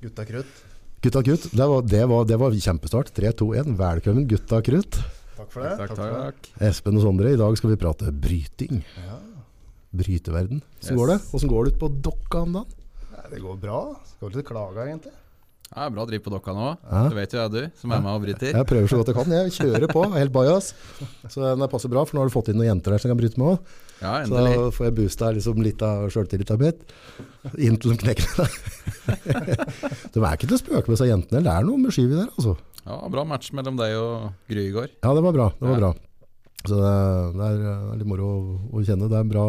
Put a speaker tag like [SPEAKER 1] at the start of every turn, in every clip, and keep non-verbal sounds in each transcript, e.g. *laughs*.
[SPEAKER 1] Gutta krutt.
[SPEAKER 2] Gutta krutt, det var, det var, det var kjempestart. 3, 2, 1. Velkommen, gutta krutt.
[SPEAKER 1] Takk for det.
[SPEAKER 3] Takk,
[SPEAKER 1] for det.
[SPEAKER 3] takk.
[SPEAKER 2] Espen og Sondre, i dag skal vi prate bryting.
[SPEAKER 1] Ja.
[SPEAKER 2] Bryteverden. Åssen
[SPEAKER 3] Yes.
[SPEAKER 2] går det? Åssen går det ut på dokka om dagen?
[SPEAKER 1] Nei, det går bra. Skal ikke klage, egentlig.
[SPEAKER 3] Ja, bra driv på dokka nå.
[SPEAKER 2] Ja.
[SPEAKER 3] Det vet jo jeg, du, som er med og bryter.
[SPEAKER 2] Jeg prøver så godt jeg kan. Jeg kjører på, helt bajas. Så det passer bra, for nå har du fått inn noen jenter der som kan bryte med òg.
[SPEAKER 3] Ja,
[SPEAKER 2] Så
[SPEAKER 3] endelig.
[SPEAKER 2] da får jeg boosta liksom litt av sjøltilliten mitt. Inntil de knekker meg. *laughs* De er ikke til å spøke med, seg jentene. Det er noe med skyv i der, altså.
[SPEAKER 3] Ja, Bra match mellom deg og Grygård.
[SPEAKER 2] Ja, det var bra. Det var
[SPEAKER 3] Ja.
[SPEAKER 2] bra. Så det er, det er eh, litt moro å, å kjenne. Det er bra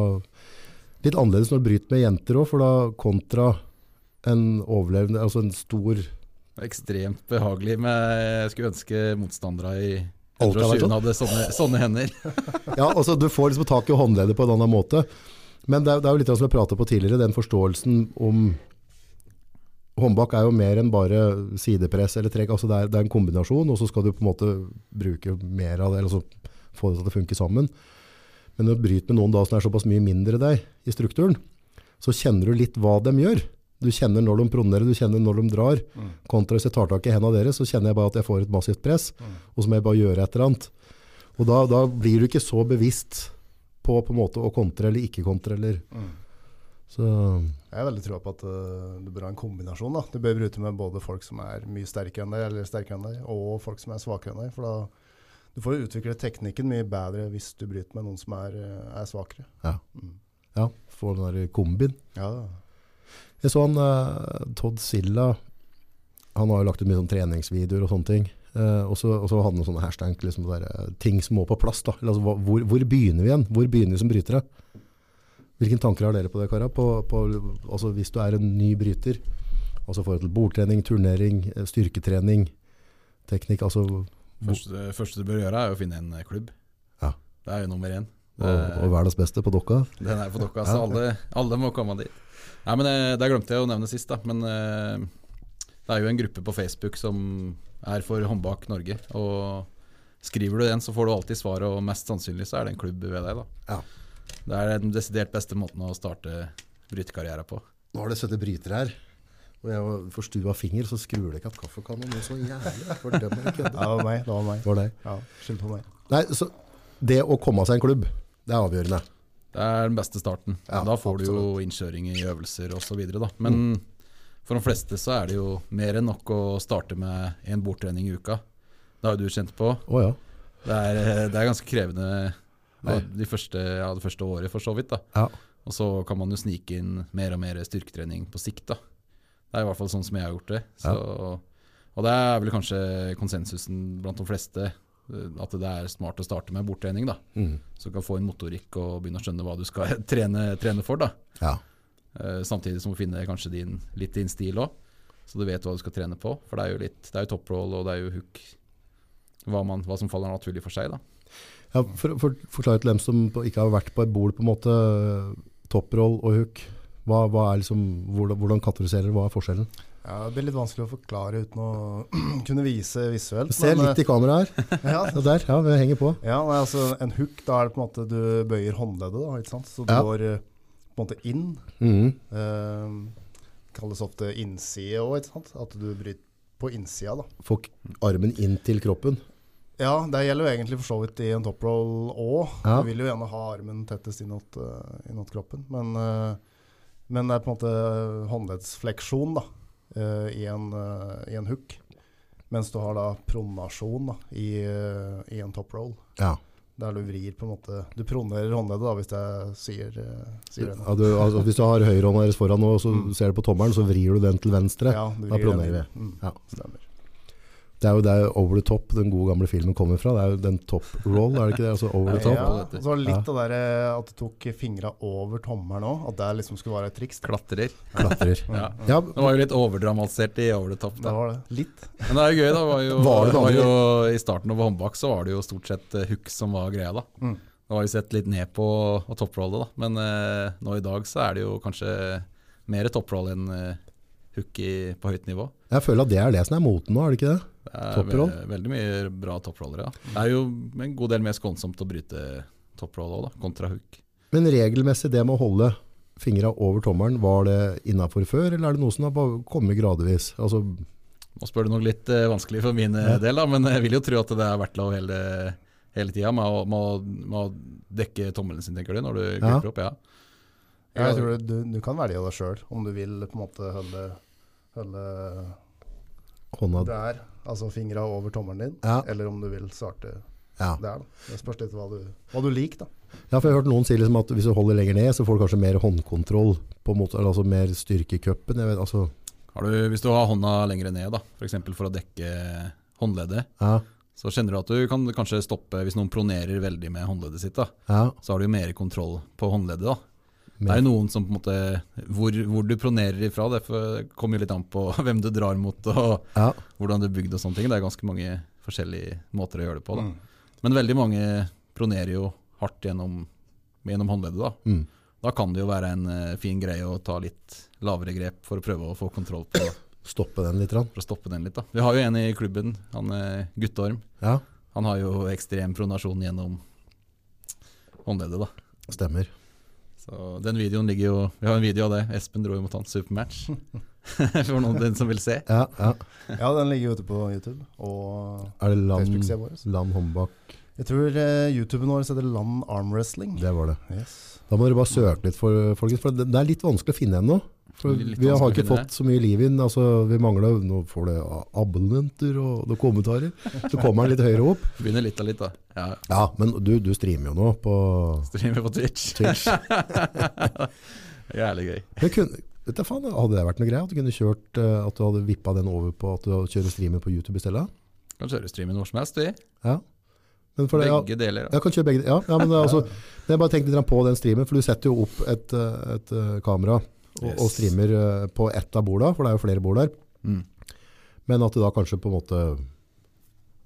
[SPEAKER 2] Litt annerledes når du bryter med jenter òg, for da kontra en overlevende, altså en stor
[SPEAKER 3] Ekstremt behagelig, men jeg skulle ønske motstandere i
[SPEAKER 2] Alt hadde vært sånn.
[SPEAKER 3] 120 hadde sånne, sånne hender.
[SPEAKER 2] Ja, altså du får liksom tak i håndleddet på en annen måte. Men det er, det er jo litt av det som jeg pratet på tidligere, den forståelsen om Håndbak er jo mer enn bare sidepress eller trekk. Altså det, er, det er en kombinasjon, og så skal du på en måte bruke mer av det, eller så få det til å funke sammen. Men når du bryter med noen da som er såpass mye mindre deg i strukturen, så kjenner du litt hva de gjør. Du kjenner når de pronerer, du kjenner når de drar. Kontra hvis jeg tar tak i hendene deres, så kjenner jeg bare at jeg får et massivt press, og så må jeg bare gjøre et eller annet. Og da, da blir du ikke så bevisst på, på en måte å kontre eller ikke kontre. Eller.
[SPEAKER 1] Mm.
[SPEAKER 2] Så,
[SPEAKER 1] Jeg har veldig trua på at eh, du bør ha en kombinasjon. da. Du bør bryte med både folk som er mye sterkere enn deg, eller sterkere enn deg, og folk som er svakere enn deg. For da du får jo utvikle teknikken mye bedre hvis du bryter med noen som er, eh, er svakere.
[SPEAKER 2] ja.
[SPEAKER 1] Mm.
[SPEAKER 2] ja, får den der kombin.
[SPEAKER 1] Ja,
[SPEAKER 2] Jeg så han, eh, Todd Silla, han har jo lagt ut mye sånn treningsvideoer og sånne ting. Eh, og så og så hadde han noen sånne hashtag, liksom der, eh, ting som må på plass. da. Eller, altså, hva- hvor, hvor begynner vi igjen? Hvor begynner vi som brytere? Hvilke tanker har dere på det, Kara? På, på, altså, hvis du er en ny bryter, altså i forhold til bordtrening, turnering, eh, styrketrening, teknikk, altså
[SPEAKER 3] Første, første du bør gjøre, er å finne en klubb.
[SPEAKER 2] Ja.
[SPEAKER 3] Det er jo nummer én.
[SPEAKER 2] Og, og verdens beste på dokka.
[SPEAKER 3] Den er på dokka, så alle, alle må komme dit. Nei, men eh, Det glemte jeg å nevne sist, da. Men eh, det er jo en gruppe på Facebook som er for Håndbak Norge. Og skriver du den, så får du alltid svar, og mest sannsynlig så er det en klubb ved deg, da.
[SPEAKER 2] Ja.
[SPEAKER 3] Det er den desidert beste måten å starte brytekarriere på.
[SPEAKER 2] Nå har det sittet bryter her, og jeg var forstua finger, så skrur det ikke av kaffekannen noe så jævlig. Fordømmer ikke
[SPEAKER 1] det var meg. Det var meg.
[SPEAKER 2] Var det?
[SPEAKER 1] Ja, Skyld på meg.
[SPEAKER 2] Nei, så det å komme seg en klubb, det er avgjørende.
[SPEAKER 3] Det er den beste starten.
[SPEAKER 2] Ja, Mm.
[SPEAKER 3] da får du jo innkjøring i øvelser osv. Men for de fleste så er det jo mer enn nok å starte med en bordtrening i uka. Det har jo du kjent på.
[SPEAKER 2] Å ja.
[SPEAKER 3] Det er, eh, det er ganske krevende ja, de første, ja, det første året, for så vidt. da.
[SPEAKER 2] ja.
[SPEAKER 3] Og så kan man jo snike inn mer og mer styrketrening på sikt. da. Det er i hvert fall sånn som jeg har gjort det. Så, Og det er vel kanskje konsensusen blant de fleste, eh, at det er smart å starte med borttrening. da. Så du kan få inn motorikk og begynne å skjønne hva du skal *laughs* trene, trene for. da.
[SPEAKER 2] Ja.
[SPEAKER 3] Eh, Samtidig som du finner kanskje din, litt din stil òg, så du vet hva du skal trene på. For det er jo litt, det er jo top roll og det er jo hook, hva, man, hva som faller naturlig for seg. da.
[SPEAKER 2] ja for, for, forklare til dem som på- ikke har vært på et bord, på en måte, topproll og hook. Hva, hva er liksom, hvordan, hvordan kategoriserer dere, hva er forskjellen?
[SPEAKER 1] Ja, det blir litt vanskelig å forklare uten å *clears throat* kunne vise visuelt.
[SPEAKER 2] Se
[SPEAKER 1] men,
[SPEAKER 2] litt i kameraet her.
[SPEAKER 1] eh, ja,
[SPEAKER 2] *laughs* Ja, der, ja, vi henger på.
[SPEAKER 1] Ja, nei, altså en hook, da er det på en måte du bøyer håndleddet, da, ikke sant? Så du
[SPEAKER 2] Ja.
[SPEAKER 1] går eh, på en måte inn.
[SPEAKER 2] Mhm.
[SPEAKER 1] Eh, kalles ofte innside òg, ikke sant? At du bryter på innsida, da.
[SPEAKER 2] Få k- armen inn til kroppen.
[SPEAKER 1] Ja, det gjelder jo egentlig for så vidt i en top roll òg.
[SPEAKER 2] Ja.
[SPEAKER 1] Du vil jo gjerne ha armen tettest innåt, eh, innåt kroppen. Men, eh, men det er på en måte håndleddsfleksjon da, eh, i, en, eh, i en hook. Mens du har da pronasjon da, i, eh, i en top roll.
[SPEAKER 2] Ja.
[SPEAKER 1] Der du vrir på en måte Du pronerer håndleddet, da, hvis jeg sier, eh, sier det. nå.
[SPEAKER 2] Ja, du, altså, hvis du har høyrehånda deres foran nå, og så ser du på tommelen, så vrir du den til venstre.
[SPEAKER 1] Ja, du
[SPEAKER 2] da
[SPEAKER 1] vrir den
[SPEAKER 2] pronerer
[SPEAKER 1] inn. Mm,
[SPEAKER 2] Ja.
[SPEAKER 1] Stemmer.
[SPEAKER 2] Det er jo der Over the Top, den gode gamle filmen, kommer fra. Det er jo den top roll, er det ikke det? Altså over the top.
[SPEAKER 1] Ja, og så var det litt
[SPEAKER 2] Ja.
[SPEAKER 1] av det der, eh, at du tok fingra over tommelen òg, at det liksom skulle være et triks.
[SPEAKER 3] Klatrer.
[SPEAKER 2] Klatrer.
[SPEAKER 3] Ja.
[SPEAKER 2] Ja,
[SPEAKER 3] Det var jo litt overdramatisert i Over the Top.
[SPEAKER 1] Det
[SPEAKER 3] Da.
[SPEAKER 1] var det. Litt.
[SPEAKER 3] Men det er jo gøy, da. Var jo,
[SPEAKER 2] Var det det
[SPEAKER 3] jo, I starten over håndbak så var det jo stort sett eh, hook som var greia, da.
[SPEAKER 1] Mm.
[SPEAKER 3] Da var vi sett litt ned på og topprollet, da. Men eh, nå i dag så er det jo kanskje mer topproll enn eh, hook i, på høyt nivå.
[SPEAKER 2] jeg føler at det er det som er moten nå, er det ikke det?
[SPEAKER 3] Det er
[SPEAKER 2] Topproll?
[SPEAKER 3] ve- veldig mye bra topprollere. Ja. Det er jo en god del mer skånsomt å bryte topproll òg, da, kontra hook.
[SPEAKER 2] Men regelmessig det med å holde fingra over tommelen, var det innafor før, eller er det noe som har bare kommet gradvis? Altså,
[SPEAKER 3] Nå spør du nok litt eh, vanskelig for min eh,
[SPEAKER 2] Ja.
[SPEAKER 3] del, da, men jeg vil jo tro at det er vært lov hele, hele tida med, å- med, å- med å dekke tommelen sin, tenker du, når du
[SPEAKER 2] Ja.
[SPEAKER 3] griper opp. Ja.
[SPEAKER 1] Ja, jeg tror du, du kan velge deg sjøl om du vil på en måte holde, holde
[SPEAKER 2] hånda
[SPEAKER 1] der, altså fingra over tommelen din,
[SPEAKER 2] Ja.
[SPEAKER 1] eller om du vil starte
[SPEAKER 2] ja.
[SPEAKER 1] der. da. Det spørs litt hva du, hva du liker, da.
[SPEAKER 2] Ja, for jeg har hørt noen si liksom at hvis du holder lenger ned, så får du kanskje mer håndkontroll, på en måte, eller altså mer styrke i cupen. Jeg vet, altså,
[SPEAKER 3] Har du, hvis du har hånda lengre ned, da, f.eks. For, for å dekke håndleddet,
[SPEAKER 2] ja,
[SPEAKER 3] så kjenner du at du kan kanskje stoppe hvis noen pronerer veldig med håndleddet sitt. da,
[SPEAKER 2] ja,
[SPEAKER 3] Så har du jo mer kontroll på håndleddet. da. Det
[SPEAKER 2] mer,
[SPEAKER 3] er jo noen som på en måte Hvor, hvor du pronerer ifra, det får- kommer jo litt an på *laughs* hvem du drar mot og
[SPEAKER 2] ja,
[SPEAKER 3] hvordan du er bygd og sånne ting. Det er ganske mange forskjellige måter å gjøre det på. Da.
[SPEAKER 1] Mm.
[SPEAKER 3] Men veldig mange pronerer jo hardt gjennom, gjennom håndleddet. Da.
[SPEAKER 2] mm,
[SPEAKER 3] da kan det jo være en eh, fin greie å ta litt lavere grep for å prøve å få kontroll på
[SPEAKER 2] stoppe den litt. grann.
[SPEAKER 3] for å stoppe den litt. Da. Vi har jo en i klubben, han eh, Guttorm.
[SPEAKER 2] Ja,
[SPEAKER 3] Han har jo ekstrem pronasjon gjennom håndleddet, da.
[SPEAKER 2] stemmer.
[SPEAKER 3] Så den videoen ligger jo Vi har en video av det. Espen dro jo mot han. Supermatch. *laughs* For noen den som vil se.
[SPEAKER 2] Ja, ja.
[SPEAKER 1] Ja, den ligger ute på YouTube og
[SPEAKER 2] Er det land,
[SPEAKER 1] Facebook-sida vår.
[SPEAKER 2] land håndbak?
[SPEAKER 1] Jeg tror eh, YouTuben vår heter Land Arm Wrestling.
[SPEAKER 2] Det var det.
[SPEAKER 1] Yes.
[SPEAKER 2] Da må dere bare søke litt, for, folkens, for det det er litt vanskelig å finne ennå. For
[SPEAKER 3] Litt
[SPEAKER 2] vi har ikke
[SPEAKER 3] vanskelig å finne
[SPEAKER 2] fått så mye liv inn. Altså, vi mangler Nå får det abonnenter og noen kommentarer. Så kommer den litt høyere opp.
[SPEAKER 3] Begynner litt av litt, da. Ja,
[SPEAKER 2] Ja, men du, du streamer jo nå på
[SPEAKER 3] Streamer på Twitch.
[SPEAKER 2] Twitch.
[SPEAKER 3] *laughs* Jævlig gøy.
[SPEAKER 2] Men kunne, vet du, faen, hadde det vært noe greie at du kunne kjørt eh, At du hadde vippa den over på at du kjører streamen på YouTube i stedet?
[SPEAKER 3] Kan kjøre streamen hvor som helst, vi.
[SPEAKER 2] Ja. Men for det, ja,
[SPEAKER 3] Begge deler. Da.
[SPEAKER 2] jeg kan kjøre begge ja, ja, men det, er altså, Jeg bare tenkte litt grann på den streamen, for du setter jo opp et, eh, et eh, kamera og, og
[SPEAKER 3] Yes.
[SPEAKER 2] streamer eh, på ett av borda, for det er jo flere bord der.
[SPEAKER 3] Mm.
[SPEAKER 2] Men at det da kanskje på en måte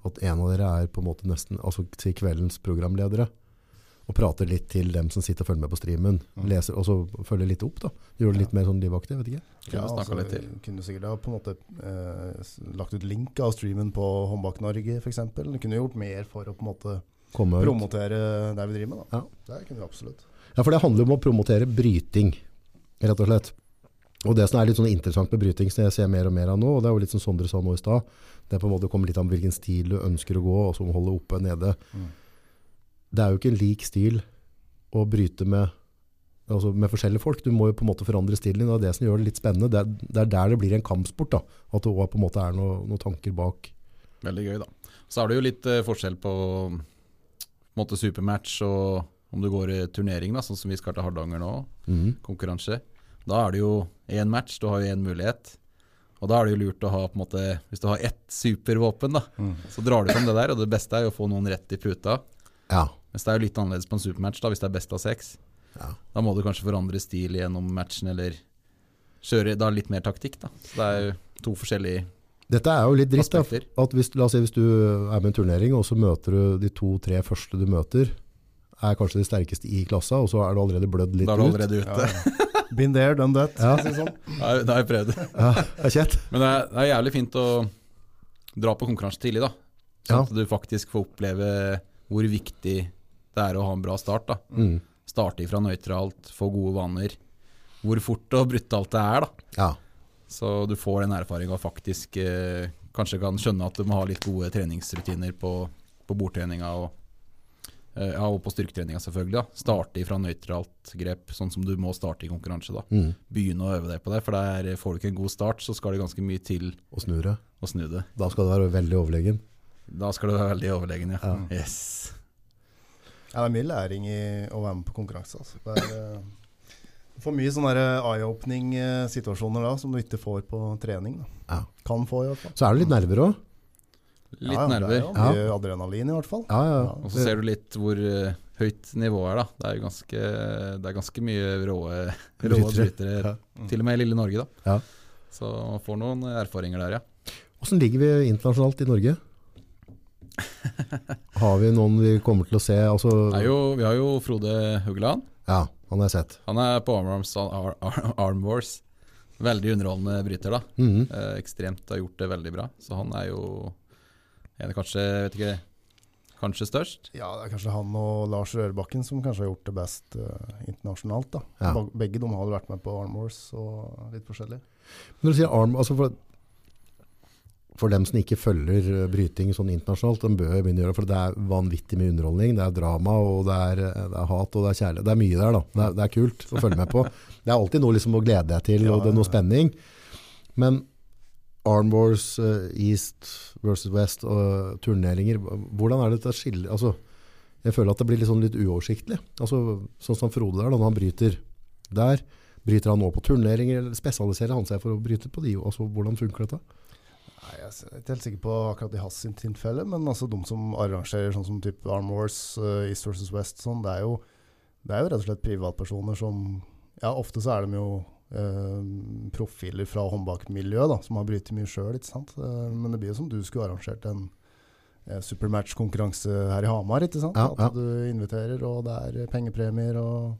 [SPEAKER 2] At en av dere er på en måte nesten Altså til kveldens programledere Og prater litt til dem som sitter og følger med på streamen Leser, og så følger litt opp da Gjør det litt mer sånn livaktig, vet ikke
[SPEAKER 3] Kunne snakket litt til.
[SPEAKER 1] altså, Kunne sikkert ha på en måte eh, s- lagt ut link av streamen på Håndbak Norge f.eks. Kunne gjort mer for å på en måte
[SPEAKER 2] Komme ut.
[SPEAKER 1] promotere det vi driver med. Da.
[SPEAKER 2] Ja.
[SPEAKER 1] Det kunne vi absolutt.
[SPEAKER 2] Ja, for det handler om å promotere bryting Rett og slett Og det som er litt sånn interessant med bryting Som jeg ser mer og mer av nå Og det er jo litt som Sondre sa nå i stad Det er på en måte kommer litt an på hvilken stil du ønsker å gå Og som holder oppe nede
[SPEAKER 1] Mm.
[SPEAKER 2] Det er jo ikke en lik stil Å bryte med Altså med forskjellige folk, du må jo på en måte forandre stilen din, og det er det som gjør det litt spennende, det er, det er der det blir en kampsport da, at det også på en måte er noe, noen tanker bak.
[SPEAKER 3] Veldig gøy, da. Så er det jo litt eh, forskjell på mm, på en måte supermatch og om du går i turnering, da, sånn som vi skal til Hardanger nå. Mm. konkurranse. Da er det jo én match, du har jo én mulighet. Og da er det jo lurt å ha på en måte, Hvis du har ett supervåpen, da,
[SPEAKER 2] Mm.
[SPEAKER 3] så drar du fram det der. Og det beste er jo å få noen rett i puta.
[SPEAKER 2] Ja,
[SPEAKER 3] Mens det er jo litt annerledes på en supermatch, da, hvis det er best av seks.
[SPEAKER 2] Ja.
[SPEAKER 3] Da må du kanskje forandre stil gjennom matchen, eller kjøre da litt mer taktikk, da. Så det er jo to forskjellige
[SPEAKER 2] Dette er jo litt dritt, da.
[SPEAKER 3] Aspekter.
[SPEAKER 2] At hvis, la oss si hvis du er med i en turnering, og så møter du de to-tre første du møter, er kanskje de sterkeste i klassa, og så er du allerede blødd litt
[SPEAKER 3] Da er du
[SPEAKER 2] ut.
[SPEAKER 3] allerede ute.
[SPEAKER 1] Been there, done that.
[SPEAKER 2] Ja.
[SPEAKER 1] for å si det sånn.
[SPEAKER 3] *laughs* Da har- da har jeg prøvd.
[SPEAKER 2] *laughs* Ja, det er kjett.
[SPEAKER 3] Men det er, det er jævlig fint å dra på konkurranse tidlig, da. Sånn
[SPEAKER 2] Ja.
[SPEAKER 3] at du faktisk får oppleve hvor viktig det er å ha en bra start. da.
[SPEAKER 2] Mm.
[SPEAKER 3] Starte ifra nøytralt, få gode vaner. Hvor fort og brutalt det er, da.
[SPEAKER 2] Ja.
[SPEAKER 3] Så du får den erfaringa og faktisk eh, kanskje kan skjønne at du må ha litt gode treningsrutiner på, på bordtreninga og, eh, ja, og på styrketreninga, selvfølgelig. da. Starte ifra nøytralt grep, sånn som du må starte i konkurranse. da.
[SPEAKER 2] Mm.
[SPEAKER 3] Begynne å øve deg på det, for der får du ikke en god start, så skal det ganske mye til
[SPEAKER 2] Og snurre.
[SPEAKER 3] å snu det.
[SPEAKER 2] Da skal du være veldig overlegen.
[SPEAKER 3] Da skal du være veldig overlegen, ja.
[SPEAKER 2] Ja.
[SPEAKER 3] Yes.
[SPEAKER 1] Ja, det er mye læring i å være med på konkurranse. Altså. Det er eh, for mye sånne der eye-opening eh, situasjoner da, som du ikke får på trening. Da.
[SPEAKER 2] Ja.
[SPEAKER 1] Kan få, i hvert fall.
[SPEAKER 2] Så er det litt nerver òg.
[SPEAKER 3] Litt
[SPEAKER 1] ja, ja,
[SPEAKER 3] nerver.
[SPEAKER 1] Det er jo mye adrenalin, i hvert fall.
[SPEAKER 2] Ja, ja.
[SPEAKER 3] Og så ser du litt hvor eh, høyt nivået er, da. Det er jo ganske, det er ganske mye
[SPEAKER 1] *laughs*
[SPEAKER 3] råe, råe
[SPEAKER 2] Brytere.
[SPEAKER 3] brytere,
[SPEAKER 2] Ja.
[SPEAKER 3] til og med i lille Norge, da.
[SPEAKER 2] Ja.
[SPEAKER 3] Så man får noen erfaringer der, ja.
[SPEAKER 2] Åssen ligger vi internasjonalt i Norge? Har vi noen vi kommer til å se? Altså,
[SPEAKER 3] Det er jo, vi har jo Frode Huggeland.
[SPEAKER 2] ja, han har jeg sett.
[SPEAKER 3] Han er på Arm, Arms, Ar- Ar- Arm Wars. Veldig underholdende bryter, da.
[SPEAKER 2] Mhm.
[SPEAKER 3] Eh, ekstremt har gjort det veldig bra. Så han er jo en av kanskje, jeg vet ikke Kanskje størst.
[SPEAKER 1] Ja, det er kanskje han og Lars Rørbakken som kanskje har gjort det best eh, internasjonalt. da.
[SPEAKER 2] Ja.
[SPEAKER 1] Beg- Begge de har vel vært med på Armors og litt forskjellig.
[SPEAKER 2] Når du sier arm, altså for, for dem som ikke følger eh, bryting sånn internasjonalt, de bør jo begynne å gjøre det, for det er vanvittig mye underholdning, det er drama, og det er, eh, det er hat, og det er kjærlighet. Det er mye der da. Det er, det er kult å følge med på. Det er alltid noe liksom å glede deg til,
[SPEAKER 1] Ja,
[SPEAKER 2] og det er
[SPEAKER 1] ja, ja.
[SPEAKER 2] noe spenning. Men Arm Wars, eh, East versus West og turneringer, hvordan er det til å skille? Altså, jeg føler at det blir litt, sånn litt uoversiktlig. Altså, sånn som Frode der, da, når han bryter der, Bryter han nå på turneringer, eller spesialiserer han seg for å bryte på de? Altså, hvordan funker dette?
[SPEAKER 1] Nei, Jeg er ikke helt sikker på akkurat i Hass sin tilfelle, men altså de som arrangerer sånn som type Arm Wars, eh, East versus West, sånn, det, er jo, det er jo rett og slett privatpersoner som Ja, ofte så er de jo eh, profiler fra håndbakmiljøet, da, som har brytet mye sjøl, ikke sant. Eh, men det blir jo som du skulle arrangert en eh, supermatch-konkurranse her i Hamar, ikke sant.
[SPEAKER 2] Ja, ja.
[SPEAKER 1] At du inviterer, og det er pengepremier og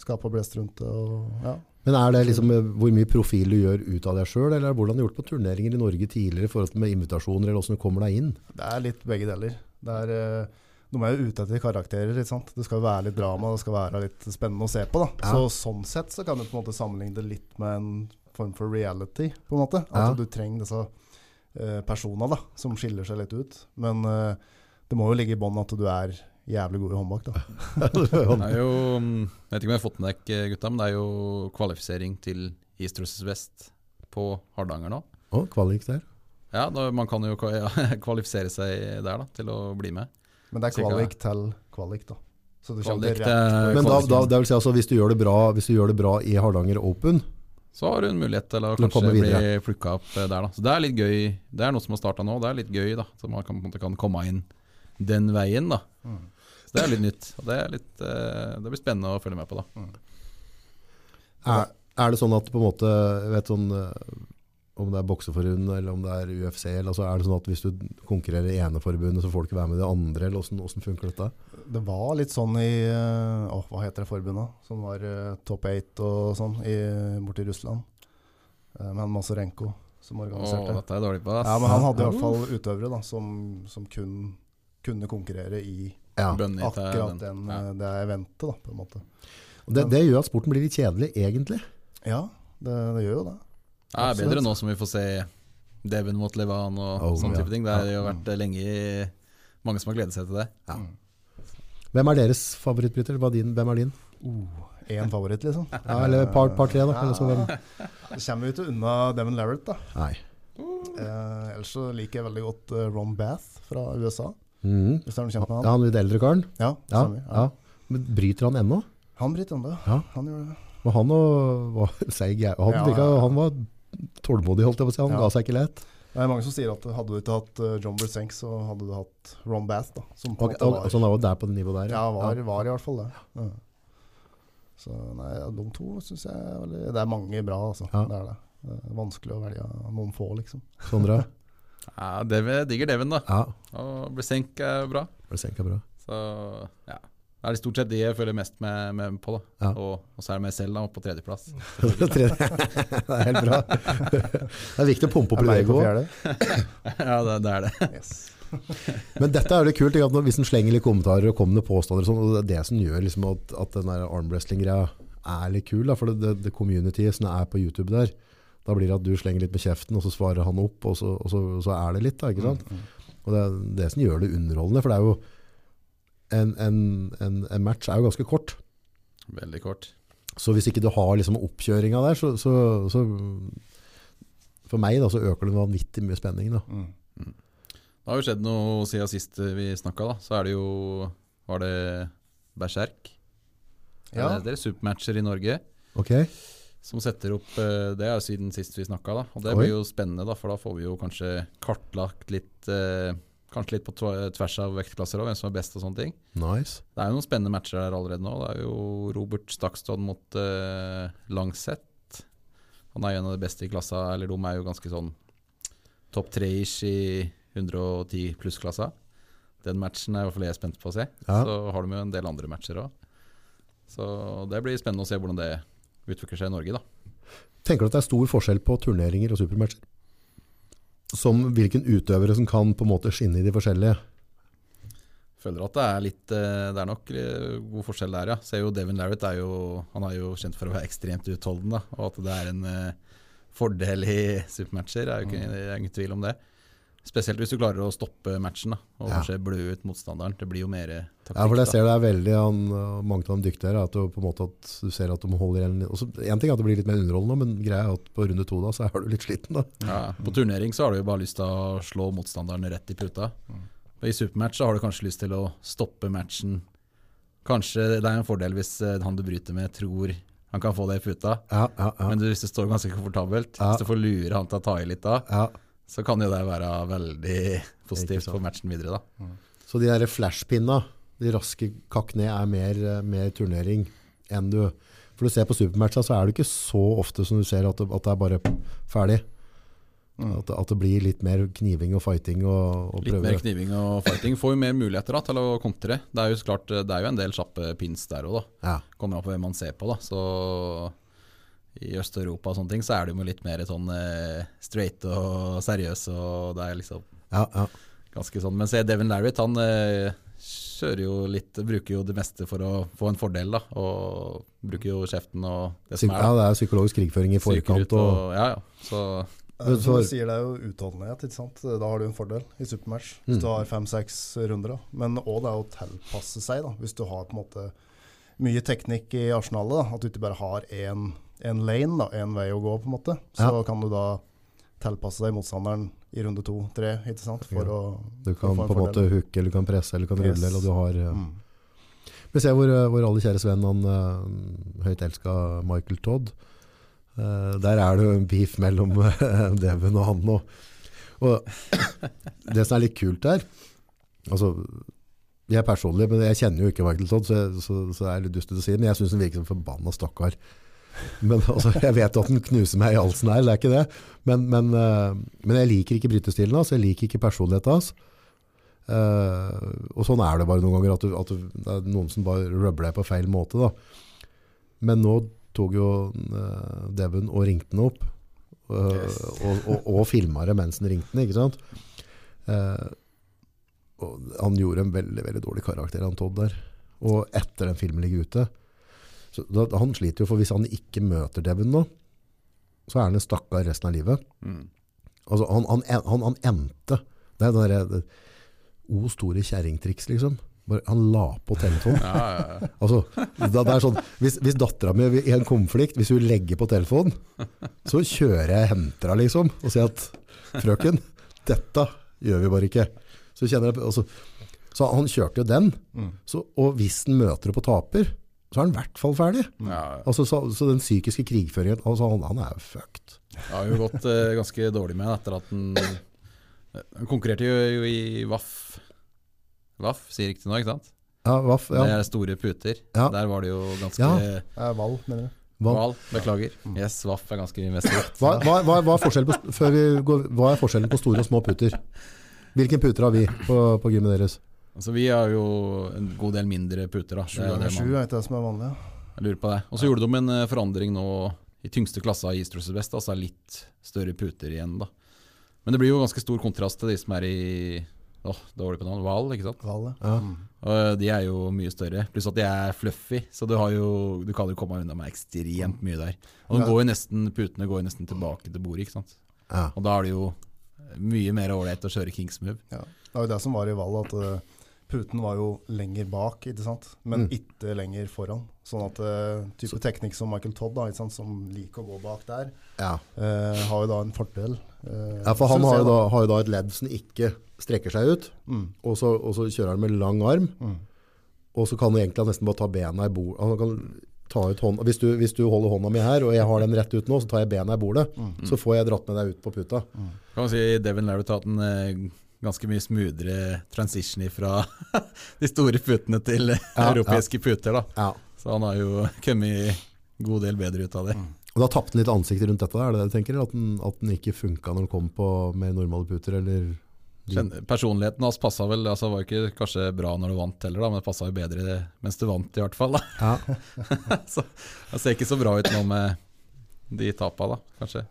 [SPEAKER 1] skaper blest rundt det og ja.
[SPEAKER 2] Men er det liksom eh, hvor mye profil du gjør ut av deg sjøl, eller er det hvordan du har gjort på turneringer i Norge tidligere i forhold til med invitasjoner, eller hvordan du kommer deg inn?
[SPEAKER 1] Det er litt begge deler. Det er, eh, de er jo ute etter karakterer. Ikke sant? Det skal jo være litt drama, det skal være litt spennende å se på. Da.
[SPEAKER 2] Ja.
[SPEAKER 1] Så Sånn sett så kan du på en måte sammenligne det litt med en form for reality. på en måte. At
[SPEAKER 2] Ja.
[SPEAKER 1] du trenger disse eh, personene da, som skiller seg litt ut. Men eh, det må jo ligge i bånn at du er jævlig god i håndbak. Da.
[SPEAKER 3] Det er jo, mm, jeg vet ikke om jeg har fått med deg, eh, gutta, men det er jo kvalifisering til East versus West på Hardanger nå.
[SPEAKER 2] Å, kvalik der.
[SPEAKER 3] Ja, da, man kan jo kva- ja, *laughs* kvalifisere seg der da, til å bli med.
[SPEAKER 1] Men det er
[SPEAKER 3] Sikkert,
[SPEAKER 1] kvalik til kvalik, da. Så du kommer
[SPEAKER 3] Kvalik
[SPEAKER 1] til
[SPEAKER 3] til-
[SPEAKER 1] rett
[SPEAKER 2] Men
[SPEAKER 1] på
[SPEAKER 2] da, da,
[SPEAKER 1] kvaliken.
[SPEAKER 2] det vil si altså, hvis du gjør det bra, hvis du gjør det bra i Hardanger Open,
[SPEAKER 3] Så har hun mulighet til å
[SPEAKER 2] Til å komme
[SPEAKER 3] kanskje bli
[SPEAKER 2] videre.
[SPEAKER 3] plukka opp eh, der, da. Så det er litt gøy. Det er noe som har starta nå, det er litt gøy, da. Så man kan, på en måte kan komme inn den veien, da.
[SPEAKER 1] Mm.
[SPEAKER 3] Så det er litt nytt. Og det, er litt, eh, det blir spennende å følge med på, da.
[SPEAKER 2] er, er det sånn at på en måte, jeg vet sånn, eh, om det er bokseforbund, eller om det er UFC, eller, altså, er det sånn at hvis du konkurrerer i ene forbundet, så får du ikke være med i det andre, eller hvordan, hvordan funker dette?
[SPEAKER 1] Det var litt sånn i eh, åh, Hva heter det forbundet? Som var eh, topp 8 og sånn i, borti Russland. Eh, Med han Masarenko som
[SPEAKER 3] Å,
[SPEAKER 1] organiserte.
[SPEAKER 3] dette er jeg dårlig på, ass.
[SPEAKER 1] ja, men han hadde i hvert fall utøvere da, som, som kun kunne konkurrere i
[SPEAKER 2] Ja.
[SPEAKER 3] Bunny til
[SPEAKER 1] akkurat
[SPEAKER 3] den.
[SPEAKER 1] den,
[SPEAKER 3] Ja.
[SPEAKER 1] eh, det eventet, da, på en måte.
[SPEAKER 2] Og Det, det gjør at sporten blir litt kjedelig, egentlig.
[SPEAKER 1] Ja, det, det gjør jo det.
[SPEAKER 3] Det er bedre nå som vi får se Devon mot Levan og
[SPEAKER 2] Oh,
[SPEAKER 3] sånne
[SPEAKER 2] ja.
[SPEAKER 3] type ting. Det har jo vært eh, lenge i- mange som har gledet seg til det.
[SPEAKER 2] Hvem er deres favorittbryter? Hva er din? Hvem er din?
[SPEAKER 3] *laughs*
[SPEAKER 1] Én favoritt, liksom.
[SPEAKER 2] Ja, eller par, par tre, da. Eller så hvem?
[SPEAKER 1] Det kommer vi ikke unna Devon Larrett, da.
[SPEAKER 2] Nei.
[SPEAKER 1] Eh, ellers så liker jeg veldig godt eh, Ron Bath fra USA,
[SPEAKER 2] Mhm.
[SPEAKER 1] hvis det er noe kjent med
[SPEAKER 2] Ja,
[SPEAKER 1] han.
[SPEAKER 2] han litt eldre karen.
[SPEAKER 1] Ja,
[SPEAKER 2] Ja,
[SPEAKER 1] stemmer,
[SPEAKER 2] ja. Men bryter han ennå?
[SPEAKER 1] Han Britt Ande,
[SPEAKER 2] Ja.
[SPEAKER 1] han gjorde det.
[SPEAKER 2] Og han og, *laughs* var seig jæ- han,
[SPEAKER 1] Ja,
[SPEAKER 2] virka,
[SPEAKER 1] ja.
[SPEAKER 2] han var tålmodig, holdt jeg på å si. Han
[SPEAKER 1] Ja.
[SPEAKER 2] ga seg ikke lett.
[SPEAKER 1] Det er mange som sier at hadde du ikke hatt eh, John Bursenk, så hadde du hatt Ron Bath, da. Som på
[SPEAKER 2] Og,
[SPEAKER 1] en
[SPEAKER 2] og,
[SPEAKER 1] måte var,
[SPEAKER 2] så han var jo der på det nivået der.
[SPEAKER 1] ja, var, var i hvert fall det. Ja. Så nei, ja, de to syns jeg er veldig Det er mange bra, altså.
[SPEAKER 2] Ja.
[SPEAKER 1] Det er det. Det er vanskelig å velge noen få, liksom.
[SPEAKER 2] Sondre. *laughs*
[SPEAKER 3] Ja, Devon, jeg digger Devon, da.
[SPEAKER 2] Ja,
[SPEAKER 3] Og Bresenk er bra.
[SPEAKER 2] ble senka bra. *laughs*
[SPEAKER 3] Så ja. Det er stort sett de jeg følger mest med, med på. da
[SPEAKER 2] Ja.
[SPEAKER 3] og, og så er det meg selv da, oppe på tredjeplass.
[SPEAKER 2] *laughs* Tre- det er helt bra. Det er viktig å pumpe opp
[SPEAKER 1] Er Leif
[SPEAKER 2] leget
[SPEAKER 1] på
[SPEAKER 2] òg.
[SPEAKER 1] fjerde?
[SPEAKER 2] Mm.
[SPEAKER 3] *laughs* ja, det, det er det.
[SPEAKER 1] Yes.
[SPEAKER 2] Men dette er jo litt kult, ikke, at når- hvis en slenger litt kommentarer og kommer med påstander og sånn, og det er det som gjør liksom at, at den der armwrestling-greia er litt kul, da, for det, det, det communityet som er på YouTube der, da blir det at du slenger litt med kjeften, og så svarer han opp, og så, og så, så er det litt, da, ikke sant?
[SPEAKER 1] Mm,
[SPEAKER 2] Og det er det som gjør det underholdende, for det er jo en, en, en, en match er jo ganske kort,
[SPEAKER 3] Veldig kort.
[SPEAKER 2] så hvis ikke du har liksom oppkjøringa der, så, så, så for meg da, så øker det vanvittig mye spenning da.
[SPEAKER 1] Mm.
[SPEAKER 3] Det har jo skjedd noe siden sist eh, vi snakka, da. Så er det jo Var det Berserk?
[SPEAKER 1] Ja.
[SPEAKER 3] Det heter Supermatcher i Norge.
[SPEAKER 2] Ok?
[SPEAKER 3] Som setter opp eh, Det er jo siden sist vi snakka, da. Og det
[SPEAKER 2] Oi.
[SPEAKER 3] blir jo spennende, da, for da får vi jo kanskje kartlagt litt eh, Kanskje litt på tva- tvers av vektklasser òg, hvem som er best og sånne ting.
[SPEAKER 2] Nice.
[SPEAKER 3] Det er jo noen spennende matcher der allerede nå. Det er jo Robert Stakstad mot uh, Langseth. Han er jo en av de beste i klassa, eller de er jo ganske sånn topp tre-ish i 110 pluss-klassa. Den matchen er i hvert fall jeg spent på å se.
[SPEAKER 2] Ja.
[SPEAKER 3] Så har de jo en del andre matcher òg. Så det blir spennende å se hvordan det utvikler seg i Norge, da.
[SPEAKER 2] Tenker du at det er stor forskjell på turneringer og supermatcher? Som hvilken utøvere som kan på en måte skinne i de forskjellige?
[SPEAKER 3] Føler at det er litt eh, Det er nok eh, god forskjell der, ja. Ser jo Devin Larrett er jo Han er jo kjent for å være ekstremt utholdende, da, og at det er en eh, fordel i supermatcher. Er jo
[SPEAKER 2] Mm.
[SPEAKER 3] ikke, det er ingen tvil om det. Spesielt hvis du klarer å stoppe matchen da, og
[SPEAKER 2] Ja.
[SPEAKER 3] kanskje blø ut motstanderen. Det blir jo mer eh, taktikk.
[SPEAKER 2] Ja, for det
[SPEAKER 3] da.
[SPEAKER 2] ser du er veldig han, Mange av de dyktige her er at du på en måte at du ser at de holder igjen litt. Også, En ting er at det blir litt mer underholdende, men greia er at på runde to da, så er du litt sliten. da.
[SPEAKER 3] Ja,
[SPEAKER 2] Mm.
[SPEAKER 3] på turnering så har du jo bare lyst til å slå motstanderen rett i puta.
[SPEAKER 2] Mm.
[SPEAKER 3] Og I supermatch så har du kanskje lyst til å stoppe matchen. Kanskje det er en fordel hvis eh, han du bryter med tror han kan få det i puta,
[SPEAKER 2] Ja, ja, ja.
[SPEAKER 3] men du, hvis det står ganske komfortabelt,
[SPEAKER 2] Ja.
[SPEAKER 3] hvis du får lure han til å ta i litt da,
[SPEAKER 2] ja.
[SPEAKER 3] så kan jo det være veldig positivt
[SPEAKER 2] sant.
[SPEAKER 3] for matchen videre da.
[SPEAKER 2] Så de der flashpinna, de raske kakk ned, er mer, eh, mer turnering enn du For du ser på supermatcha, så er det ikke så ofte som du ser at det, at det er bare ferdig. At, det- at det blir litt mer kniving og fighting og, og
[SPEAKER 3] Mm. Litt mer
[SPEAKER 2] prøver.
[SPEAKER 3] kniving og fighting. Får jo mer muligheter da, til å kontre. Det er jo så klart, det er jo en del kjappe pins der også da.
[SPEAKER 2] Ja.
[SPEAKER 3] kommer an på hvem man ser på. Da. Så I Øst-Europa og sånne ting så er det jo litt mer sånn eh, straight og seriøs. Og det er liksom
[SPEAKER 2] Ja, ja.
[SPEAKER 3] ganske sånn. Men se Devin Larritt, han eh, kjører jo litt Bruker jo det meste for å få en fordel, da. Og bruker jo kjeften og det
[SPEAKER 2] Psyk
[SPEAKER 3] som
[SPEAKER 2] ja,
[SPEAKER 3] er.
[SPEAKER 2] det er psykologisk krigføring i
[SPEAKER 3] Psyker
[SPEAKER 2] forkant.
[SPEAKER 3] ut
[SPEAKER 2] Og,
[SPEAKER 3] Ja, ja. Så
[SPEAKER 1] Eh, Som
[SPEAKER 2] for-
[SPEAKER 1] du sier, det er jo utholdenhet. ikke sant? Da har du en fordel i supermatch.
[SPEAKER 2] Mm.
[SPEAKER 1] Hvis du har fem-seks runder. Da. Men òg det er å tilpasse seg. da. Hvis du har på en måte mye teknikk i arsenalet, da. at du ikke bare har én en lane, da, en vei å gå, på en måte, så
[SPEAKER 2] Ja.
[SPEAKER 1] kan du da tilpasse deg motstanderen i runde to, tre, ikke sant? for
[SPEAKER 2] Ja.
[SPEAKER 1] å
[SPEAKER 2] Du
[SPEAKER 1] å
[SPEAKER 2] kan
[SPEAKER 1] få
[SPEAKER 2] på en måte
[SPEAKER 1] fordel.
[SPEAKER 2] hooke, eller du kan presse, eller du kan rulle,
[SPEAKER 1] Yes.
[SPEAKER 2] eller du har eh, ja.
[SPEAKER 1] Mm.
[SPEAKER 2] Vi ser hvor, eh, hvor alle kjære Sven, han eh, høyt elska Michael Todd. Eh, der er det jo en beef mellom eh, Devon og han nå. Og det som er litt kult der Altså, jeg personlig, men jeg kjenner jo ikke Michael Todd, så, jeg, så, så det er litt dustete å si det, men jeg syns han virker som forbanna stakkar. Men altså, jeg vet jo at han knuser meg i halsen her, det er ikke det. Men, men, eh, men jeg liker ikke brytestilen hans, jeg liker ikke personligheten hans. Eh, og sånn er det bare noen ganger, at, du, at du, det er noen som bare rubber deg på feil måte. Da. Men nå tok jo eh, Devon og ringte den opp, eh,
[SPEAKER 1] Yes.
[SPEAKER 2] og, og, og filma det mens den ringte den, ikke sant? Eh, og han gjorde en veldig, veldig dårlig karakter, han Todd der. Og etter den filmen ligger ute. Så da, han sliter jo, for hvis han ikke møter Devon nå, så er han en stakkar resten av livet.
[SPEAKER 3] mm.
[SPEAKER 2] Altså, han, han, han, han endte. Det er den derre- det- O store kjerringtriks, liksom. Bare, han la på
[SPEAKER 3] *laughs*
[SPEAKER 2] telefonen.
[SPEAKER 3] ja, ja, ja.
[SPEAKER 2] Altså, da, det er sånn, hvis hvis dattera mi i en konflikt, hvis hun legger på telefonen, så kjører jeg og henter henne, liksom, og sier at frøken, dette gjør vi bare ikke. Så, kjenner jeg, altså, så han kjørte jo den,
[SPEAKER 1] Mm.
[SPEAKER 2] så, og hvis han møter henne på taper, så er han i hvert fall ferdig.
[SPEAKER 3] ja.
[SPEAKER 2] Altså, så, så den psykiske krigføringen altså, han, han er jo fucked.
[SPEAKER 3] Jeg har jo gått eh, ganske dårlig med etter at den Han konkurrerte jo, jo i WAF. WAF sier riktig nå, ikke sant?
[SPEAKER 2] Ja, vaff,
[SPEAKER 3] Det
[SPEAKER 2] ja.
[SPEAKER 3] er store puter.
[SPEAKER 2] Ja.
[SPEAKER 3] Der var det jo ganske
[SPEAKER 2] Ja.
[SPEAKER 1] Eh, Val, mener du?
[SPEAKER 2] Hva- Mm.
[SPEAKER 3] Val, beklager. Yes, Vaff er ganske mest likt.
[SPEAKER 2] Hva, hva, hva, hva, er forskjellen på, før vi går, hva er forskjellen på store og små puter? Hvilken puter har vi på, på gymmet deres?
[SPEAKER 3] Altså, vi har jo en god del mindre puter, da. Det
[SPEAKER 1] Sju
[SPEAKER 3] er
[SPEAKER 1] ganger
[SPEAKER 3] det
[SPEAKER 1] sju
[SPEAKER 3] man-
[SPEAKER 1] er ikke det som er vanlig. ja.
[SPEAKER 3] Jeg lurer på det. Og så gjorde de en eh, forandring nå i tyngste klassa i Easter Best, altså er litt større puter igjen, da. Men det blir jo ganske stor kontrast til de som er i Åh, dårlig på navn. Val, ikke sant.
[SPEAKER 1] Val, ja.
[SPEAKER 2] Ja.
[SPEAKER 3] Og de er jo mye større. Pluss at de er fluffy, så du, har jo, du kan jo komme unna med ekstremt mye der. Og de går jo nesten, putene går jo nesten tilbake til bordet, ikke sant.
[SPEAKER 2] Ja.
[SPEAKER 3] Og da er det jo mye mer ålreit å kjøre Kings Move.
[SPEAKER 1] Ja. Det var jo det som var i valget, at eh, puten var jo lenger bak, ikke sant?
[SPEAKER 2] Mm.
[SPEAKER 1] men ikke lenger foran. Sånn at eh, type teknikk som Michael Todd, da, ikke sant? som liker å gå bak der,
[SPEAKER 2] Ja.
[SPEAKER 1] eh, har jo da en fordel. eh,
[SPEAKER 2] ja, for han
[SPEAKER 1] synes
[SPEAKER 2] har
[SPEAKER 1] jeg,
[SPEAKER 2] jo, da, har jo da et ledd som ikke strekker seg ut,
[SPEAKER 1] Mm.
[SPEAKER 2] og så, og så kjører han med lang arm,
[SPEAKER 1] Mm.
[SPEAKER 2] og så kan han egentlig nesten bare ta bena i bordet. Han kan ta ut hånda. Hvis du, hvis du holder hånda mi her, og jeg har den rett ut nå, så tar jeg bena i bordet, så får jeg dratt med deg ut på puta.
[SPEAKER 3] Kan man si Devin Larrett har hatt en eh, ganske mye smoothere transition fra *laughs* de store putene til eh,
[SPEAKER 2] Ja,
[SPEAKER 3] europeiske puter, da.
[SPEAKER 2] Ja.
[SPEAKER 3] Så han har jo kommet en god del bedre ut av det.
[SPEAKER 2] Og da tappte han litt ansikt rundt dette, er det det du tenker? At den, at den ikke funka når den kom på med normale puter, eller
[SPEAKER 3] Kjenn- Personligheten hans passa vel, altså var ikke kanskje bra når du vant heller, da, men det passa jo bedre mens du vant, i hvert fall. da. *laughs*
[SPEAKER 2] ja.
[SPEAKER 3] Så han ser ikke så bra ut nå med de tapa, da, kanskje.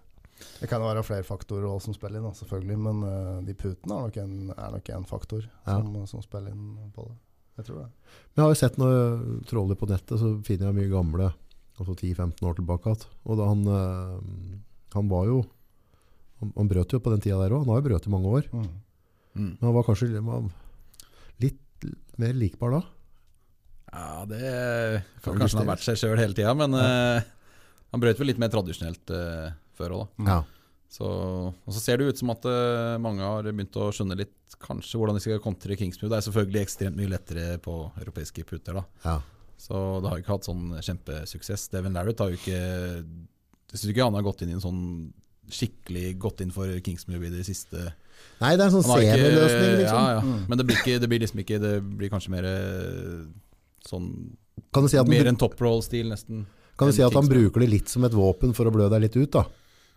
[SPEAKER 1] Det kan jo være flere faktorer også som spiller inn, da, selvfølgelig. Men eh, de putene er nok en, er nok en faktor
[SPEAKER 2] Ja.
[SPEAKER 1] som, som spiller inn på det. Jeg tror det.
[SPEAKER 2] Men jeg har jo sett når jeg troller på nettet, så finner jeg mye gamle, altså 10-15 år tilbake. at- Og da han, eh, han var jo, han, han brøt jo på den tida der også, han har jo brøt i mange år.
[SPEAKER 1] Mm.
[SPEAKER 3] Mm.
[SPEAKER 2] Men han var kanskje litt- var litt mer likbar da.
[SPEAKER 3] Ja, det
[SPEAKER 2] Kan
[SPEAKER 3] Kanskje han
[SPEAKER 2] justeres.
[SPEAKER 3] har vært seg sjøl hele tida, men eh, han brøt vel litt mer tradisjonelt eh, før òg, da.
[SPEAKER 1] Ja.
[SPEAKER 3] Så, og så ser det jo ut som at eh, mange har begynt å skjønne litt kanskje hvordan de skal kontre Kingsmove. Det er selvfølgelig ekstremt mye lettere på europeiske puter, da.
[SPEAKER 2] Ja.
[SPEAKER 3] Så det har ikke hatt sånn kjempesuksess. Devin Larrett har jo ikke Jeg syns ikke han har gått inn i en sånn skikkelig gått inn for Kingsmove i det siste.
[SPEAKER 2] Nei, det er en sånn
[SPEAKER 3] Han har ikke-
[SPEAKER 2] semi-løsning liksom.
[SPEAKER 3] Ja, ja.
[SPEAKER 1] Mm.
[SPEAKER 3] Men det blir, ikke, det blir liksom ikke Det blir kanskje mer eh, sånn
[SPEAKER 2] Kan du si at,
[SPEAKER 3] Mer
[SPEAKER 2] han,
[SPEAKER 3] en top roll-stil, nesten.
[SPEAKER 2] kan du si
[SPEAKER 3] enn
[SPEAKER 2] at han
[SPEAKER 3] Kingsmove.
[SPEAKER 2] bruker det litt som et våpen for å blø deg litt ut da?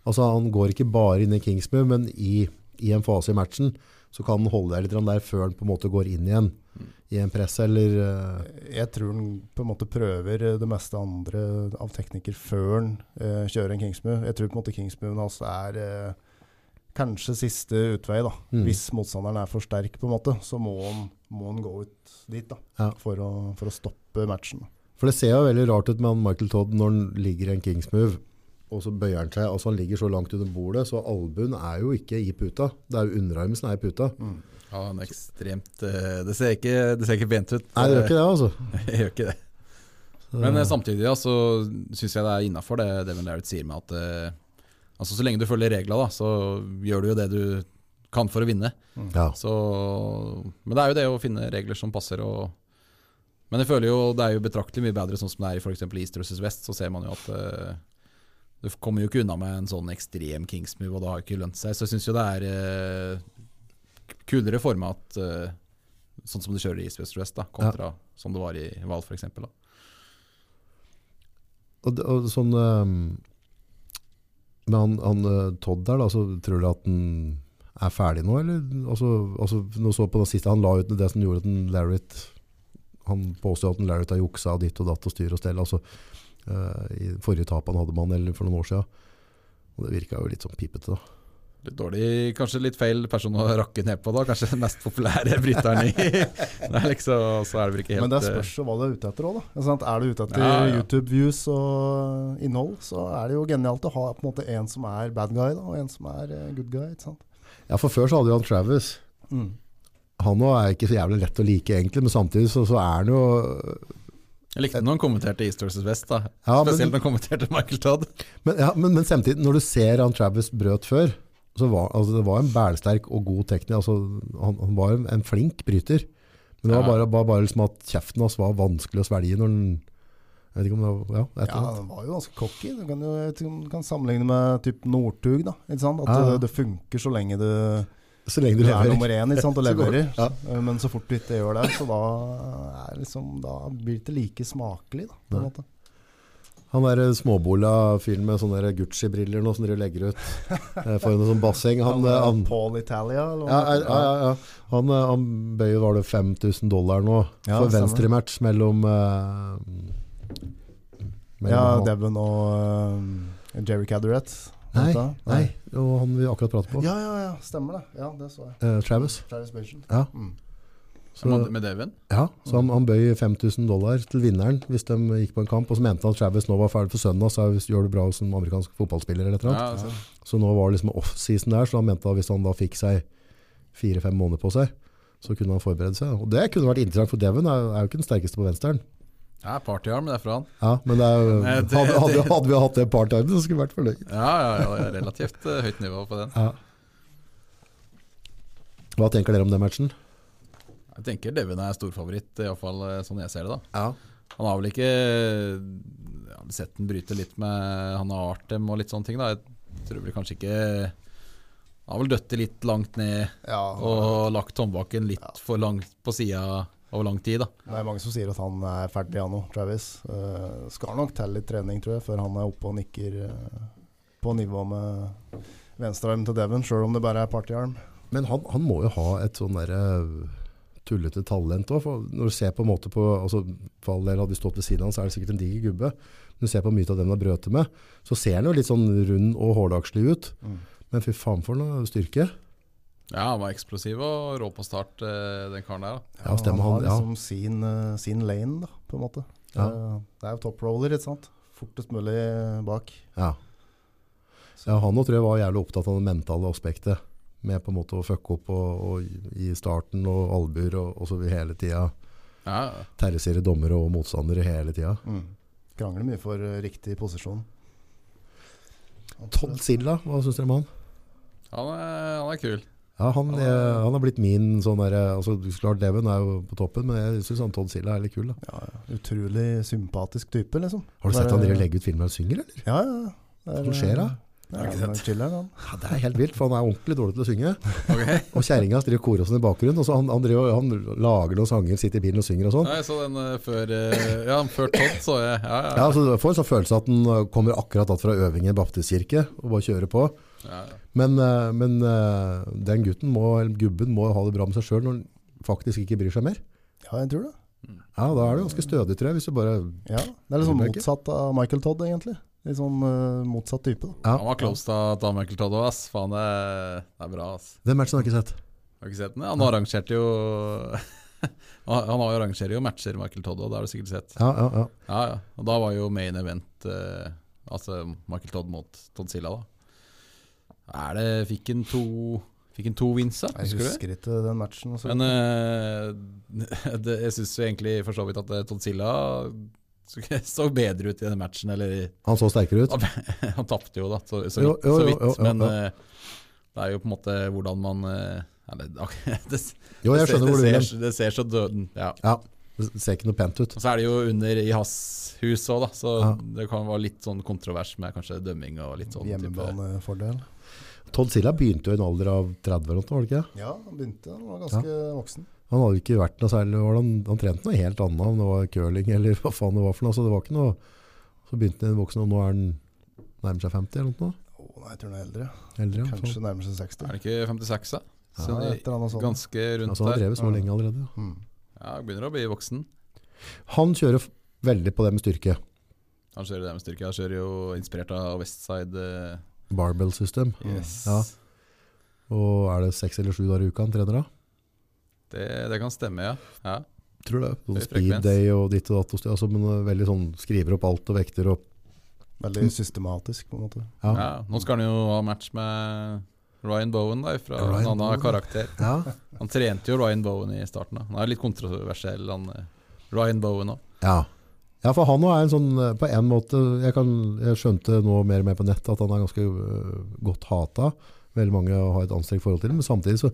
[SPEAKER 2] Altså han går ikke bare inn i Kingsmove, men i, i en fase i matchen, så kan han holde deg litt grann der før han på en måte går inn igjen
[SPEAKER 3] Mm.
[SPEAKER 2] i en press eller... eh,
[SPEAKER 1] Jeg tror han på en måte prøver eh, det meste andre av teknikker før han eh, kjører en Kingsmove. Jeg tror på en måte Kingsmoven hans er eh, kanskje siste utvei, da.
[SPEAKER 2] Mm.
[SPEAKER 1] Hvis motstanderen er for sterk, på en måte, så må han, må han gå ut dit, da.
[SPEAKER 2] Ja.
[SPEAKER 1] For, å, for å stoppe matchen.
[SPEAKER 2] For det ser jo veldig rart ut med han Michael Todd når han ligger i en Kingsmove, og så bøyer han seg, altså han ligger så langt under bordet, så albuen er jo ikke i puta. Det er jo underarmen som er i puta.
[SPEAKER 1] Mm.
[SPEAKER 3] Ja, han er ekstremt eh, Det ser ikke, det ser ikke pent ut.
[SPEAKER 2] Nei, det gjør ikke det, altså.
[SPEAKER 3] Jeg gjør ikke *laughs* det. Men eh, samtidig ja, så syns jeg det er innafor det Devin Larrett sier med at eh, altså, så lenge du følger regla, da, så gjør du jo det du kan for å vinne.
[SPEAKER 2] Ja.
[SPEAKER 3] Så, men det er jo det å finne regler som passer. Og, men jeg føler jo det er jo betraktelig mye bedre sånn som det er i f.eks. East versus West. Så ser man jo at eh, du kommer jo ikke unna med en sånn ekstrem Kings-move, og det har ikke lønt seg. Så jeg syns jo det er eh, kulere format eh, sånn som du kjører i East versus West, da, kontra som det var i Val f.eks.
[SPEAKER 2] Og, det- og sånn ehm, Men han, han eh, Todd der, da, så tror du at han er ferdig nå, eller? Altså, altså nå så på det siste han la ut det som gjorde at han Larrett Han påstod at han Larrett har juksa og ditt og datt og styr og stell. Altså, eh, I forrige tap han hadde med han eller for noen år siden. Og det virka jo litt sånn pipete, da.
[SPEAKER 3] Litt dårlig, kanskje litt feil person å rakke ned på, da. Kanskje den mest populære bryteren i Det er liksom, Så er det vel ikke helt
[SPEAKER 1] Men det
[SPEAKER 3] eh,
[SPEAKER 1] spørs jo hva du er ute etter òg, da. Ikke sant? Er du ute etter
[SPEAKER 3] Ja, ja.
[SPEAKER 1] YouTube-views og innhold, så er det jo genialt å ha på en måte en som er bad guy, da, og en som er eh, good guy. Ikke sant?
[SPEAKER 2] Ja, for før så hadde jo han Travis.
[SPEAKER 1] Mm.
[SPEAKER 2] Han nå er ikke så jævlig lett å like, egentlig, men samtidig så, så er han jo
[SPEAKER 3] Jeg likte når han kommenterte East versus West, da.
[SPEAKER 2] Ja, men-
[SPEAKER 3] Spesielt når han kommenterte Michael Todd.
[SPEAKER 2] Men, ja, men, men samtidig, når du ser han Travis brøt før, så var altså, det var en bælsterk og god teknisk. Altså, han, han var en, en flink bryter. Men det var
[SPEAKER 3] Ja.
[SPEAKER 2] bare, bare, bare liksom at kjeften hans var vanskelig å svelge når han Jeg vet ikke om det var Ja, et eller
[SPEAKER 1] Ja,
[SPEAKER 2] annet.
[SPEAKER 1] den var jo ganske cocky. Du kan, jo, jeg vet ikke om du kan sammenligne med typ Northug. da, ikke sant? At eh,
[SPEAKER 2] Ja, ja.
[SPEAKER 1] det, det funker så lenge du,
[SPEAKER 2] Så lenge Ah. du
[SPEAKER 1] du er
[SPEAKER 2] lever.
[SPEAKER 1] nummer én ikke sant, og
[SPEAKER 2] *laughs* Så går
[SPEAKER 1] leverer.
[SPEAKER 2] det. Ja.
[SPEAKER 1] Eh, Men så fort du ikke gjør det, så da, er liksom, da blir det ikke like smakelig. da, på en måte.
[SPEAKER 2] Han der småbola-fyren med sånne der Gucci-briller nå som dere
[SPEAKER 1] *laughs*
[SPEAKER 2] legger ut eh, foran et sånt basseng han, eh, han,
[SPEAKER 1] Paul Italia, eller
[SPEAKER 2] ja,
[SPEAKER 1] hva
[SPEAKER 2] ja, ja, ja. han, eh, han bøyer var det 5000 dollar nå
[SPEAKER 1] Ja,
[SPEAKER 2] for
[SPEAKER 1] stemmer.
[SPEAKER 2] venstrematch mellom, eh, mellom
[SPEAKER 1] Ja,
[SPEAKER 2] han-
[SPEAKER 1] Devon og eh, Jerry Cadderet.
[SPEAKER 2] Nei, nei. og han vi akkurat pratet på.
[SPEAKER 1] Ja, ja, ja, stemmer det. Ja, Det så jeg.
[SPEAKER 2] Eh, Travis.
[SPEAKER 1] Travis Bation.
[SPEAKER 2] Ja.
[SPEAKER 1] Mm.
[SPEAKER 2] Så,
[SPEAKER 3] Med med Devin.
[SPEAKER 2] ja, så han, han bøy 5000 dollar til vinneren hvis de gikk på en kamp, og så mente han at Travis nå var ferdig for søndag, så hvis- gjør det bra som amerikansk fotballspiller eller et eller annet.
[SPEAKER 3] Ja, altså.
[SPEAKER 2] Så nå var det liksom off-season der, så han mente at hvis han da fikk seg fire-fem måneder på seg, så kunne han forberede seg. Og det kunne vært interessant, for Devon er, er jo ikke den sterkeste på venstren.
[SPEAKER 3] ja partyarm, det er fra han.
[SPEAKER 2] Ja, men det er, jo-
[SPEAKER 3] Nei, det-
[SPEAKER 2] hadde, hadde,
[SPEAKER 3] det-
[SPEAKER 2] hadde vi hatt det part-time, så skulle vi vært fornøyd.
[SPEAKER 3] Ja, ja, ja, det er relativt eh, høyt nivå på den.
[SPEAKER 2] Hva tenker dere om den matchen?
[SPEAKER 3] Jeg tenker Devin er storfavoritt, iallfall sånn jeg ser det. da
[SPEAKER 2] Ja.
[SPEAKER 3] Han har vel ikke Jeg har sett den bryte litt med han har Artem og litt sånne ting. da Jeg tror vel kanskje ikke Han har vel døttet litt langt ned
[SPEAKER 1] Ja,
[SPEAKER 3] og lagt håndbaken litt for langt på sida over lang tid. da
[SPEAKER 1] Det er mange som sier at han er ferdig han nå, Travis. Eh, skal nok til litt trening, tror jeg, før han er oppe og nikker eh, på nivå med venstrearmen til Devon, sjøl om det bare er partyarm.
[SPEAKER 2] Men han, han må jo ha et sånn derre tullete talent òg. Når du ser på en måte på altså, For all del, hadde vi stått ved siden av han, så er det sikkert en diger gubbe. Når du ser på mye av dem han brøt med, så ser han jo litt sånn rund og hårdagslig ut.
[SPEAKER 1] Mm.
[SPEAKER 2] Men fy faen for noe styrke.
[SPEAKER 3] Ja, han var eksplosiv og rå på start, eh, den karen der. da.
[SPEAKER 2] Ja, stemmer
[SPEAKER 1] han har
[SPEAKER 2] han. Ja.
[SPEAKER 1] liksom sin, eh, sin lane, da, på en måte.
[SPEAKER 2] Ja.
[SPEAKER 1] Eh, Det er jo top roller, ikke sant. Fortest mulig eh, bak.
[SPEAKER 2] Ja. ja, han nå tror jeg var jævlig opptatt av det mentale aspektet. Med på en måte å fucke opp og, og i starten og albuer og, og så vi hele tida.
[SPEAKER 3] Ja,
[SPEAKER 2] Terrorisere dommere og motstandere hele tida.
[SPEAKER 1] Mm. Krangler mye for eh, riktig posisjon.
[SPEAKER 2] Todd Silla, hva syns dere om han?
[SPEAKER 3] han er, han er kul.
[SPEAKER 2] Ja, han,
[SPEAKER 3] Han er-
[SPEAKER 2] er, han har blitt min sånn der, altså, Klart Leven er jo på toppen, men jeg syns Todd Silla er litt kul. Da.
[SPEAKER 1] Ja, ja. Utrolig sympatisk type, liksom.
[SPEAKER 2] Har du sett han
[SPEAKER 1] Bare-
[SPEAKER 2] driver og legger ut filmer og synger, eller?
[SPEAKER 1] Ja, ja. Det er,
[SPEAKER 2] Hva skjer da?
[SPEAKER 1] Ja, han er chiller'n, han.
[SPEAKER 2] Ja, det er helt vilt, for han er ordentlig dårlig til å synge. *laughs*
[SPEAKER 3] Ok.
[SPEAKER 2] Og kjerringa hans driver og korer og sånn i bakgrunnen. Og så han, han, driver, han lager noen sanger, sitter i bilen og synger og sånn.
[SPEAKER 3] Ja, jeg så den eh, før eh, Ja, før Todd, så jeg. Ja, ja.
[SPEAKER 2] Ja, altså, Du får en sånn følelse at den eh, kommer akkurat tatt fra øving i en baptistkirke og bare kjører på.
[SPEAKER 3] ja. ja.
[SPEAKER 2] Men, eh, men eh, den gutten må, eller gubben må ha det bra med seg sjøl når han faktisk ikke bryr seg mer.
[SPEAKER 1] Ja, jeg tror det.
[SPEAKER 2] Ja, Da er du ganske stødig, tror jeg. Hvis du bare
[SPEAKER 1] Ja, det er litt sånn
[SPEAKER 2] Tror du ikke?
[SPEAKER 1] motsatt av Michael Todd, egentlig. Litt sånn eh, motsatt type, da.
[SPEAKER 2] ja.
[SPEAKER 3] Han var close da til Michael Todd òg, ass. Faen, det, er- det er bra, ass.
[SPEAKER 2] Den matchen har jeg ikke sett.
[SPEAKER 3] Har du ikke sett den? Han arrangerte jo *laughs* Han han arrangerer jo matcher, Michael Todd, og det har du sikkert sett.
[SPEAKER 2] Ja, ja, ja.
[SPEAKER 3] Ja, ja. Og da var jo main event eh, Altså Michael Todd mot Todd Silla, da. Er det Fikk han to Fikk han to wins, da?
[SPEAKER 1] Jeg
[SPEAKER 3] Husker du? det?
[SPEAKER 1] husker ikke den matchen. Så.
[SPEAKER 3] Men eh, *laughs* det, jeg syns egentlig for så vidt at eh, Todd Silla så, *laughs* så bedre ut i den matchen, eller i *laughs*
[SPEAKER 2] Han så sterkere ut.
[SPEAKER 3] han tapte jo da, så, så,
[SPEAKER 2] Jo,
[SPEAKER 3] vidt,
[SPEAKER 2] jo,
[SPEAKER 3] så
[SPEAKER 2] jo,
[SPEAKER 3] vidt.
[SPEAKER 2] jo, jo,
[SPEAKER 3] men
[SPEAKER 2] ja.
[SPEAKER 3] eh, det er jo på en måte hvordan man eh, eller, det, *laughs*
[SPEAKER 2] Jo, jeg skjønner hvor du vil
[SPEAKER 3] det,
[SPEAKER 2] hen.
[SPEAKER 3] ser, det ser så døden ja.
[SPEAKER 2] Ja, det ser ikke noe pent ut.
[SPEAKER 3] Og så er det jo under i hans hus òg, da, så
[SPEAKER 2] Ja.
[SPEAKER 3] det kan være litt sånn kontrovers med kanskje dømming og litt sånn type
[SPEAKER 1] Hjemmebanefordel.
[SPEAKER 2] Todd Silla begynte jo i en alder av 30 eller noe, var det ikke? det?
[SPEAKER 1] Ja, han begynte. Han var ganske voksen.
[SPEAKER 2] Han hadde jo ikke vært noe særlig, var det han, han trente noe helt annet, om det var curling eller *laughs* hva faen det var for noe, så det var ikke noe. Så begynte han i en voksen, og nå er han nærmer seg 50 eller noe.
[SPEAKER 1] Å nei, jeg tror han er eldre.
[SPEAKER 2] Eldre, ja.
[SPEAKER 1] Kanskje
[SPEAKER 2] Så,
[SPEAKER 1] nærmer seg 60.
[SPEAKER 3] sånn. Er det ikke 56, da?
[SPEAKER 1] Ja,
[SPEAKER 3] Så
[SPEAKER 1] et eller annet sånt.
[SPEAKER 3] ganske rundt
[SPEAKER 2] altså, han har
[SPEAKER 3] der.
[SPEAKER 2] drevet så lenge allerede. ja.
[SPEAKER 1] Mm.
[SPEAKER 3] Ja, begynner å bli voksen.
[SPEAKER 2] Han kjører f- veldig på det med styrke.
[SPEAKER 3] Han kjører det med styrke. Han kjører jo inspirert av Westside. eh,
[SPEAKER 2] Barbell system.
[SPEAKER 3] Yes.
[SPEAKER 2] Mm. Ja. Og er det 6 eller 7 dager i uka han trener da?
[SPEAKER 3] Det, det kan stemme, ja. ja.
[SPEAKER 2] Tror det. Sånn
[SPEAKER 3] Høy frekvens.
[SPEAKER 2] speed day og ditt og datt og styr, altså, men eh, veldig sånn skriver opp alt og vekter opp.
[SPEAKER 1] Veldig
[SPEAKER 3] *laughs*
[SPEAKER 1] systematisk, på en måte.
[SPEAKER 2] Ja.
[SPEAKER 3] Ja, nå skal han jo ha match med Ryan Bowen, da, fra
[SPEAKER 2] Ryan
[SPEAKER 3] en annen
[SPEAKER 2] Bowen.
[SPEAKER 3] karakter.
[SPEAKER 2] Ja.
[SPEAKER 3] Han trente jo Ryan Bowen i starten. da Han er litt kontroversiell, han eh, Ryan Bowen òg.
[SPEAKER 2] Ja. ja, for han nå er en sånn, eh, på en måte, jeg, kan, jeg skjønte nå mer og mer på nettet at han er ganske eh, godt hata. Veldig mange har et anstrengt forhold til det, men samtidig så,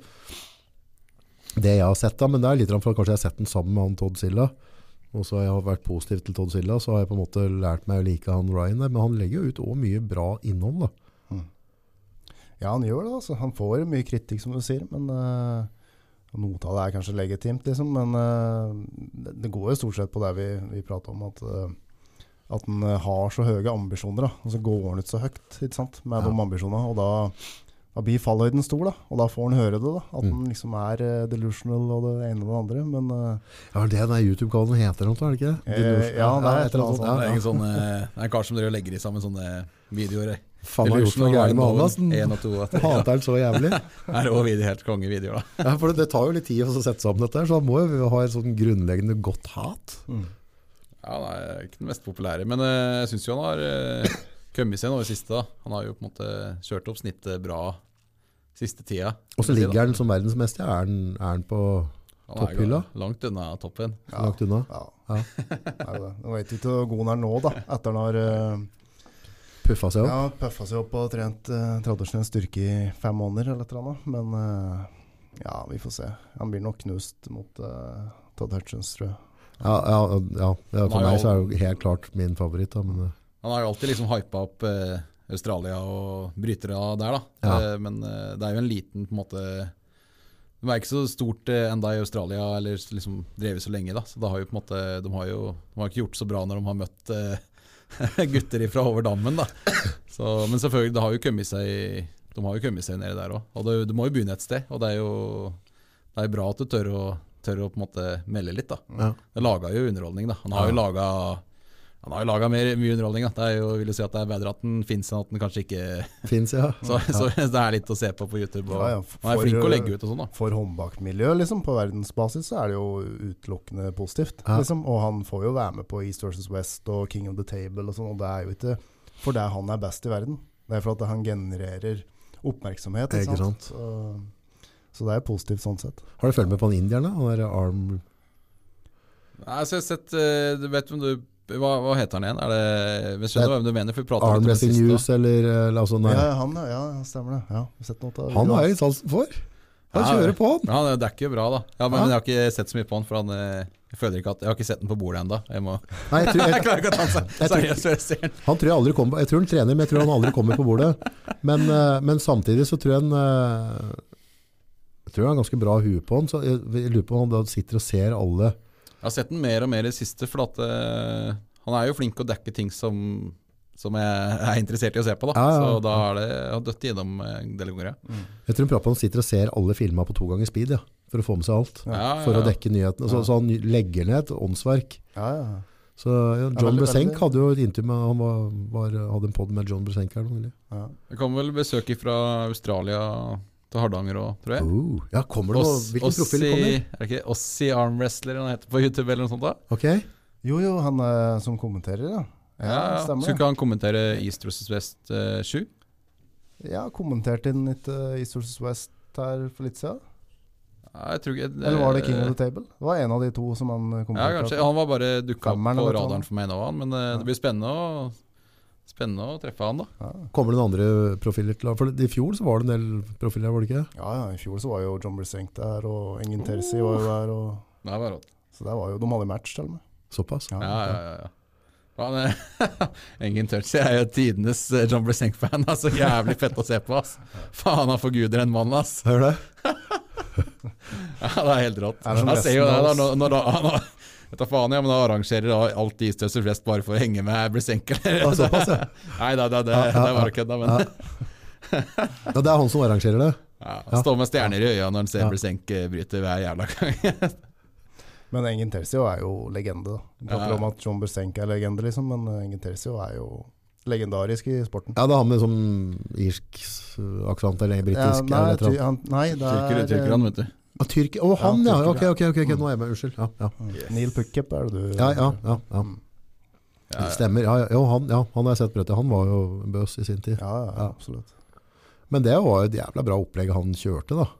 [SPEAKER 2] det jeg har sett da, men det er litt grann for at kanskje jeg har sett den sammen med han Todd Silla, og så har jeg vært positiv til Todd Silla, så har jeg på en måte lært meg å like han Ryan der, men han legger jo ut også mye bra innhold da.
[SPEAKER 1] Ja, han gjør det. altså. Han får jo mye kritikk, som du sier. men... eh, og noe av det er kanskje legitimt, liksom, men eh, det, det går jo stort sett på det vi, vi prater om, at, eh, at han eh, har så høye ambisjoner. Da, og så går han ut så høyt ikke sant, med
[SPEAKER 2] Ja.
[SPEAKER 1] de ambisjonene. Og da, da blir fallhøyden stor, da, og da får han høre det. da, At
[SPEAKER 2] Mm.
[SPEAKER 1] han liksom er eh, delusional og det ene og det andre. Men eh,
[SPEAKER 2] Ja, det er det den YouTube-kanalen heter, antar er det ikke?
[SPEAKER 1] Eh, ja, det er et eller annet sånt.
[SPEAKER 3] Det er
[SPEAKER 2] Ja,
[SPEAKER 3] en
[SPEAKER 2] ja.
[SPEAKER 3] sånn, eh, det er en kar som driver og legger i sammen sånne videoer. eh.
[SPEAKER 2] Faen, han har gjort noe gærent med han,
[SPEAKER 3] Bowen,
[SPEAKER 2] altså.
[SPEAKER 3] en og to, at-
[SPEAKER 2] Hater han så jævlig.
[SPEAKER 3] Det er også video, helt kongevideoer, da.
[SPEAKER 2] Ja, for det, det tar jo litt tid å sette sammen dette, her, så han må jo ha et sånn grunnleggende godt hat.
[SPEAKER 3] Ja, han er ikke den mest populære, men eh, jeg syns jo han har eh, kommet seg nå i det siste. da Han har jo på en måte kjørt opp snittet bra siste tida.
[SPEAKER 2] Og så ligger han som verdensmester, er han, er han på
[SPEAKER 3] Han er jo
[SPEAKER 2] topphylla.
[SPEAKER 3] Langt unna toppen.
[SPEAKER 2] langt unna?
[SPEAKER 1] ja.
[SPEAKER 2] Ja.
[SPEAKER 1] det er jo det. Nå vet vi ikke hvor god han er nå, da, etter han har eh,
[SPEAKER 2] Puffa seg opp.
[SPEAKER 1] Ja, pøffa seg opp og trent eh, tradisjonell styrke i fem måneder eller et eller annet. Men eh, ja, vi får se. Han blir nok knust mot eh, Todd Hutchins, tror jeg.
[SPEAKER 2] Ja, ja, ja, ja, for
[SPEAKER 3] Han har
[SPEAKER 2] meg
[SPEAKER 3] jo-
[SPEAKER 2] så er det jo helt klart min favoritt. Da, men, eh,
[SPEAKER 3] Han har jo alltid liksom hypa opp eh, Australia og brytere der, da.
[SPEAKER 2] Ja.
[SPEAKER 3] Eh, men eh, det er jo en liten på en måte Det var ikke så stort eh, enda i Australia, eller s- liksom drevet så lenge, da. Så det har jo på en måte, de har jo de har ikke gjort så bra når de har møtt eh, *laughs* gutter ifra over dammen, da. Så, men selvfølgelig, det har jo kommet seg de har jo kommet seg nedi der òg. Og det, du må jo begynne et sted. Og det er jo det er bra at du tør å tør å på en måte melde litt. da.
[SPEAKER 2] Ja.
[SPEAKER 3] Han laga jo underholdning, da. Han har jo laga han har jo laga mye underholdning. da. Det er jo, vil jo si at det er bedre at den fins enn at den kanskje ikke *laughs*
[SPEAKER 2] Fins, ja.
[SPEAKER 3] så, *laughs* så, det er litt å se på på YouTube. Og,
[SPEAKER 1] Ja, ja,
[SPEAKER 3] Han er
[SPEAKER 1] for- eh,
[SPEAKER 3] flink å legge ut og sånn, da.
[SPEAKER 1] For håndbakmiljøet liksom, på verdensbasis så er det jo utelukkende positivt.
[SPEAKER 2] Ja.
[SPEAKER 1] Liksom. Og han får jo være med på East versus West og King of the Table og sånn, og det er jo ikke for det han er best i verden. Det er for at han genererer oppmerksomhet. Ikke
[SPEAKER 2] Ikke
[SPEAKER 1] sant? Så, så det er positivt sånn sett.
[SPEAKER 2] Har du fulgt med på han indieren, da? Han der Arm
[SPEAKER 3] Nei, så jeg har sett eh, Du vet hvem du Hva, hva heter han igjen? Er det, jeg skjønner hvem du mener, for vi prata litt om det
[SPEAKER 2] Armrest in
[SPEAKER 3] sist. da.
[SPEAKER 2] News, eller, eller altså, nei.
[SPEAKER 1] Ja, han, ja, ja, stemmer det. Ja, vi har sett noe av
[SPEAKER 2] Han
[SPEAKER 1] videoen
[SPEAKER 2] har
[SPEAKER 1] hans.
[SPEAKER 2] jeg litt sansen for. Han
[SPEAKER 3] Ja,
[SPEAKER 2] kjører på, han.
[SPEAKER 3] Men han dekker jo bra, da. Ja, men,
[SPEAKER 2] Ja.
[SPEAKER 3] men jeg har ikke sett så mye på han, for han eh, jeg føler ikke at Jeg har ikke sett den på bordet ennå. Jeg, må- *laughs*
[SPEAKER 2] Nei,
[SPEAKER 1] *laughs*
[SPEAKER 2] jeg tror,
[SPEAKER 3] jeg
[SPEAKER 2] jeg,
[SPEAKER 3] klarer ikke å ta den
[SPEAKER 2] Jeg tror-
[SPEAKER 3] seriøst før jeg ser den.
[SPEAKER 2] han tror jeg aldri kommer Jeg tror han trener, men jeg tror han aldri kommer på bordet. Men, eh, men samtidig så tror jeg han eh, Jeg tror han har ganske bra hue på han. Så jeg, jeg lurer på om han da sitter og ser alle
[SPEAKER 3] Jeg har sett den mer og mer i det siste, for at eh, han er jo flink å dekke ting som som jeg er interessert i å se på, da.
[SPEAKER 2] Ja, ja, ja.
[SPEAKER 3] Så da er det Jeg har døtt innom eh, en del ganger, ja.
[SPEAKER 1] Mm.
[SPEAKER 2] Jeg tror Prapan sitter og ser alle filma på to ganger speed, ja. For å få med seg alt.
[SPEAKER 1] Ja,
[SPEAKER 3] Ah, Ja, ja,
[SPEAKER 2] For å
[SPEAKER 3] ja.
[SPEAKER 2] dekke nyhetene. Så, så han legger ned et åndsverk.
[SPEAKER 1] Ja, ja.
[SPEAKER 2] Så ja,
[SPEAKER 1] Ja,
[SPEAKER 2] John
[SPEAKER 1] veldig,
[SPEAKER 2] Bresenk
[SPEAKER 1] veldig.
[SPEAKER 2] hadde jo et intervju med Han var, var, hadde en pod med John Bresenk her nå nylig.
[SPEAKER 1] ja.
[SPEAKER 3] Det kommer vel besøk fra Australia til Hardanger òg, tror jeg.
[SPEAKER 2] Oh, ja, kommer det noe
[SPEAKER 3] Oss-
[SPEAKER 2] Hvilken profil
[SPEAKER 3] Ossi-
[SPEAKER 2] kommer?
[SPEAKER 3] Er det ikke Ossi Armwrestler han heter på YouTube, eller noe sånt? da?
[SPEAKER 2] Ok,
[SPEAKER 1] Jo, jo, han eh, som kommenterer, ja. Ja, stemmer
[SPEAKER 3] Skulle
[SPEAKER 1] det.
[SPEAKER 3] ikke han kommentere East versus West eh, 7?
[SPEAKER 1] Ja, kommenterte inn litt eh, East versus West her for litt siden.
[SPEAKER 3] Nei, jeg tror ikke
[SPEAKER 1] Eller var det King of the Table? Det var en av de to som han eh, kom
[SPEAKER 3] Ja,
[SPEAKER 1] på.
[SPEAKER 3] kanskje. Han var bare dukka opp
[SPEAKER 1] Femmeren
[SPEAKER 3] på
[SPEAKER 1] eller noe
[SPEAKER 3] radaren
[SPEAKER 1] sånt.
[SPEAKER 3] for meg nå, han. Men eh, det blir spennende å, spennende å treffe han, da.
[SPEAKER 1] Ja.
[SPEAKER 2] Kommer det noen andre profiler til For i fjor så var det en del profiler her, var det ikke?
[SPEAKER 1] ja, ja, i fjor så var jo John Brissenk der, og Ingen Terzi
[SPEAKER 3] Oh.
[SPEAKER 1] var jo der. Og,
[SPEAKER 3] Det er bare rått.
[SPEAKER 1] så der var jo, de hadde match til og med.
[SPEAKER 2] Såpass.
[SPEAKER 3] Ja, ja, ja. ja. Han, eh, Ingen Touchy er *laughs* jo tidenes eh, John Blessing-fan. Altså, jævlig fett å se på. ass. Faen, han forguder en mann, ass. *laughs*
[SPEAKER 2] Hører det?
[SPEAKER 3] Ja, det er helt rått.
[SPEAKER 1] Er det som
[SPEAKER 3] Jeg ser jo det
[SPEAKER 1] resten av
[SPEAKER 3] da, *laughs*
[SPEAKER 1] oss?
[SPEAKER 3] når, når han har Vet da faen, ja, men da arrangerer da alt Eastøster flest bare for å henge med Blessenk.
[SPEAKER 2] Ja, såpass, ja.
[SPEAKER 3] *laughs* Nei da, det, det, det var kødda, men
[SPEAKER 2] ja. Det er han som arrangerer det.
[SPEAKER 3] ja, Stå med stjerner i øya når en ser
[SPEAKER 2] Ja.
[SPEAKER 3] Blessenk bryte hver jævla gang. *laughs*
[SPEAKER 1] Men Ingen Terzi er jo legende. da. Vi prater
[SPEAKER 3] Ja.
[SPEAKER 1] om at John Brissenk er legende, liksom, men eh, Ingen Terzi er jo legendarisk i sporten.
[SPEAKER 2] Ja, det er han med sånn irsk eh, aksent eller
[SPEAKER 1] Ja,
[SPEAKER 2] britisk
[SPEAKER 1] nei,
[SPEAKER 2] eller et eller
[SPEAKER 1] ty,
[SPEAKER 2] annet.
[SPEAKER 1] han, nei, det
[SPEAKER 3] Tyrker
[SPEAKER 1] er
[SPEAKER 3] uttrykker han, vet du.
[SPEAKER 2] Ah, Tyrk. Å, han, ja.
[SPEAKER 1] Ja,
[SPEAKER 2] Ok,
[SPEAKER 1] tyrker,
[SPEAKER 2] ok, ok, ok, nå er jeg med. Unnskyld. Ja, ja.
[SPEAKER 1] eh, Neil Puckup er det du
[SPEAKER 2] Ja, ja, ja, ja.
[SPEAKER 3] Ja, ja.
[SPEAKER 2] Stemmer. Ja, ja. Jo, han, ja, han har jeg sett brøtte. Han var jo en bøs i sin tid.
[SPEAKER 1] Ja, ja,
[SPEAKER 2] Ja.
[SPEAKER 1] absolutt.
[SPEAKER 2] Men det var jo et jævla bra opplegg han kjørte, da.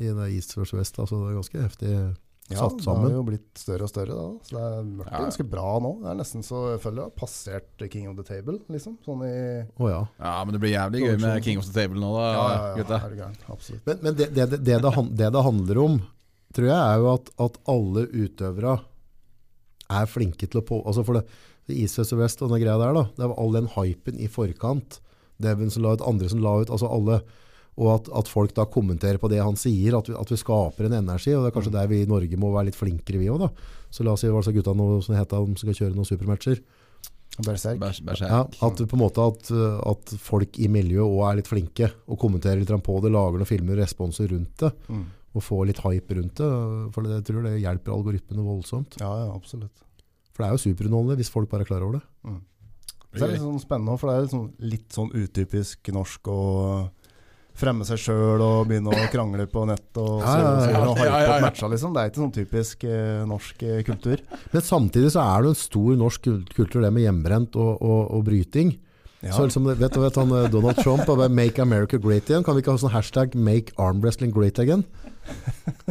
[SPEAKER 2] I det East vs. West. Altså, det var ganske heftig.
[SPEAKER 1] Ja,
[SPEAKER 2] Satt
[SPEAKER 1] Det har
[SPEAKER 2] sammen.
[SPEAKER 1] jo blitt større og større, da. Så det er mørkt
[SPEAKER 3] Ja.
[SPEAKER 1] ganske bra nå. Det er nesten så jeg føler jeg har passert King of the Table, liksom. Sånn i
[SPEAKER 2] Å ja.
[SPEAKER 3] ja, men det blir jævlig gøy med King of the Table nå, da, gutta.
[SPEAKER 1] er du gæren. Absolutt.
[SPEAKER 2] Men, men det, det, det, det, det, han- det det handler om, tror jeg, er jo at, at alle utøvere er flinke til å på... Altså for det, det East vs. West og den greia der, da. Det var all den hypen i forkant. Devin som la ut, andre som la ut. Altså alle. Og at, at folk da kommenterer på det han sier, at vi, at vi skaper en energi. Og det er kanskje der vi i Norge må være litt flinkere, vi òg, da. Så la oss si hva slags gutta nå som heter han som skal kjøre noen supermatcher.
[SPEAKER 1] Berserk.
[SPEAKER 3] Bæsj, bæsj her.
[SPEAKER 2] Ja, at du på en måte at, uh, at folk i miljøet også er litt flinke og kommenterer litt på det, lager noen filmer og responser rundt det,
[SPEAKER 1] Mm.
[SPEAKER 2] og får litt hype rundt det. For det, jeg tror det hjelper algoritmene voldsomt.
[SPEAKER 1] Ja, ja, absolutt.
[SPEAKER 2] For det er jo superunderholdende hvis folk bare er klar over det.
[SPEAKER 1] Så det er litt sånn spennende òg, for det er litt sånn, litt sånn utypisk norsk å fremme seg sjøl og begynne å krangle på nett og
[SPEAKER 2] Ja, ja, ja.
[SPEAKER 1] surre og hype
[SPEAKER 3] Ja, ja, ja.
[SPEAKER 1] opp matcha, liksom. Det er ikke sånn typisk eh, norsk eh, kultur.
[SPEAKER 2] Men samtidig så er det en stor norsk kul- kultur, det med hjemmebrent og, og, og bryting.
[SPEAKER 1] Ja.
[SPEAKER 2] Så liksom, vet du vet han eh, Donald Trump og bare, 'Make America Great Again'? Kan vi ikke ha sånn hashtag 'Make Arm Wrestling Great Again'?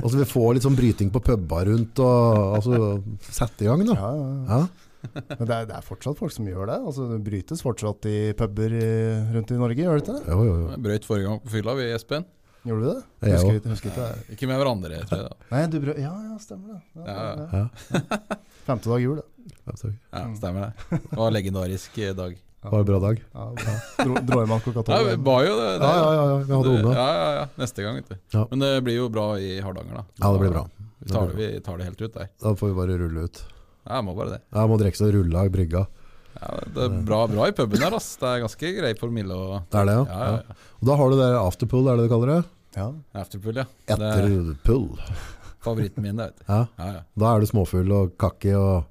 [SPEAKER 2] Og så vi får litt sånn bryting på pubba rundt og altså, sette i gang, da.
[SPEAKER 1] ja, ja, ja.
[SPEAKER 2] Ja.
[SPEAKER 1] Men det er, det er fortsatt folk som gjør det. Altså, det brytes fortsatt i puber eh, rundt i Norge, gjør det ikke det?
[SPEAKER 2] Jo, jo, jo.
[SPEAKER 3] Jeg brøyt forrige gang på fylla, vi, Espen.
[SPEAKER 1] Gjorde du det?
[SPEAKER 2] Ja, jeg
[SPEAKER 1] Husker
[SPEAKER 2] også.
[SPEAKER 1] ikke- husker ikke det.
[SPEAKER 3] Ikke med hverandre, tror jeg. da.
[SPEAKER 1] Nei, du brød Ja, ja, stemmer det. Ja,
[SPEAKER 3] Ja, ja.
[SPEAKER 1] ja.
[SPEAKER 2] Ja.
[SPEAKER 1] Femte dag jul, det.
[SPEAKER 2] Ja, takk.
[SPEAKER 3] Ja,
[SPEAKER 1] Mm.
[SPEAKER 3] stemmer det. Det var en legendarisk eh, dag.
[SPEAKER 2] Det var en bra dag.
[SPEAKER 1] Ja, bra. Dro, dro hjem klokka
[SPEAKER 3] Ja,
[SPEAKER 1] *laughs* tolv.
[SPEAKER 3] vi
[SPEAKER 1] hjem.
[SPEAKER 3] var jo det. det
[SPEAKER 2] Ja, ja, ja, ja. Vi hadde unge.
[SPEAKER 3] Ja, ja, ja. Neste gang, vet du.
[SPEAKER 2] Ja.
[SPEAKER 3] Men det blir jo bra i Hardanger, da.
[SPEAKER 2] Ja, det blir bra.
[SPEAKER 3] Vi tar det, vi tar det helt ut der.
[SPEAKER 2] Da får vi bare rulle ut.
[SPEAKER 3] Ja, jeg må bare det.
[SPEAKER 2] Jeg må drikke seg rulla i brygga.
[SPEAKER 3] Ja, det er bra, bra i puben her, ass. Det er ganske grei promille og
[SPEAKER 2] Det er det, ja.
[SPEAKER 3] ja, ja, ja.
[SPEAKER 2] Og da har du det afterpool, er det det du kaller det?
[SPEAKER 1] Ja.
[SPEAKER 3] Afterpool, ja. Det,
[SPEAKER 2] Etterpool.
[SPEAKER 3] Favoritten min, det, vet du.
[SPEAKER 2] Ja.
[SPEAKER 3] Ja, ja.
[SPEAKER 2] Da er du småfull og kakki og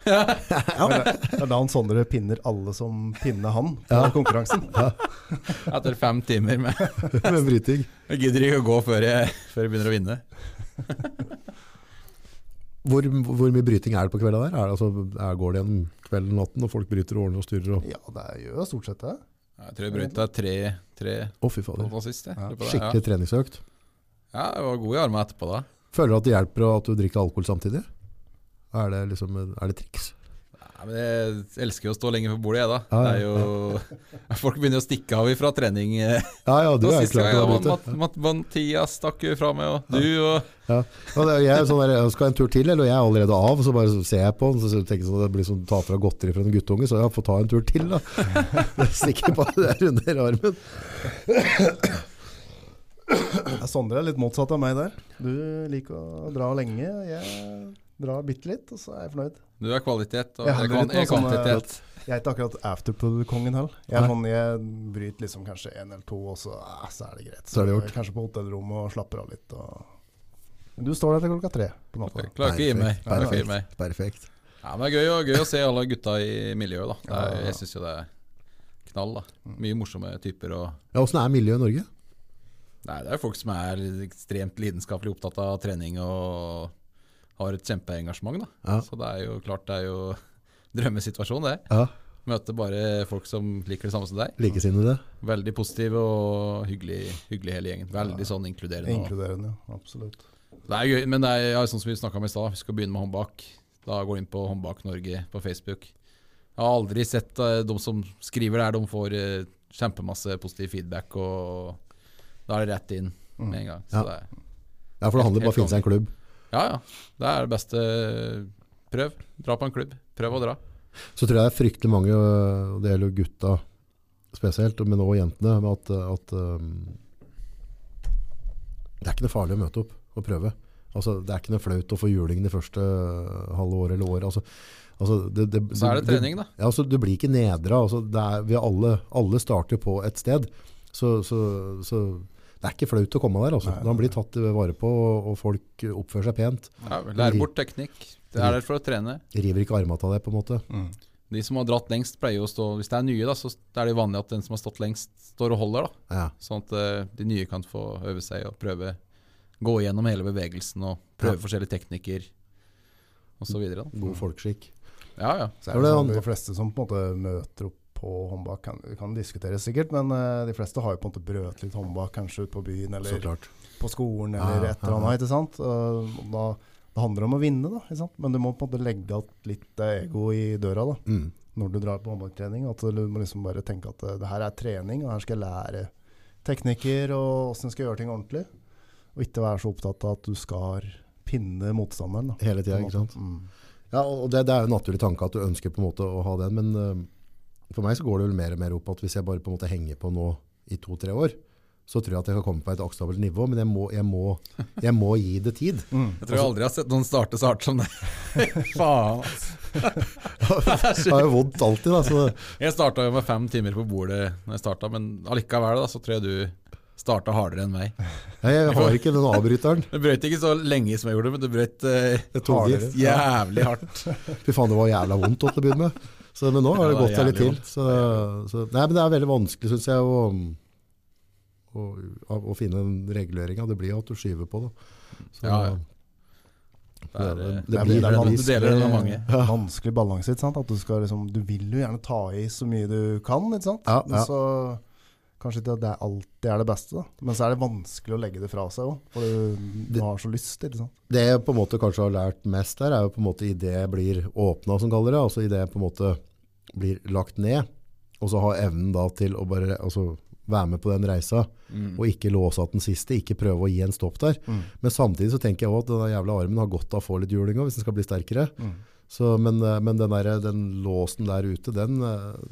[SPEAKER 2] *laughs*
[SPEAKER 3] ja.
[SPEAKER 1] Det er da han Sondre pinner alle som pinner han på konkurransen.
[SPEAKER 3] Etter fem timer med *laughs*
[SPEAKER 2] med bryting.
[SPEAKER 3] Jeg gidder ikke å gå før jeg, før jeg begynner å vinne.
[SPEAKER 2] Hvor, hvor mye bryting er det på kvelda der? Er det, altså, er, går det gjennom kvelden og natten, og folk bryter og ordner og styrer? Og,
[SPEAKER 1] Ja, det gjør stort sett det.
[SPEAKER 3] Jeg tror jeg brøyta tre, tre
[SPEAKER 2] å, fy fader.
[SPEAKER 3] på sist. Jeg.
[SPEAKER 1] Ja,
[SPEAKER 3] Lurer på det, ja.
[SPEAKER 2] Skikkelig treningsøkt.
[SPEAKER 3] Ja, jeg var god i armene etterpå da.
[SPEAKER 2] Føler du at det hjelper at du drikker alkohol samtidig? Er det, liksom, er det triks?
[SPEAKER 3] Nei, men jeg elsker jo å stå lenge på bordet, jeg da.
[SPEAKER 2] Ja,
[SPEAKER 3] Det er jo, *laughs* folk begynner å stikke av ifra trening. eh.
[SPEAKER 2] Ja, ja, du
[SPEAKER 3] Og *laughs*
[SPEAKER 2] er
[SPEAKER 3] sist
[SPEAKER 2] klar
[SPEAKER 3] gang
[SPEAKER 2] til å
[SPEAKER 3] var
[SPEAKER 2] bryte.
[SPEAKER 3] Mat, Mat, Mathias stakk jo fra meg, og du og
[SPEAKER 2] Ja. Og det, er jo jeg, er sånn der, jeg skal en tur til, eller jeg er allerede av, så bare så ser jeg på den, så tenker jeg sånn, det blir sånn ta fra godteri fra en guttunge, så ja, få ta en tur til
[SPEAKER 1] *laughs*
[SPEAKER 2] da. Det stikker bare der under armen.
[SPEAKER 1] Ja, Sondre er litt motsatt av meg der. Du liker å dra lenge. Jeg drar bitte litt, og så er jeg fornøyd.
[SPEAKER 3] du er kvalitet, og
[SPEAKER 1] Jeg
[SPEAKER 3] jeg,
[SPEAKER 1] handler
[SPEAKER 3] kan,
[SPEAKER 1] litt
[SPEAKER 3] jeg er
[SPEAKER 2] sånn,
[SPEAKER 1] nå som, eh,
[SPEAKER 3] kvantitet.
[SPEAKER 1] Jeg er ikke akkurat afterpool-kongen heller. Jeg, er sånn, jeg bryter liksom kanskje én eller to, og så, ah, så er det greit.
[SPEAKER 2] Så er det gjort.
[SPEAKER 1] Kanskje på hotellrommet og slapper av litt. Og... Men du står der til klokka tre på natta.
[SPEAKER 3] Jeg klarer ikke å gi meg. Klarer ikke å gi meg.
[SPEAKER 2] Perfekt.
[SPEAKER 3] Ja, men det er gøy, å- gøy å se alle gutta i miljøet, da. Det er, jeg syns jo det er knall, da.
[SPEAKER 2] Mm.
[SPEAKER 3] Mye morsomme typer og
[SPEAKER 2] Ja, hvordan er miljøet i Norge?
[SPEAKER 3] Nei, det er jo folk som er ekstremt lidenskapelig opptatt av trening og har et kjempeengasjement, da.
[SPEAKER 2] Ja.
[SPEAKER 3] Så det er jo klart det er jo *laughs* drømmesituasjon, det.
[SPEAKER 2] Ja,
[SPEAKER 3] Møte bare folk som liker det samme som deg.
[SPEAKER 2] likesinnede.
[SPEAKER 3] Veldig positive og hyggelig, hyggelig hele gjengen. Veldig sånn inkluderende. og-
[SPEAKER 1] Inkluderende, ja. Absolutt.
[SPEAKER 3] Det er gøy, men det er ja, sånn som vi snakka om i stad, vi skal begynne med håndbak. Da går vi inn på Håndbak Norge på Facebook. Jeg har aldri sett eh, de som skriver der, de får eh, kjempemasse positiv feedback, og da er det rett inn med en gang. Så
[SPEAKER 2] Mm. Ja.
[SPEAKER 3] det er,
[SPEAKER 2] Ja, for det handler bare om å
[SPEAKER 3] Helt
[SPEAKER 2] finne seg en klubb.
[SPEAKER 3] ja, ja. Det er det beste. eh, Prøv. Dra på en klubb. Prøv å dra.
[SPEAKER 2] Så tror jeg det er fryktelig mange, øh, og det gjelder jo gutta spesielt, men også jentene, med at, øh, at øhm, det er ikke noe farlig å møte opp og prøve. Altså, det er ikke noe flaut å få juling det første øh, halve året eller året. Altså, altså, det, det,
[SPEAKER 3] Så er det
[SPEAKER 2] du-
[SPEAKER 3] trening, da.
[SPEAKER 2] Ja, altså, du blir ikke nedra. Altså, det er, vi er alle, alle starter på et sted, så, så, så det er ikke flaut å komme der. Altså.
[SPEAKER 1] Nei,
[SPEAKER 2] Man blir tatt vare på, og folk oppfører seg pent.
[SPEAKER 3] Ja, Lær bort teknikk. Det er der for å trene.
[SPEAKER 2] River ikke armene av deg, på en måte.
[SPEAKER 3] De som har dratt lengst, pleier jo å stå Hvis det er nye, da, så er det jo vanlig at den som har stått lengst, står og holder, da.
[SPEAKER 2] Ja.
[SPEAKER 3] Sånn at eh, de nye kan få øve seg og prøve Gå gjennom hele bevegelsen og prøve forskjellige teknikker osv.
[SPEAKER 1] Mm.
[SPEAKER 2] God folkeskikk.
[SPEAKER 3] Ja, ja.
[SPEAKER 1] Så er
[SPEAKER 2] Ja,
[SPEAKER 1] det
[SPEAKER 2] for
[SPEAKER 1] sånn,
[SPEAKER 2] det-
[SPEAKER 1] de fleste som på en måte møter opp på håndbak, kan, kan diskuteres sikkert, men eh, de fleste har jo på en måte brøt litt håndbak, kanskje ute på byen
[SPEAKER 2] Så
[SPEAKER 1] eller
[SPEAKER 2] klart.
[SPEAKER 1] på skolen
[SPEAKER 2] Ja,
[SPEAKER 1] eller et eller
[SPEAKER 2] ja, ja.
[SPEAKER 1] annet. ikke sant? Eh, og da, det handler om å vinne, da, ikke sant? men du må på en måte legge alt litt eh, ego i døra da,
[SPEAKER 2] Mm.
[SPEAKER 1] når du drar på håndbaktrening. At du må liksom bare tenke at eh, det her er trening, og her skal jeg lære teknikker og åssen skal jeg gjøre ting ordentlig. Og ikke være så opptatt av at du skal pinne motstanderen. da.
[SPEAKER 2] Hele tida, ikke sant.
[SPEAKER 1] Mm.
[SPEAKER 2] Ja, og det, det er jo en naturlig tanke at du ønsker på en måte å ha den, men eh, for meg så går det vel mer og mer opp at hvis jeg bare på en måte henger på nå i to-tre år, så tror jeg at jeg kan komme på et akseptabelt nivå, men jeg må, jeg, må, jeg må gi det tid.
[SPEAKER 3] Jeg tror jeg aldri har sett noen starte så hardt som det. *laughs* Faen, *laughs* altså.
[SPEAKER 2] Det er jo vondt alltid, da. Så det,
[SPEAKER 3] Jeg starta jo med fem timer på bordet når jeg starta, men allikevel da, så tror jeg du starta hardere enn meg.
[SPEAKER 2] Nei, jeg har ikke den avbryteren.
[SPEAKER 3] Du brøyt ikke så lenge som jeg gjorde, men du brøyt eh,
[SPEAKER 2] Jeg tok i.
[SPEAKER 1] Hardere.
[SPEAKER 3] jævlig hardt.
[SPEAKER 2] Fy faen, det var jævla vondt å begynne med. Så, men nå har det
[SPEAKER 3] Ja, det er
[SPEAKER 2] gått seg litt
[SPEAKER 3] jævlig
[SPEAKER 2] til. Så, så, nei, men det er veldig vanskelig, syns jeg, å, å, å, å finne den reguleringa. Det blir jo at du skyver på, da. Så,
[SPEAKER 3] Ja, ja.
[SPEAKER 2] Det,
[SPEAKER 3] Det er, eh,
[SPEAKER 2] det
[SPEAKER 1] Ja, men
[SPEAKER 2] blir
[SPEAKER 3] det er
[SPEAKER 2] veldig
[SPEAKER 3] vanskelig. Du deler det med mange.
[SPEAKER 1] Ja. vanskelig balanse. Ikke sant? At du, skal, liksom, du vil jo gjerne ta i så mye du kan, ikke sant?
[SPEAKER 2] Ja, ja.
[SPEAKER 1] men så kanskje ikke at det alltid er det beste. Da. Men så er det vanskelig å legge det fra seg òg, for du, du
[SPEAKER 2] Det-
[SPEAKER 1] har så lyst. Ikke sant?
[SPEAKER 2] Det jeg på en måte kanskje har lært mest der, er jo på en måte i det jeg blir åpna, som kaller det. Altså i det jeg på en måte blir lagt ned. Og så ha evnen da til å bare altså, være med på den reisa, og ikke låse av den siste. Ikke prøve å gi en stopp der. Men samtidig så tenker jeg òg at den der jævla armen har godt av å få litt juling òg, hvis den skal bli sterkere. Så, men eh, men den, der, den låsen der ute, den eh,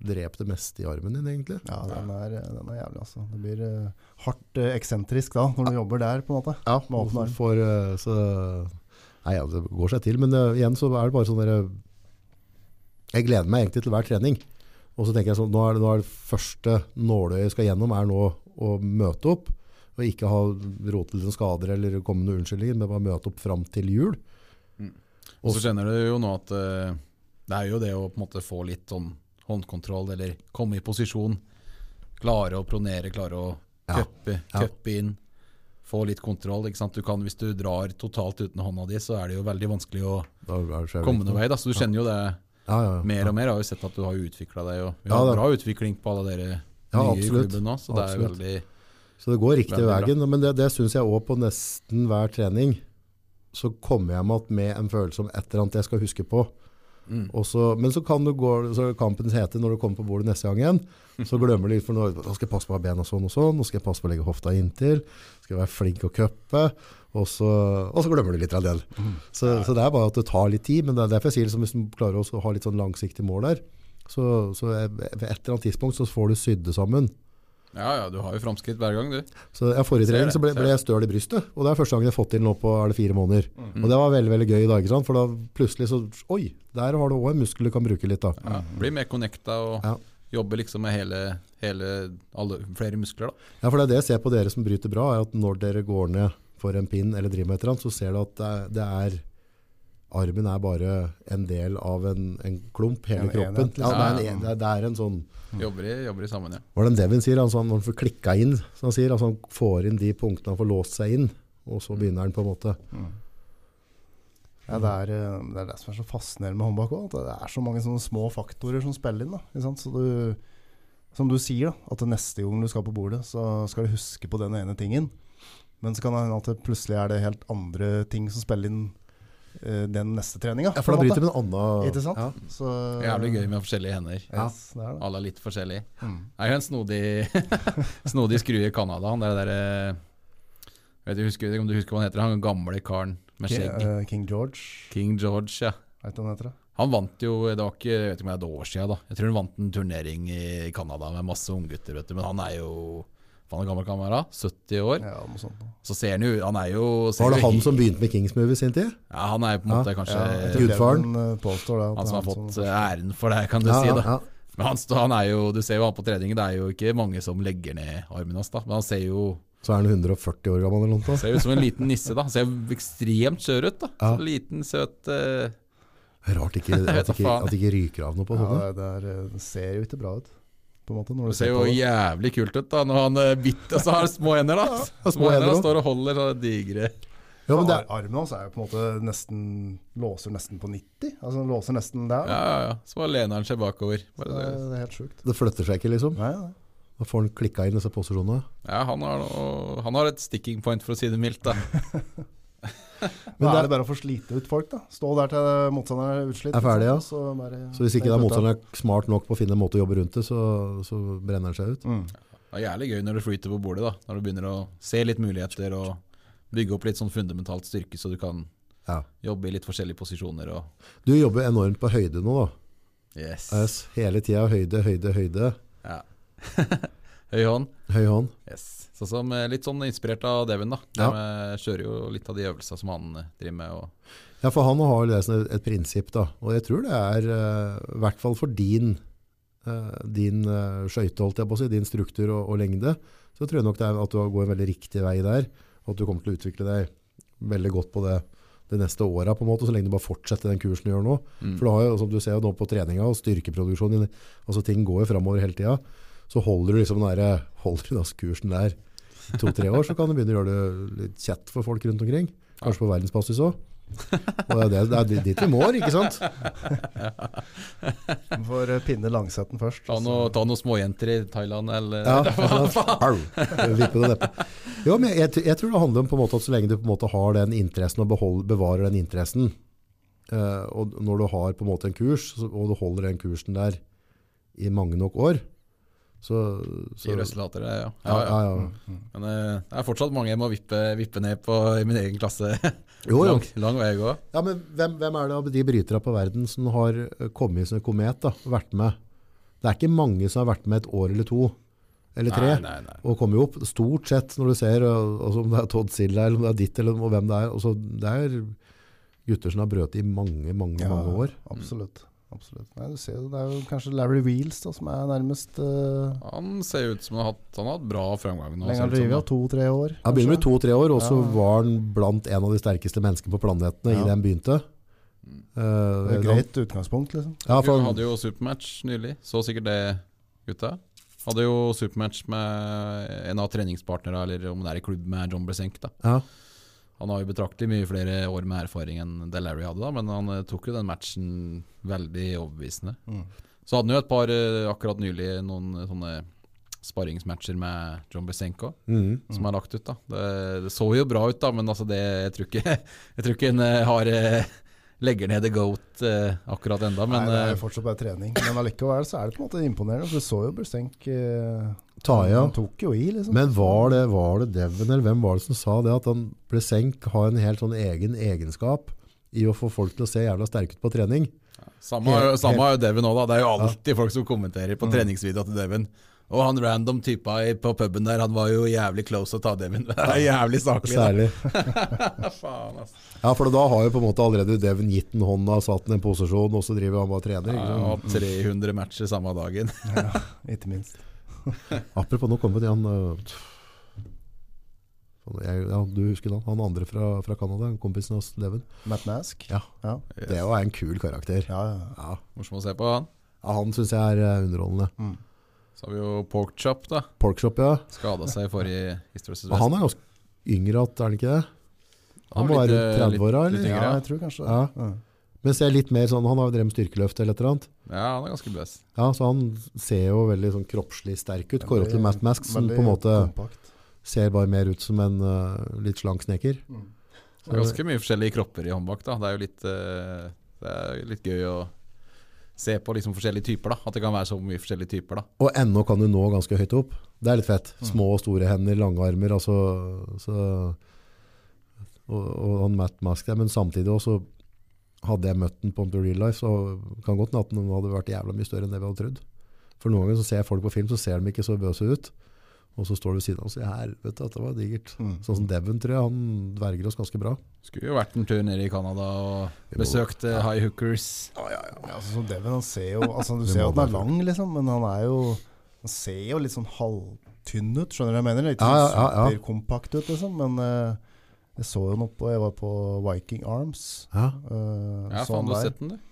[SPEAKER 2] dreper det meste i armen din, egentlig.
[SPEAKER 1] Ja, den er, den er jævlig, altså. Det blir eh, hardt eh, eksentrisk da, når du jobber der, på en måte.
[SPEAKER 2] Ja,
[SPEAKER 1] med åpen arm.
[SPEAKER 2] For, eh, så, nei, ja, det går seg til. Men eh, igjen så er det bare sånn der, eh, Jeg gleder meg egentlig til hver trening. Og så tenker jeg sånn, nå er det, nå er det første nåløyet jeg skal gjennom, er nå å møte opp. og ikke ha rot til noen skader eller komme med noen unnskyldninger, men bare møte opp fram til jul.
[SPEAKER 3] Og så skjønner du jo nå at eh, det er jo det å på en måte få litt sånn håndkontroll, eller komme i posisjon. Klare å pronere, klare å
[SPEAKER 2] Ja.
[SPEAKER 3] cuppe
[SPEAKER 2] Ja.
[SPEAKER 3] cuppe inn. Få litt kontroll. ikke sant? Du kan, hvis du drar totalt uten hånda di, så er det jo veldig vanskelig å
[SPEAKER 2] Da er det så jævlig
[SPEAKER 3] komme noen
[SPEAKER 2] viktig.
[SPEAKER 3] vei. da, Så du kjenner jo det
[SPEAKER 2] Ja, ja, ja.
[SPEAKER 3] mer og mer. Har jo sett at du har utvikla deg. og Vi
[SPEAKER 2] Ja,
[SPEAKER 3] har
[SPEAKER 2] da.
[SPEAKER 3] bra utvikling på alle dere nye
[SPEAKER 2] Ja,
[SPEAKER 3] i
[SPEAKER 2] absolutt.
[SPEAKER 3] klubben nå, så det er
[SPEAKER 2] Absolutt.
[SPEAKER 3] veldig
[SPEAKER 2] Så det går riktig
[SPEAKER 3] Veldig bra.
[SPEAKER 2] veien, men det, det syns jeg òg på nesten hver trening. Så kommer jeg med, at med en følelse om et eller annet jeg skal huske på.
[SPEAKER 3] Mm.
[SPEAKER 2] Og så, men så kan du gå, så kampens hete når du kommer på bordet neste gang igjen. Så glemmer du litt, for nå, nå skal jeg passe på å ha bena sånn og sånn, nå skal jeg passe på å legge hofta inntil, skal jeg være flink å cuppe, og, så- og så glemmer du litt av det. Så, så det er bare at det tar litt tid, men det er derfor jeg sier liksom, hvis du klarer også å ha litt sånn langsiktig mål der, så, så er- ved et eller annet tidspunkt så får du sydd det sammen.
[SPEAKER 3] Ja ja, du har jo framskritt hver gang, du.
[SPEAKER 2] Så ja, Forrige
[SPEAKER 3] Ser
[SPEAKER 2] trening
[SPEAKER 3] det,
[SPEAKER 2] så ble,
[SPEAKER 3] ser
[SPEAKER 2] ble jeg støl i brystet, og det er første gang jeg har fått til nå på er det fire måneder.
[SPEAKER 3] Mhm.
[SPEAKER 2] Og Det var veldig veldig gøy, da, ikke sant? for da plutselig så Oi, der har du òg en muskel du kan bruke litt. da.
[SPEAKER 3] Ja, blir mer connecta og
[SPEAKER 2] Mm. Ja.
[SPEAKER 3] jobber liksom med hele, hele alle, flere muskler. da.
[SPEAKER 2] Ja, for det er det jeg ser på dere som bryter bra, er at når dere går ned for en pin eller driver med et eller annet, så ser du at det, er- det er Armen er bare en del av en, en klump, hele
[SPEAKER 1] En
[SPEAKER 2] kroppen.
[SPEAKER 1] enhet, liksom.
[SPEAKER 2] ja, det, er en,
[SPEAKER 3] Ja.
[SPEAKER 2] en- det, er, det er en sånn
[SPEAKER 3] Jobber i, jobber i sammen, ja.
[SPEAKER 2] Hva er det Devin sier? Altså, han får klikka inn, som han sier. Altså, han får inn de punktene han får låst seg inn, og så begynner han på en måte.
[SPEAKER 1] Ja, det, er, eh, det er det som er så fascinerende med håndbak òg. Det er så mange sånne små faktorer som spiller inn. Da, ikke sant? Så du, som du sier, da, at neste gang du skal på bordet, så skal du huske på den ene tingen. Men så kan det hende at det plutselig er det helt andre ting som spiller inn eh, den neste treninga.
[SPEAKER 2] Ja, for da bryter vi en annen
[SPEAKER 1] Ikke sant?
[SPEAKER 2] Ja.
[SPEAKER 1] Så, eh,
[SPEAKER 3] Jævlig gøy med forskjellige hender.
[SPEAKER 2] Ja.
[SPEAKER 1] Yes, det er det.
[SPEAKER 3] Alle er litt forskjellige.
[SPEAKER 1] Mm.
[SPEAKER 3] Det er jo en snodig, *laughs* snodig skrue i Canada. Han der, der eh, vet du, husker, jeg vet ikke om du husker hva han heter? Han gamle karen med
[SPEAKER 1] King,
[SPEAKER 3] skjegg.
[SPEAKER 1] eh, King George,
[SPEAKER 3] King George, ja.
[SPEAKER 1] veit du hva han heter? da?
[SPEAKER 3] Han vant jo det var ikke, jeg vet ikke om det er et år siden, da. Jeg tror han vant en turnering i Canada med masse unggutter, vet du. Men han er jo Faen, han er gammel kan han være? 70 år.
[SPEAKER 1] Ja, noe sånt. da.
[SPEAKER 3] Så ser han jo Han er jo ser
[SPEAKER 2] Var det
[SPEAKER 3] jo
[SPEAKER 2] han
[SPEAKER 3] helt-
[SPEAKER 2] som begynte med Kings Movie i sin tid?
[SPEAKER 3] Ja, han er jo på en måte
[SPEAKER 1] Ja,
[SPEAKER 3] kanskje
[SPEAKER 1] jeg tror
[SPEAKER 2] Gudfaren.
[SPEAKER 1] Devon, eh, påstår det. at
[SPEAKER 3] han som har
[SPEAKER 1] det er sånn-
[SPEAKER 3] fått eh, æren for det, kan du si. da. Men han, står- han er jo, du ser jo han på treningen, det er jo ikke mange som legger ned armen hans, da. Men han ser jo
[SPEAKER 2] Så er han 140 år gammel eller noe. sånt.
[SPEAKER 3] ser ut som en liten nisse, da. Han ser jo ekstremt skjør ut, da.
[SPEAKER 2] Ja.
[SPEAKER 3] Så liten, søt eh,
[SPEAKER 2] Rart ikke, at
[SPEAKER 3] da
[SPEAKER 2] ikke,
[SPEAKER 3] faen.
[SPEAKER 2] at ikke ryker av noe på sånne.
[SPEAKER 1] Ja, det, det, er, eh, det ser jo ikke bra ut, på en måte. Når
[SPEAKER 3] Det
[SPEAKER 1] du
[SPEAKER 3] ser
[SPEAKER 1] ser
[SPEAKER 3] jo
[SPEAKER 1] på det.
[SPEAKER 3] jævlig kult ut, da. Når han eh, bitt Og så har han små hender, da.
[SPEAKER 2] små
[SPEAKER 3] Små hender
[SPEAKER 2] hender
[SPEAKER 3] og
[SPEAKER 2] også.
[SPEAKER 3] står og holder sånne digre
[SPEAKER 2] Ja, men det
[SPEAKER 1] Ar- Armen hans er jo på en måte nesten Låser nesten på 90. Altså den låser nesten der.
[SPEAKER 3] Ja, ja, ja. Så bare lener han seg bakover.
[SPEAKER 1] Det,
[SPEAKER 3] Bare
[SPEAKER 1] er,
[SPEAKER 3] det.
[SPEAKER 1] det er helt sjukt.
[SPEAKER 2] det flytter seg ikke, liksom.
[SPEAKER 1] Nei, nei.
[SPEAKER 2] Da får han klikka inn disse posisjonene.
[SPEAKER 3] Ja, han har, noe- han har et sticking point, for å si det mildt, da.
[SPEAKER 2] Men
[SPEAKER 1] Da
[SPEAKER 2] det-
[SPEAKER 1] er det bare å få slite ut folk, da. Stå der til motstanderen er utslitt.
[SPEAKER 2] Er ferdig, ja.
[SPEAKER 1] ikke sant? Så bare,
[SPEAKER 2] Så hvis ikke da motstanderen er smart nok på å finne en måte å jobbe rundt det, så, så brenner han seg ut.
[SPEAKER 1] Mm.
[SPEAKER 3] Det er jævlig gøy når du flyter på bordet, da. Når du begynner å se litt muligheter og bygge opp litt sånn fundamentalt styrke, så du kan
[SPEAKER 2] Ja.
[SPEAKER 3] jobbe i litt forskjellige posisjoner og
[SPEAKER 2] Du jobber enormt på høyde nå, da.
[SPEAKER 3] Yes.
[SPEAKER 2] Yes, hele tida høyde, høyde, høyde.
[SPEAKER 3] Ja. *laughs* Høy hånd.
[SPEAKER 2] Høy hånd.
[SPEAKER 3] Yes. Sånn som, eh, litt sånn inspirert av Devin, da. De
[SPEAKER 2] Ja.
[SPEAKER 3] eh, kjører jo litt av de øvelsene som han eh, driver med. Og
[SPEAKER 2] Ja, for han har jo det som et prinsipp, da. Og jeg tror det er, eh, i hvert fall for din, eh, din eh, skøyte, holdt jeg på å si, din struktur og, og lengde, så tror jeg nok det er at du går en veldig riktig vei der, og at du kommer til å utvikle deg veldig godt på det de neste åra, på en måte, så lenge du bare fortsetter den kursen du gjør nå.
[SPEAKER 3] Mm.
[SPEAKER 2] For du har jo, som du ser jo nå på treninga og styrkeproduksjonen, din, altså ting går jo framover hele tida, så holder du liksom den der, holder du den kursen der i to-tre år, så kan du begynne å gjøre det litt kjett for folk rundt omkring. Kanskje på verdensbasis òg. Og det er, det, det er dit vi må, ikke sant?
[SPEAKER 1] Vi får eh, pinne Langsetten først.
[SPEAKER 3] ta,
[SPEAKER 1] og så-
[SPEAKER 3] noe, ta noen småjenter i Thailand eller
[SPEAKER 2] *laughs* Ja, Au. Vippe det neppe. Jo, men jeg, jeg tror det handler om på en måte at så lenge du på en måte har den interessen og behold, bevarer den interessen, eh, og når du har på en måte en kurs, så- og du holder den kursen der i mange nok år, så, så
[SPEAKER 3] Sier resultater, det, ja.
[SPEAKER 2] ja, ja, ja.
[SPEAKER 1] Mm.
[SPEAKER 3] Men eh, det er fortsatt mange jeg må vippe, vippe ned på i min egen klasse.
[SPEAKER 2] Jo, jo.
[SPEAKER 3] lang, lang vei å gå.
[SPEAKER 2] Ja, men hvem, hvem er det av de brytere på verden som har eh, kommet som en komet da, og vært med? Det er ikke mange som har vært med et år eller to, eller tre,
[SPEAKER 3] Nei, nei, nei.
[SPEAKER 2] og kommer jo opp stort sett når du ser, og, og så om det er Todd Silla, eller om det er ditt, eller og hvem det er. Og så, det er gutter som har brøt i mange, mange,
[SPEAKER 1] Ja,
[SPEAKER 2] mange år.
[SPEAKER 1] Absolutt. absolutt. Nei, du ser jo, det er jo kanskje Larry Wheels da, som er nærmest eh,
[SPEAKER 3] Han ser ut som han har hatt, han har hatt bra framgang nå.
[SPEAKER 1] Lenge
[SPEAKER 3] ser
[SPEAKER 1] han
[SPEAKER 3] det ut som,
[SPEAKER 1] driver, ja. To-tre år.
[SPEAKER 2] Han begynner med
[SPEAKER 1] kanskje.
[SPEAKER 2] to-tre år, og så
[SPEAKER 1] Ja.
[SPEAKER 2] var han blant en av de sterkeste menneskene på planetene
[SPEAKER 1] Ja.
[SPEAKER 2] i det han begynte.
[SPEAKER 1] Det
[SPEAKER 2] Eh,
[SPEAKER 1] er et greit utgangspunkt, liksom.
[SPEAKER 2] Ja,
[SPEAKER 3] da.
[SPEAKER 2] for
[SPEAKER 3] Dere
[SPEAKER 2] han,
[SPEAKER 3] hadde jo supermatch nylig, så sikkert det, gutta. Hadde jo supermatch med en av treningspartnerne, eller om det er i klubb med John Bresenk, da.
[SPEAKER 2] ja.
[SPEAKER 3] Han har jo betraktelig mye flere år med erfaring enn det Larry hadde, da, men han eh, tok jo den matchen veldig overbevisende.
[SPEAKER 1] Mm.
[SPEAKER 3] Så hadde han jo et par eh, akkurat nylig noen eh, sånne sparringsmatcher med John Besenko,
[SPEAKER 2] Mhm.
[SPEAKER 3] som er lagt ut. da. Det, det så jo bra ut, da, men altså det, jeg tror ikke, *laughs* jeg tror ikke en eh, har eh, legger ned The Goat eh, akkurat enda, men
[SPEAKER 1] Nei, det er
[SPEAKER 3] eh,
[SPEAKER 1] jo fortsatt bare trening. Men allikevel så er det på en måte imponerende. For du så jo Burstenk eh,
[SPEAKER 2] Ta i, ja.
[SPEAKER 1] Han tok jo i, liksom.
[SPEAKER 2] Men var det, var det Devon, eller hvem var det som sa det, at han ble senk, har en helt sånn egen egenskap i å få folk til å se jævla sterke ut på trening?
[SPEAKER 3] Samme er jo-
[SPEAKER 2] Helt- Mm.
[SPEAKER 3] samme er jo Devin òg, da. Det er jo alltid folk som kommenterer på treningsvideoa til Devin. Og han random typa i- på puben der, han var jo jævlig close å ta Devin. *laughs* Det er jævlig saklig. da.
[SPEAKER 2] Særlig.
[SPEAKER 3] Faen, ass.
[SPEAKER 2] Ja, for da har jo på en måte allerede Devon gitt den hånda, satt den i en posisjon, og så driver han bare og trener.
[SPEAKER 3] Ja,
[SPEAKER 2] Ikke sånn-
[SPEAKER 3] han
[SPEAKER 2] sant?
[SPEAKER 3] har hatt 300 matcher samme dagen. *laughs*
[SPEAKER 1] Ikke minst.
[SPEAKER 2] Apropos, nå kom jeg til han øh, faen, jeg, ja, Du husker han, han andre fra, fra Canada, kompisen hans, Devon.
[SPEAKER 1] Matt Nask.
[SPEAKER 2] Ja.
[SPEAKER 1] Ja,
[SPEAKER 2] Det er jo en kul karakter.
[SPEAKER 1] ja. ja.
[SPEAKER 2] Ja,
[SPEAKER 3] Morsom å se på han.
[SPEAKER 2] ja han syns jeg er øh, underholdende.
[SPEAKER 1] Mm.
[SPEAKER 3] Så har vi jo Porkchop, da.
[SPEAKER 2] Porkshop, ja.
[SPEAKER 3] Skada seg i forrige History West.
[SPEAKER 2] Men han er ganske yngre, at- er han ikke det? Han må
[SPEAKER 3] var
[SPEAKER 2] være
[SPEAKER 3] litt, eh,
[SPEAKER 2] rundt 30-åra,
[SPEAKER 3] litt- litt
[SPEAKER 2] eller?
[SPEAKER 3] yngre,
[SPEAKER 1] ja,
[SPEAKER 3] ja.
[SPEAKER 1] jeg tror kanskje det.
[SPEAKER 2] Ja.
[SPEAKER 1] Mm.
[SPEAKER 2] Men ser litt mer sånn, han har jo drevet med styrkeløft eller et eller annet.
[SPEAKER 3] Ja, han er ganske bøs.
[SPEAKER 2] Ja, så han ser jo veldig sånn kroppslig sterk ut, kåret til
[SPEAKER 1] Veldig-
[SPEAKER 2] Matt Mask, som
[SPEAKER 1] veldig
[SPEAKER 2] på en måte
[SPEAKER 1] kompakt.
[SPEAKER 2] ser bare mer ut som en øh, litt slank snekker.
[SPEAKER 1] Mm.
[SPEAKER 3] Det er ganske mye forskjellige kropper i håndbak, da. Det er jo litt, eh, det er litt gøy å se på liksom forskjellige typer, da. At det kan være så mye forskjellige typer, da.
[SPEAKER 2] Og ennå kan du nå ganske høyt opp. Det er litt fett. Små og store hender, lange armer. Altså, så, og, og han Matt Mask der, men samtidig også hadde jeg møtt den på en real life, så kan godt hende at den hadde vært jævla mye større enn det vi hadde trodd. For noen ganger så ser jeg folk på film, så ser de ikke så bøse ut. Og så står du ved siden av og sier helvete, dette var digert.
[SPEAKER 1] Mm.
[SPEAKER 2] Sånn som Devon, tror jeg. Han dverger oss ganske bra.
[SPEAKER 3] Skulle jo vært en tur nede i Canada og
[SPEAKER 2] Vi må-
[SPEAKER 3] besøkt eh, High Hookers.
[SPEAKER 1] Ja, altså, som Devin, han ser
[SPEAKER 2] *laughs*
[SPEAKER 1] jo altså, Du
[SPEAKER 2] Det
[SPEAKER 1] ser jo at
[SPEAKER 2] må
[SPEAKER 1] han er
[SPEAKER 2] være.
[SPEAKER 1] lang, liksom, men han er jo Han ser jo litt sånn halvtynn ut, skjønner du hva jeg mener? Ikke sånn
[SPEAKER 2] Ja, ja, ja, ja.
[SPEAKER 1] superkompakt ut, liksom, men eh, jeg så jo noe på Jeg var på Viking Arms.
[SPEAKER 2] Ja,
[SPEAKER 1] eh,
[SPEAKER 3] Ja,
[SPEAKER 1] så han
[SPEAKER 3] faen, du har
[SPEAKER 1] der.
[SPEAKER 3] sett den, du.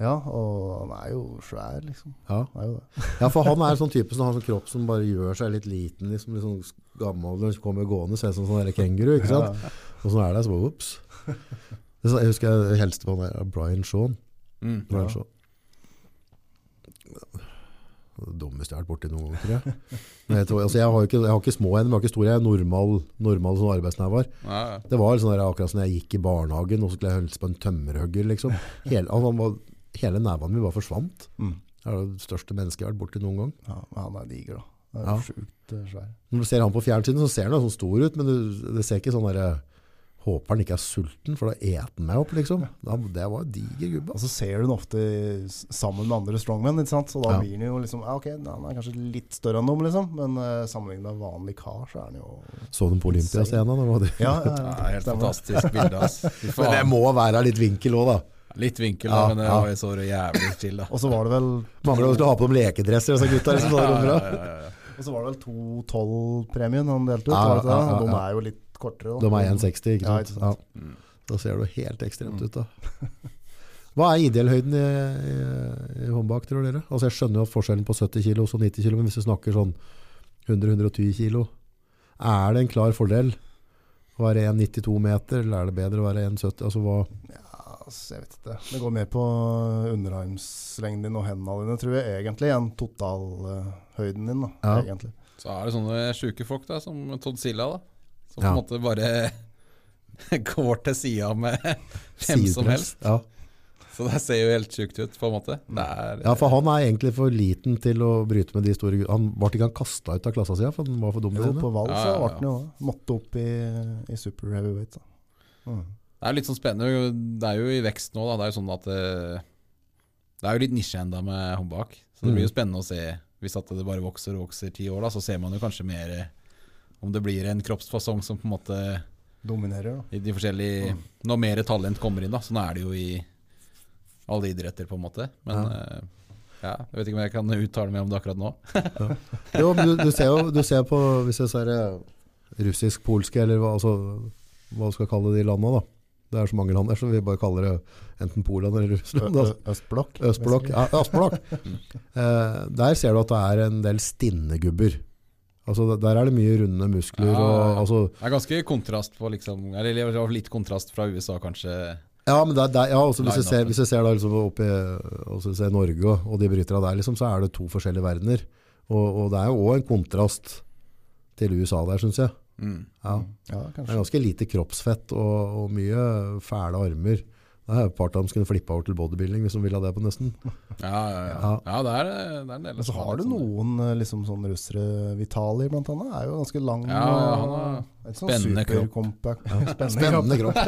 [SPEAKER 1] Ja, og han er jo svær, liksom.
[SPEAKER 2] ja.
[SPEAKER 1] Han er jo det.
[SPEAKER 2] Ja, for han er en sånn type som har en sånn kropp som bare gjør seg litt liten, liksom, litt sånn gammel, når han kommer gående, ser ut som en sånn der kenguru, ikke sant?
[SPEAKER 1] Ja,
[SPEAKER 2] Og så er det, så bare, ups. Det er sånn- Jeg husker jeg helste på han der, Brian Shawn.
[SPEAKER 3] Mm.
[SPEAKER 2] Brian
[SPEAKER 1] Ja.
[SPEAKER 2] Shawn. Det dummeste jeg har vært borti noen ganger, tror jeg. Men jeg, tror, altså, jeg, har jo ikke, jeg har ikke små hender, men jeg har ikke store, jeg er normal, normal sånn arbeidsnævar.
[SPEAKER 3] Ja, ja.
[SPEAKER 2] Det var sånn der, akkurat som når jeg gikk i barnehagen, og så skulle jeg helst på en tømmerhøgger, liksom. Hele, altså, han var, hele nævaen min bare forsvant.
[SPEAKER 1] Mm.
[SPEAKER 2] Det er det største mennesket jeg har vært borti noen gang.
[SPEAKER 1] ja, men han er diger, da. Han er
[SPEAKER 2] Ja.
[SPEAKER 1] jo sjukt eh, svær.
[SPEAKER 2] Når du ser han på fjernsynet, så ser han jo sånn stor ut, men du, det ser ikke sånn der Håper han ikke er sulten, for da eter han meg opp, liksom. Da, det var en diger gubbe.
[SPEAKER 1] Og
[SPEAKER 2] altså. ass.
[SPEAKER 1] så ser du den ofte i- s- sammen med andre strongmen, ikke sant? så da
[SPEAKER 2] Ja.
[SPEAKER 1] blir den jo liksom ja, Ok, han er kanskje litt større enn dem, liksom, men eh, sammenlignet med en vanlig kar, så er han jo
[SPEAKER 2] Så du den på Olympiascenen? da var det-
[SPEAKER 1] Ja, ja, *laughs*
[SPEAKER 3] Det
[SPEAKER 1] ja.
[SPEAKER 3] er helt
[SPEAKER 1] Stemmer.
[SPEAKER 3] fantastisk bilde, *laughs* ass. Fy
[SPEAKER 2] *laughs* Men det
[SPEAKER 3] faen.
[SPEAKER 2] må være litt vinkel òg, da.
[SPEAKER 3] Litt vinkel,
[SPEAKER 2] Ja,
[SPEAKER 3] da, men det
[SPEAKER 2] ja.
[SPEAKER 3] var jo så jævlig chill, da.
[SPEAKER 1] Og så var det vel
[SPEAKER 2] Mangler å skulle ha på dem lekedresser, disse gutta. Liksom, da,
[SPEAKER 3] Ja,
[SPEAKER 2] kommer
[SPEAKER 3] ja,
[SPEAKER 2] fra.
[SPEAKER 3] ja, ja.
[SPEAKER 1] Og så var det vel 212-premien han delte ut.
[SPEAKER 2] Ja,
[SPEAKER 1] var det ikke det?
[SPEAKER 2] ja, ja,
[SPEAKER 1] Og de
[SPEAKER 2] ja.
[SPEAKER 1] er jo litt kortere. da.
[SPEAKER 2] De er 1,60, ikke
[SPEAKER 1] Ja,
[SPEAKER 2] sant?
[SPEAKER 1] ikke
[SPEAKER 2] Ja,
[SPEAKER 1] sant.
[SPEAKER 3] Mm.
[SPEAKER 2] da ser du helt ekstremt ut, da. *laughs* Hva er ideellhøyden i, i, i håndbak, tror dere? Altså, jeg skjønner jo at forskjellen på 70 kilo og 90 kilo, men hvis du snakker sånn 100-120 kilo, er det en klar fordel å være 1,92 meter, eller er det bedre å være 1,70? Altså, hva,
[SPEAKER 1] Ja, altså, jeg vet ikke. Det går mer på underarmslengden din og hendene dine, tror jeg, egentlig, enn totalhøyden din, da,
[SPEAKER 2] Ja.
[SPEAKER 1] egentlig.
[SPEAKER 3] Så er det sånne sjuke folk, da, som Todd Silla, da. Som
[SPEAKER 2] Ja.
[SPEAKER 3] på en måte bare *laughs* går til sida med hvem som
[SPEAKER 2] sidepress?
[SPEAKER 3] helst.
[SPEAKER 2] Ja.
[SPEAKER 3] Så det ser jo helt sjukt ut, på en måte. Det er,
[SPEAKER 2] Mm. ja, for han er egentlig for liten til å bryte med de store gutta. Han ble ikke han kasta ut av klassa si, ja, for han var for dum. i
[SPEAKER 1] Jo,
[SPEAKER 2] trynet.
[SPEAKER 1] på Val
[SPEAKER 3] Ja,
[SPEAKER 1] så
[SPEAKER 3] ja, ja.
[SPEAKER 1] ble den jo det. Måtte opp i, i super heavyweight, da. Mm.
[SPEAKER 3] det er litt sånn spennende. Det er jo i vekst nå, da. Det er jo sånn at eh, Det er jo litt nisje enda med håndbak. Så det blir
[SPEAKER 2] Mm.
[SPEAKER 3] jo spennende å se. Hvis at det bare vokser og vokser ti år, da, så ser man jo kanskje mer eh, om det blir en kroppsfasong som på en måte
[SPEAKER 1] Dominerer, da.
[SPEAKER 2] Mm.
[SPEAKER 3] i de forskjellige Når mer talent kommer inn, da. Sånn er det jo i alle idretter, på en måte. Men
[SPEAKER 2] Ja.
[SPEAKER 3] eh, ja, jeg vet ikke om jeg kan uttale meg om det akkurat nå.
[SPEAKER 2] Jo, men du, du ser jo du ser på Hvis jeg ser eh, russisk-polske, eller hva, altså, hva du skal kalle de landene, da. Det er så mange land der, så vi bare kaller det enten Polen eller Russland.
[SPEAKER 1] Ø-
[SPEAKER 2] Altså.
[SPEAKER 1] Ø- Østblokk.
[SPEAKER 2] Østblokk.
[SPEAKER 1] basically.
[SPEAKER 2] Ja, Østblokk. Eh, der ser du at det er en del stinne gubber. Altså, der- der er det mye runde muskler.
[SPEAKER 3] Ja, ja,
[SPEAKER 2] Og,
[SPEAKER 3] ja.
[SPEAKER 2] altså,
[SPEAKER 3] Det er ganske kontrast på liksom Eller i hvert fall litt kontrast fra USA, kanskje.
[SPEAKER 2] ja, men der, der, ja, også hvis, jeg ser,
[SPEAKER 3] Line-upen.
[SPEAKER 2] hvis jeg ser da liksom opp i altså, ser Norge og, og de bryterne der, liksom, så er det to forskjellige verdener. Og, og det er jo òg en kontrast til USA der, syns jeg.
[SPEAKER 3] Mm.
[SPEAKER 2] Ja.
[SPEAKER 1] Ja,
[SPEAKER 2] Det er
[SPEAKER 1] kanskje.
[SPEAKER 2] ganske lite kroppsfett og, og mye fæle armer. Det er jo part av dem skulle flippe over til bodybuilding hvis de ville ha det på nesten.
[SPEAKER 3] Ja, ja, ja.
[SPEAKER 2] Ja.
[SPEAKER 3] ja det, er, det er en del.
[SPEAKER 1] Men så
[SPEAKER 3] som er
[SPEAKER 1] har
[SPEAKER 3] litt
[SPEAKER 1] du
[SPEAKER 3] sånn-
[SPEAKER 1] noen eh, liksom sånn russere Vitali blant annet. Er jo ganske lang
[SPEAKER 3] Ja, ja, han har
[SPEAKER 1] og et sånn
[SPEAKER 3] spennende kropp.
[SPEAKER 1] supercompact. *laughs*
[SPEAKER 2] Spennende kropp.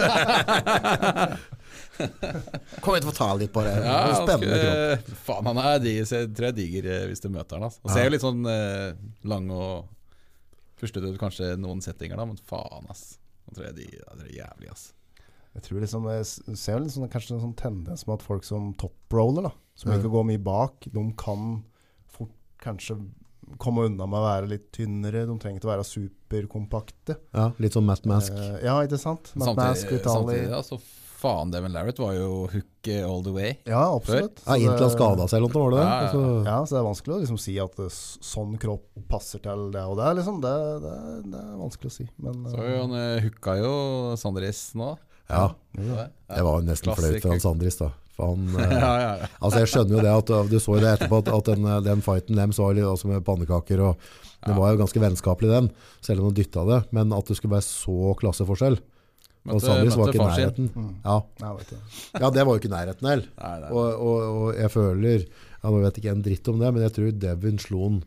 [SPEAKER 3] *laughs*
[SPEAKER 2] Kom hit og ta litt på det.
[SPEAKER 3] Ja, han
[SPEAKER 2] Spennende kropp.
[SPEAKER 3] skulle- Faen, han er dig, så jeg tror jeg diger eh, hvis du møter han. Altså. Han ser jo litt sånn eh, lang og pustete ut kanskje i noen settinger, da, men faen, ass. Han tror jeg diger, han tror jeg er jævlig, ass.
[SPEAKER 1] Jeg tror liksom, jeg s- ser vel liksom, kanskje en sånn tendens med at folk som toproller, da, som
[SPEAKER 2] Ja.
[SPEAKER 1] ikke går mye bak, de kan fort kanskje komme unna med å være litt tynnere. De trenger ikke å være superkompakte.
[SPEAKER 2] Ja, litt sånn Matt Mask.
[SPEAKER 1] Eh, ja, ikke sant?
[SPEAKER 3] Men
[SPEAKER 1] Matt Mask,
[SPEAKER 3] Samtidig,
[SPEAKER 1] Vitali.
[SPEAKER 3] samtidig ja, så faen, Devin Larrett var jo hook eh, all the way.
[SPEAKER 1] Ja, absolutt.
[SPEAKER 2] Ja,
[SPEAKER 1] Så
[SPEAKER 2] Inntil han
[SPEAKER 1] det-
[SPEAKER 2] skada seg eller noe, var det
[SPEAKER 3] Ja, ja,
[SPEAKER 2] det? Altså,
[SPEAKER 1] Ja, så det er vanskelig å liksom si at eh, s- sånn kropp passer til det og det. Liksom. Det, det, det er vanskelig å si. Men,
[SPEAKER 3] Så
[SPEAKER 1] eh,
[SPEAKER 3] jo, han eh, hooka jo Sandres nå.
[SPEAKER 2] ja,
[SPEAKER 1] jo da.
[SPEAKER 2] det var jo nesten
[SPEAKER 3] Klassiker.
[SPEAKER 2] flaut for han Sandris, da. For han, eh,
[SPEAKER 3] ja, ja, ja.
[SPEAKER 2] altså jeg skjønner jo det at uh, Du så jo det etterpå at, at den, eh, den fighten deres var litt altså med pannekaker. Og, det var jo ganske vennskapelig, den, selv om han dytta det. Men at det skulle være så klasseforskjell Og Sandris var ikke i
[SPEAKER 3] far sin.
[SPEAKER 2] nærheten. Ja,
[SPEAKER 1] Nei, jeg vet ikke.
[SPEAKER 2] ja, det var jo ikke i nærheten heller.
[SPEAKER 3] Nei, nei.
[SPEAKER 2] Og, og, og jeg føler ja, Nå vet jeg ikke en dritt om det, men jeg tror Devin slo han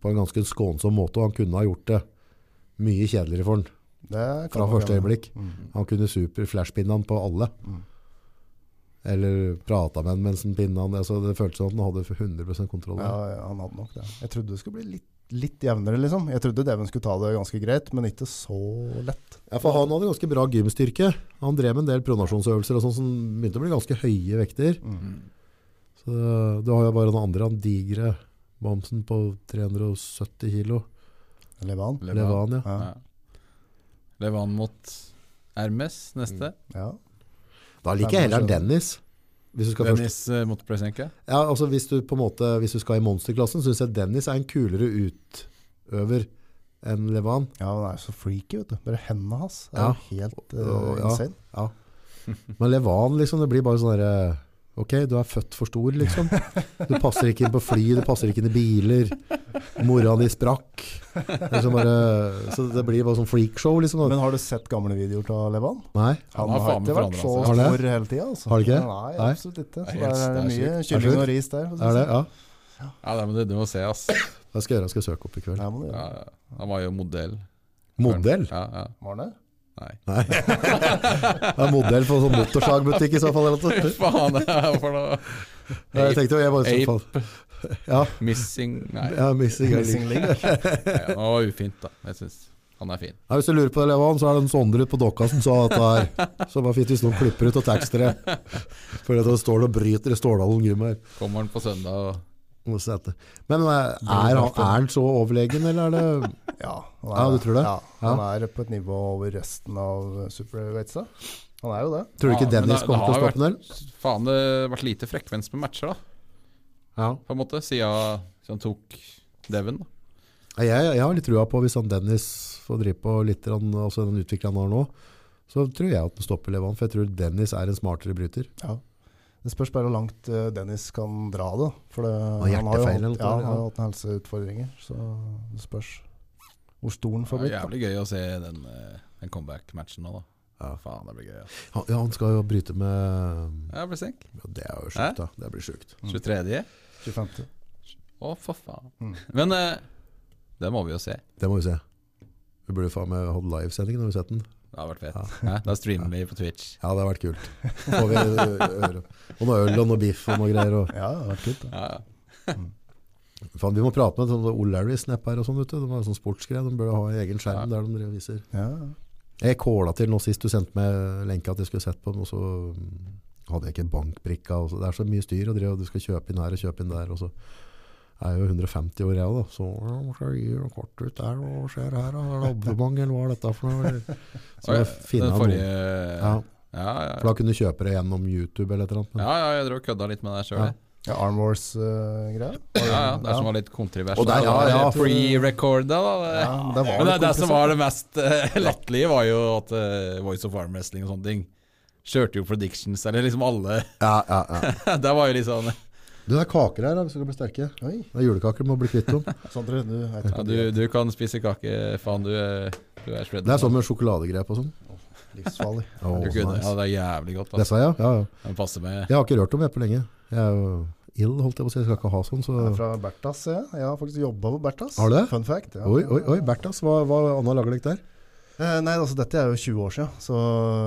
[SPEAKER 2] på en ganske skånsom måte, og han kunne ha gjort det mye kjedeligere for han
[SPEAKER 1] Det kan
[SPEAKER 2] fra
[SPEAKER 1] nok
[SPEAKER 2] første
[SPEAKER 1] hende.
[SPEAKER 2] øyeblikk. Han kunne super-flashpinne han på alle. Eller prata med han mens han pinna han. Altså, det føltes som at han hadde 100 kontroll.
[SPEAKER 1] Ja, ja, han hadde nok det. Jeg trodde det skulle bli litt, litt jevnere, liksom. Jeg trodde Devon skulle ta det ganske greit, men ikke så lett.
[SPEAKER 2] Ja, for han hadde ganske bra gymstyrke. Han drev med en del pronasjonsøvelser og sånn, som begynte å bli ganske høye vekter.
[SPEAKER 3] Mm.
[SPEAKER 2] Så det- du har jo bare den andre, han digre bamsen på 370 kilo.
[SPEAKER 1] Levan.
[SPEAKER 3] Levan.
[SPEAKER 2] Levan, ja.
[SPEAKER 1] Ja.
[SPEAKER 3] Ja. Levan mot Hermes neste.
[SPEAKER 1] ja.
[SPEAKER 2] Da liker jeg heller Dennis. Hvis du skal først.
[SPEAKER 3] Dennis eh, mot Presenka.
[SPEAKER 2] Ja, altså hvis du på en måte, hvis du skal i monsterklassen, synes jeg Dennis er en kulere utøver enn Levan.
[SPEAKER 1] ja, han er jo så freaky, vet du. Bare hendene hans er
[SPEAKER 2] Ja.
[SPEAKER 1] jo helt eh,
[SPEAKER 2] Og- ja.
[SPEAKER 1] insane.
[SPEAKER 2] Ja. Men Levan, liksom, det blir bare sånn der, Ok, du er født for stor, liksom. Du passer ikke inn på fly, du passer ikke inn i biler. Mora di sprakk. Liksom bare, så det blir bare sånn freakshow, liksom.
[SPEAKER 1] Men har du sett gamle videoer av Levan?
[SPEAKER 2] Nei.
[SPEAKER 1] Han,
[SPEAKER 3] har
[SPEAKER 1] har,
[SPEAKER 3] faen meg
[SPEAKER 1] ikke vært
[SPEAKER 3] forandret
[SPEAKER 1] så
[SPEAKER 3] seg.
[SPEAKER 2] Har han
[SPEAKER 1] stor hele tida, altså.
[SPEAKER 2] Har han ikke det?
[SPEAKER 1] Nei,
[SPEAKER 2] Nei.
[SPEAKER 1] absolutt ikke.
[SPEAKER 3] Det
[SPEAKER 1] Så
[SPEAKER 3] er
[SPEAKER 1] det
[SPEAKER 3] helt-
[SPEAKER 1] er,
[SPEAKER 3] det er
[SPEAKER 1] mye
[SPEAKER 3] sjukt.
[SPEAKER 1] kylling
[SPEAKER 2] Er
[SPEAKER 1] og
[SPEAKER 2] det
[SPEAKER 1] ris der. for å si
[SPEAKER 2] Er det?
[SPEAKER 1] sånn.
[SPEAKER 2] Ja.
[SPEAKER 3] Ja, nei, men det, du må se, ass.
[SPEAKER 2] Jeg skal gjøre, jeg skal søke opp i kveld.
[SPEAKER 1] Ja, sånn. må du
[SPEAKER 3] Ja,
[SPEAKER 1] gjøre.
[SPEAKER 3] ja. han var jo modell.
[SPEAKER 2] Modell?
[SPEAKER 3] Ja, ja.
[SPEAKER 1] Var han det?
[SPEAKER 3] Nei.
[SPEAKER 2] Nei. Ja, modell for sånn motorsagbutikk i så fall. Eller noe.
[SPEAKER 3] Faen, det er for noe
[SPEAKER 2] Ja, Jeg tenkte jo, jeg bare så
[SPEAKER 3] Ape.
[SPEAKER 2] faen. Ja,
[SPEAKER 3] Missing Nei,
[SPEAKER 2] ja, missing Ellie.
[SPEAKER 1] Missing link.
[SPEAKER 3] nei, han var ufint, da. Jeg syns han er fin.
[SPEAKER 2] Ja, hvis du lurer på det, Levan, så er det en Sondre ute på dokka som sa at det er så bare fint hvis noen klipper ut og tekster det. For at det står og bryter i Stålhallen gym her.
[SPEAKER 3] Kommer han på søndag og
[SPEAKER 2] Må se etter. Men eh, er er han, er han så overlegen, eller er det
[SPEAKER 1] *laughs* Ja, han
[SPEAKER 2] Ja, du tror det?
[SPEAKER 1] Ja, han er på et nivå over resten av superweightsa. Han er jo det.
[SPEAKER 2] Tror du ikke
[SPEAKER 3] Ja, men
[SPEAKER 2] Dennis
[SPEAKER 3] det-
[SPEAKER 2] kommer
[SPEAKER 3] det
[SPEAKER 2] til å
[SPEAKER 3] har
[SPEAKER 2] stoppe den? eller?
[SPEAKER 3] Faen, det har vært lite frekvens med matcher, da,
[SPEAKER 2] Ja.
[SPEAKER 3] på en måte, siden siden han tok Devon. da.
[SPEAKER 2] Jeg, jeg har litt trua på, hvis han Dennis får drive på litt, grann, altså den utviklinga han har nå, så tror jeg at han stopper Levan, for jeg tror Dennis er en smartere bryter.
[SPEAKER 1] Ja. Det spørs bare hvor langt eh, Dennis kan dra det. For det,
[SPEAKER 2] har
[SPEAKER 1] jo
[SPEAKER 2] hjertefeil
[SPEAKER 1] hatt,
[SPEAKER 2] eller noe,
[SPEAKER 1] ja, han har
[SPEAKER 2] ja.
[SPEAKER 1] jo hatt noen helseutfordringer, så det spørs hvor stor han får
[SPEAKER 3] Det er
[SPEAKER 1] blitt. da.
[SPEAKER 3] jævlig gøy å se den, eh, den comeback-matchen nå, da. Faen, det blir gøy. ass.
[SPEAKER 2] Han, ja, han skal jo bryte med
[SPEAKER 3] Ja, Presenk.
[SPEAKER 2] ja, Det er jo
[SPEAKER 3] Hæ?
[SPEAKER 2] sjukt, da. Det blir sjukt.
[SPEAKER 3] 23.
[SPEAKER 1] 25.
[SPEAKER 3] Mm. Å, for faen.
[SPEAKER 1] Mm.
[SPEAKER 3] Men eh, det må vi jo se.
[SPEAKER 2] Det må vi se. Vi burde faen meg hatt livesending når vi sett den.
[SPEAKER 3] Det har vært fett. Hæ? Da streamer vi på Twitch.
[SPEAKER 2] Ja, det har vært kult. Får vi ø- øre. Og noe øl og noe biff og noe greier. Og,
[SPEAKER 1] Ja, det har vært kult. Da.
[SPEAKER 3] Ja, ja.
[SPEAKER 2] faen, vi må prate med sånn O'Larry Snap her og sånn, vet du. Det var en sånn sportsgreie. De burde ha en egen skjerm der de drev og viser.
[SPEAKER 1] Ja.
[SPEAKER 2] Jeg kåla til nå sist du sendte meg lenka at jeg skulle sett på den, og så mm, hadde jeg ikke bankbrikka. og så- Det er så mye styr å drive, og du skal kjøpe inn her og kjøpe inn der. Og så er jeg jo 150 år jeg òg, da. Så «Ja, hva skal jeg gi noe kort ut der, og hva skjer her? da? Er det abonnement, eller hva er dette for
[SPEAKER 3] *laughs*
[SPEAKER 2] noe? eller?» Så
[SPEAKER 3] Å, ja,
[SPEAKER 2] jeg finner
[SPEAKER 3] den
[SPEAKER 2] av
[SPEAKER 3] forrige
[SPEAKER 2] noen. Ja,
[SPEAKER 3] ja, ja.
[SPEAKER 2] for da kunne du kjøpe det gjennom YouTube eller et eller annet. men-
[SPEAKER 3] ja, ja, jeg drev og kødda litt med det sjøl.
[SPEAKER 2] Ja.
[SPEAKER 3] jeg.
[SPEAKER 1] Ja, Arm eh, Wars-greia.
[SPEAKER 3] Ja, ja, det er sånn. som var litt kontroversielt.
[SPEAKER 2] Og der- ja, ja,
[SPEAKER 3] Pre-recorda, da.
[SPEAKER 1] ja, men det var
[SPEAKER 3] Men det,
[SPEAKER 1] litt
[SPEAKER 3] det som
[SPEAKER 1] komplisert.
[SPEAKER 3] var det mest uh, latterlige, var jo at eh, Voice of Arm Wrestling og sånne ting kjørte jo predictions, eller liksom alle *laughs*
[SPEAKER 2] Ja, ja, ja.
[SPEAKER 3] Det var jo litt sånn
[SPEAKER 2] Du, det er kaker her da, hvis du skal bli sterke.
[SPEAKER 1] Oi,
[SPEAKER 2] Det er julekaker du må bli kvitt dem.
[SPEAKER 1] Sondre, du vet
[SPEAKER 3] ja, du, du kan spise kake, faen, du, eh, du er shredder.
[SPEAKER 2] Det er sånn med sjokoladegrepp og sånn.
[SPEAKER 1] livsfarlig.
[SPEAKER 2] Åh,
[SPEAKER 3] Du kunne,
[SPEAKER 2] nice.
[SPEAKER 3] ja, det er jævlig godt. Da.
[SPEAKER 2] Disse, ja. ja, ja.
[SPEAKER 3] Den passer med
[SPEAKER 2] Jeg har ikke rørt dem jeg på lenge. Jeg er jo ild, holdt jeg på å si. Jeg skal ikke ha sånn. Så.
[SPEAKER 1] Jeg er fra Bertas, jeg. Jeg har faktisk jobba på Bertas.
[SPEAKER 2] Har du det?
[SPEAKER 1] Fun fact. Ja.
[SPEAKER 2] Oi, oi, oi, Bertas, hva, hva Anna lager deg der?
[SPEAKER 1] Eh, nei, altså dette er jo 20 år siden, så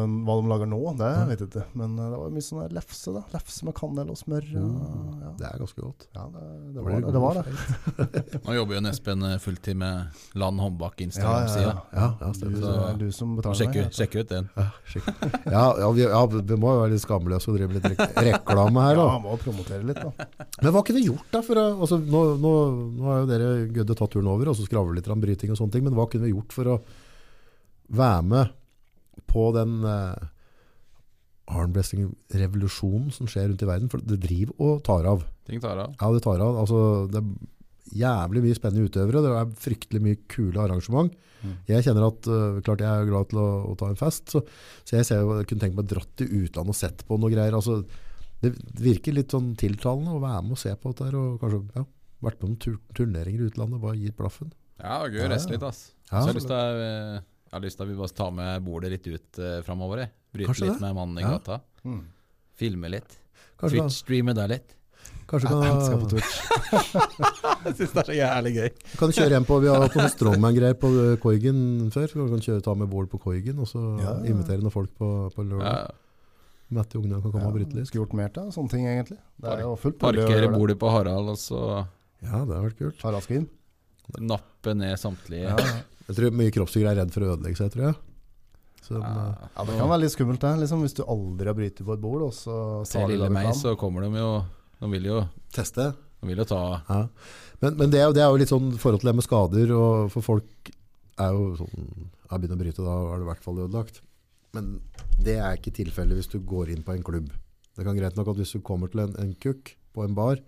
[SPEAKER 1] um, hva de lager nå, det
[SPEAKER 2] Ja.
[SPEAKER 1] vet jeg ikke. Men eh, det var mye sånn der lefse, da. Lefse med kanel og smør. og- Ja,
[SPEAKER 2] Det er ganske godt.
[SPEAKER 1] ja det, det, var, det, det var det.
[SPEAKER 3] Nå jobber jo Espen eh, fulltid med Land håndbak
[SPEAKER 1] Ja, ja,
[SPEAKER 3] Instagram-sida.
[SPEAKER 1] ja.
[SPEAKER 2] Ja, ja,
[SPEAKER 1] Du,
[SPEAKER 2] stemmer.
[SPEAKER 1] det er du som betaler meg.
[SPEAKER 3] Sjekker
[SPEAKER 1] jeg.
[SPEAKER 3] sjekker ut den.
[SPEAKER 2] Ja, skikk. ja, ja, vi, ja, vi må jo være litt skamløse og drive litt rek reklame her,
[SPEAKER 1] Ja,
[SPEAKER 2] da.
[SPEAKER 1] må promotere litt, da.
[SPEAKER 2] Men hva kunne vi gjort da? For, å- altså, nå, nå, nå har jo dere gødde tatt turen over, og så skravler litt om bryting og sånne ting, men hva kunne vi gjort for å være med på den eh, armblessing-revolusjonen som skjer rundt i verden? For det driver og tar av.
[SPEAKER 3] Ting tar av.
[SPEAKER 2] Ja, det tar av. Altså, det er jævlig mye spennende utøvere. Det er fryktelig mye kule arrangement.
[SPEAKER 1] Mm.
[SPEAKER 2] Jeg kjenner at, øh, klart jeg er glad til å, å ta en fest, så, så jeg ser jo, jeg kunne tenkt meg dratt til utlandet og sett på noe greier. Altså, det virker litt sånn tiltalende å være med og se på dette her, og kanskje ja, vært med om tur turneringer i utlandet, bare gitt blaffen.
[SPEAKER 3] Ja, det var gøy
[SPEAKER 2] Ja,
[SPEAKER 3] å reise
[SPEAKER 2] ja.
[SPEAKER 3] litt, ass.
[SPEAKER 2] Ja,
[SPEAKER 3] så jeg har lyst til å, eh, jeg har lyst til at vi bare tar med bordet litt ut eh, framover. jeg. Bryte
[SPEAKER 2] Kanskje
[SPEAKER 3] litt
[SPEAKER 2] det.
[SPEAKER 3] med mannen i
[SPEAKER 2] Ja.
[SPEAKER 3] gata.
[SPEAKER 1] Mm. *laughs*
[SPEAKER 3] Filme litt.
[SPEAKER 2] Kanskje, kan-
[SPEAKER 3] Twitch-streame deg litt.
[SPEAKER 2] kanskje
[SPEAKER 1] *laughs* Jeg skal
[SPEAKER 2] kan,
[SPEAKER 1] på Twitch.
[SPEAKER 3] *laughs* Jeg syns det er så jævlig gøy.
[SPEAKER 2] kan du kjøre hjem på, vi har hatt noen strongman-greier på øh, Koigen før, så kan du kjøre, ta med bål på Koigen, og så
[SPEAKER 1] Ja.
[SPEAKER 2] invitere noen folk på, på lørdag.
[SPEAKER 3] Ja,
[SPEAKER 2] Mette Ungdøy kan komme og bryte litt.
[SPEAKER 1] Skulle gjort mer til sånne ting, egentlig. Det er jo fullt mulig å
[SPEAKER 3] parkere
[SPEAKER 1] gjøre det.
[SPEAKER 3] bordet på Harald, og så
[SPEAKER 2] Ja, det har vært kult.
[SPEAKER 1] Haraldsgym.
[SPEAKER 3] nappe ned samtlige.
[SPEAKER 1] Ja. ja,
[SPEAKER 2] Jeg tror mye kroppsdyr er redd for å ødelegge seg, tror jeg. Så, eh,
[SPEAKER 3] Ja,
[SPEAKER 1] det kan være litt skummelt, det. Liksom, hvis du aldri har brytet på et bord, og så
[SPEAKER 3] Til
[SPEAKER 1] tar du
[SPEAKER 3] lille
[SPEAKER 1] det du
[SPEAKER 3] meg,
[SPEAKER 1] kan.
[SPEAKER 3] så kommer de jo De vil jo,
[SPEAKER 2] Teste.
[SPEAKER 3] de vil jo ta
[SPEAKER 2] Ja. Men, men det, er jo, det er jo litt sånn forhold til det med skader, og for folk er jo sånn Jeg begynner å bryte, da er du i hvert fall ødelagt. Men det er ikke tilfellet hvis du går inn på en klubb. Det kan greit nok at hvis du kommer til en, en kukk på en bar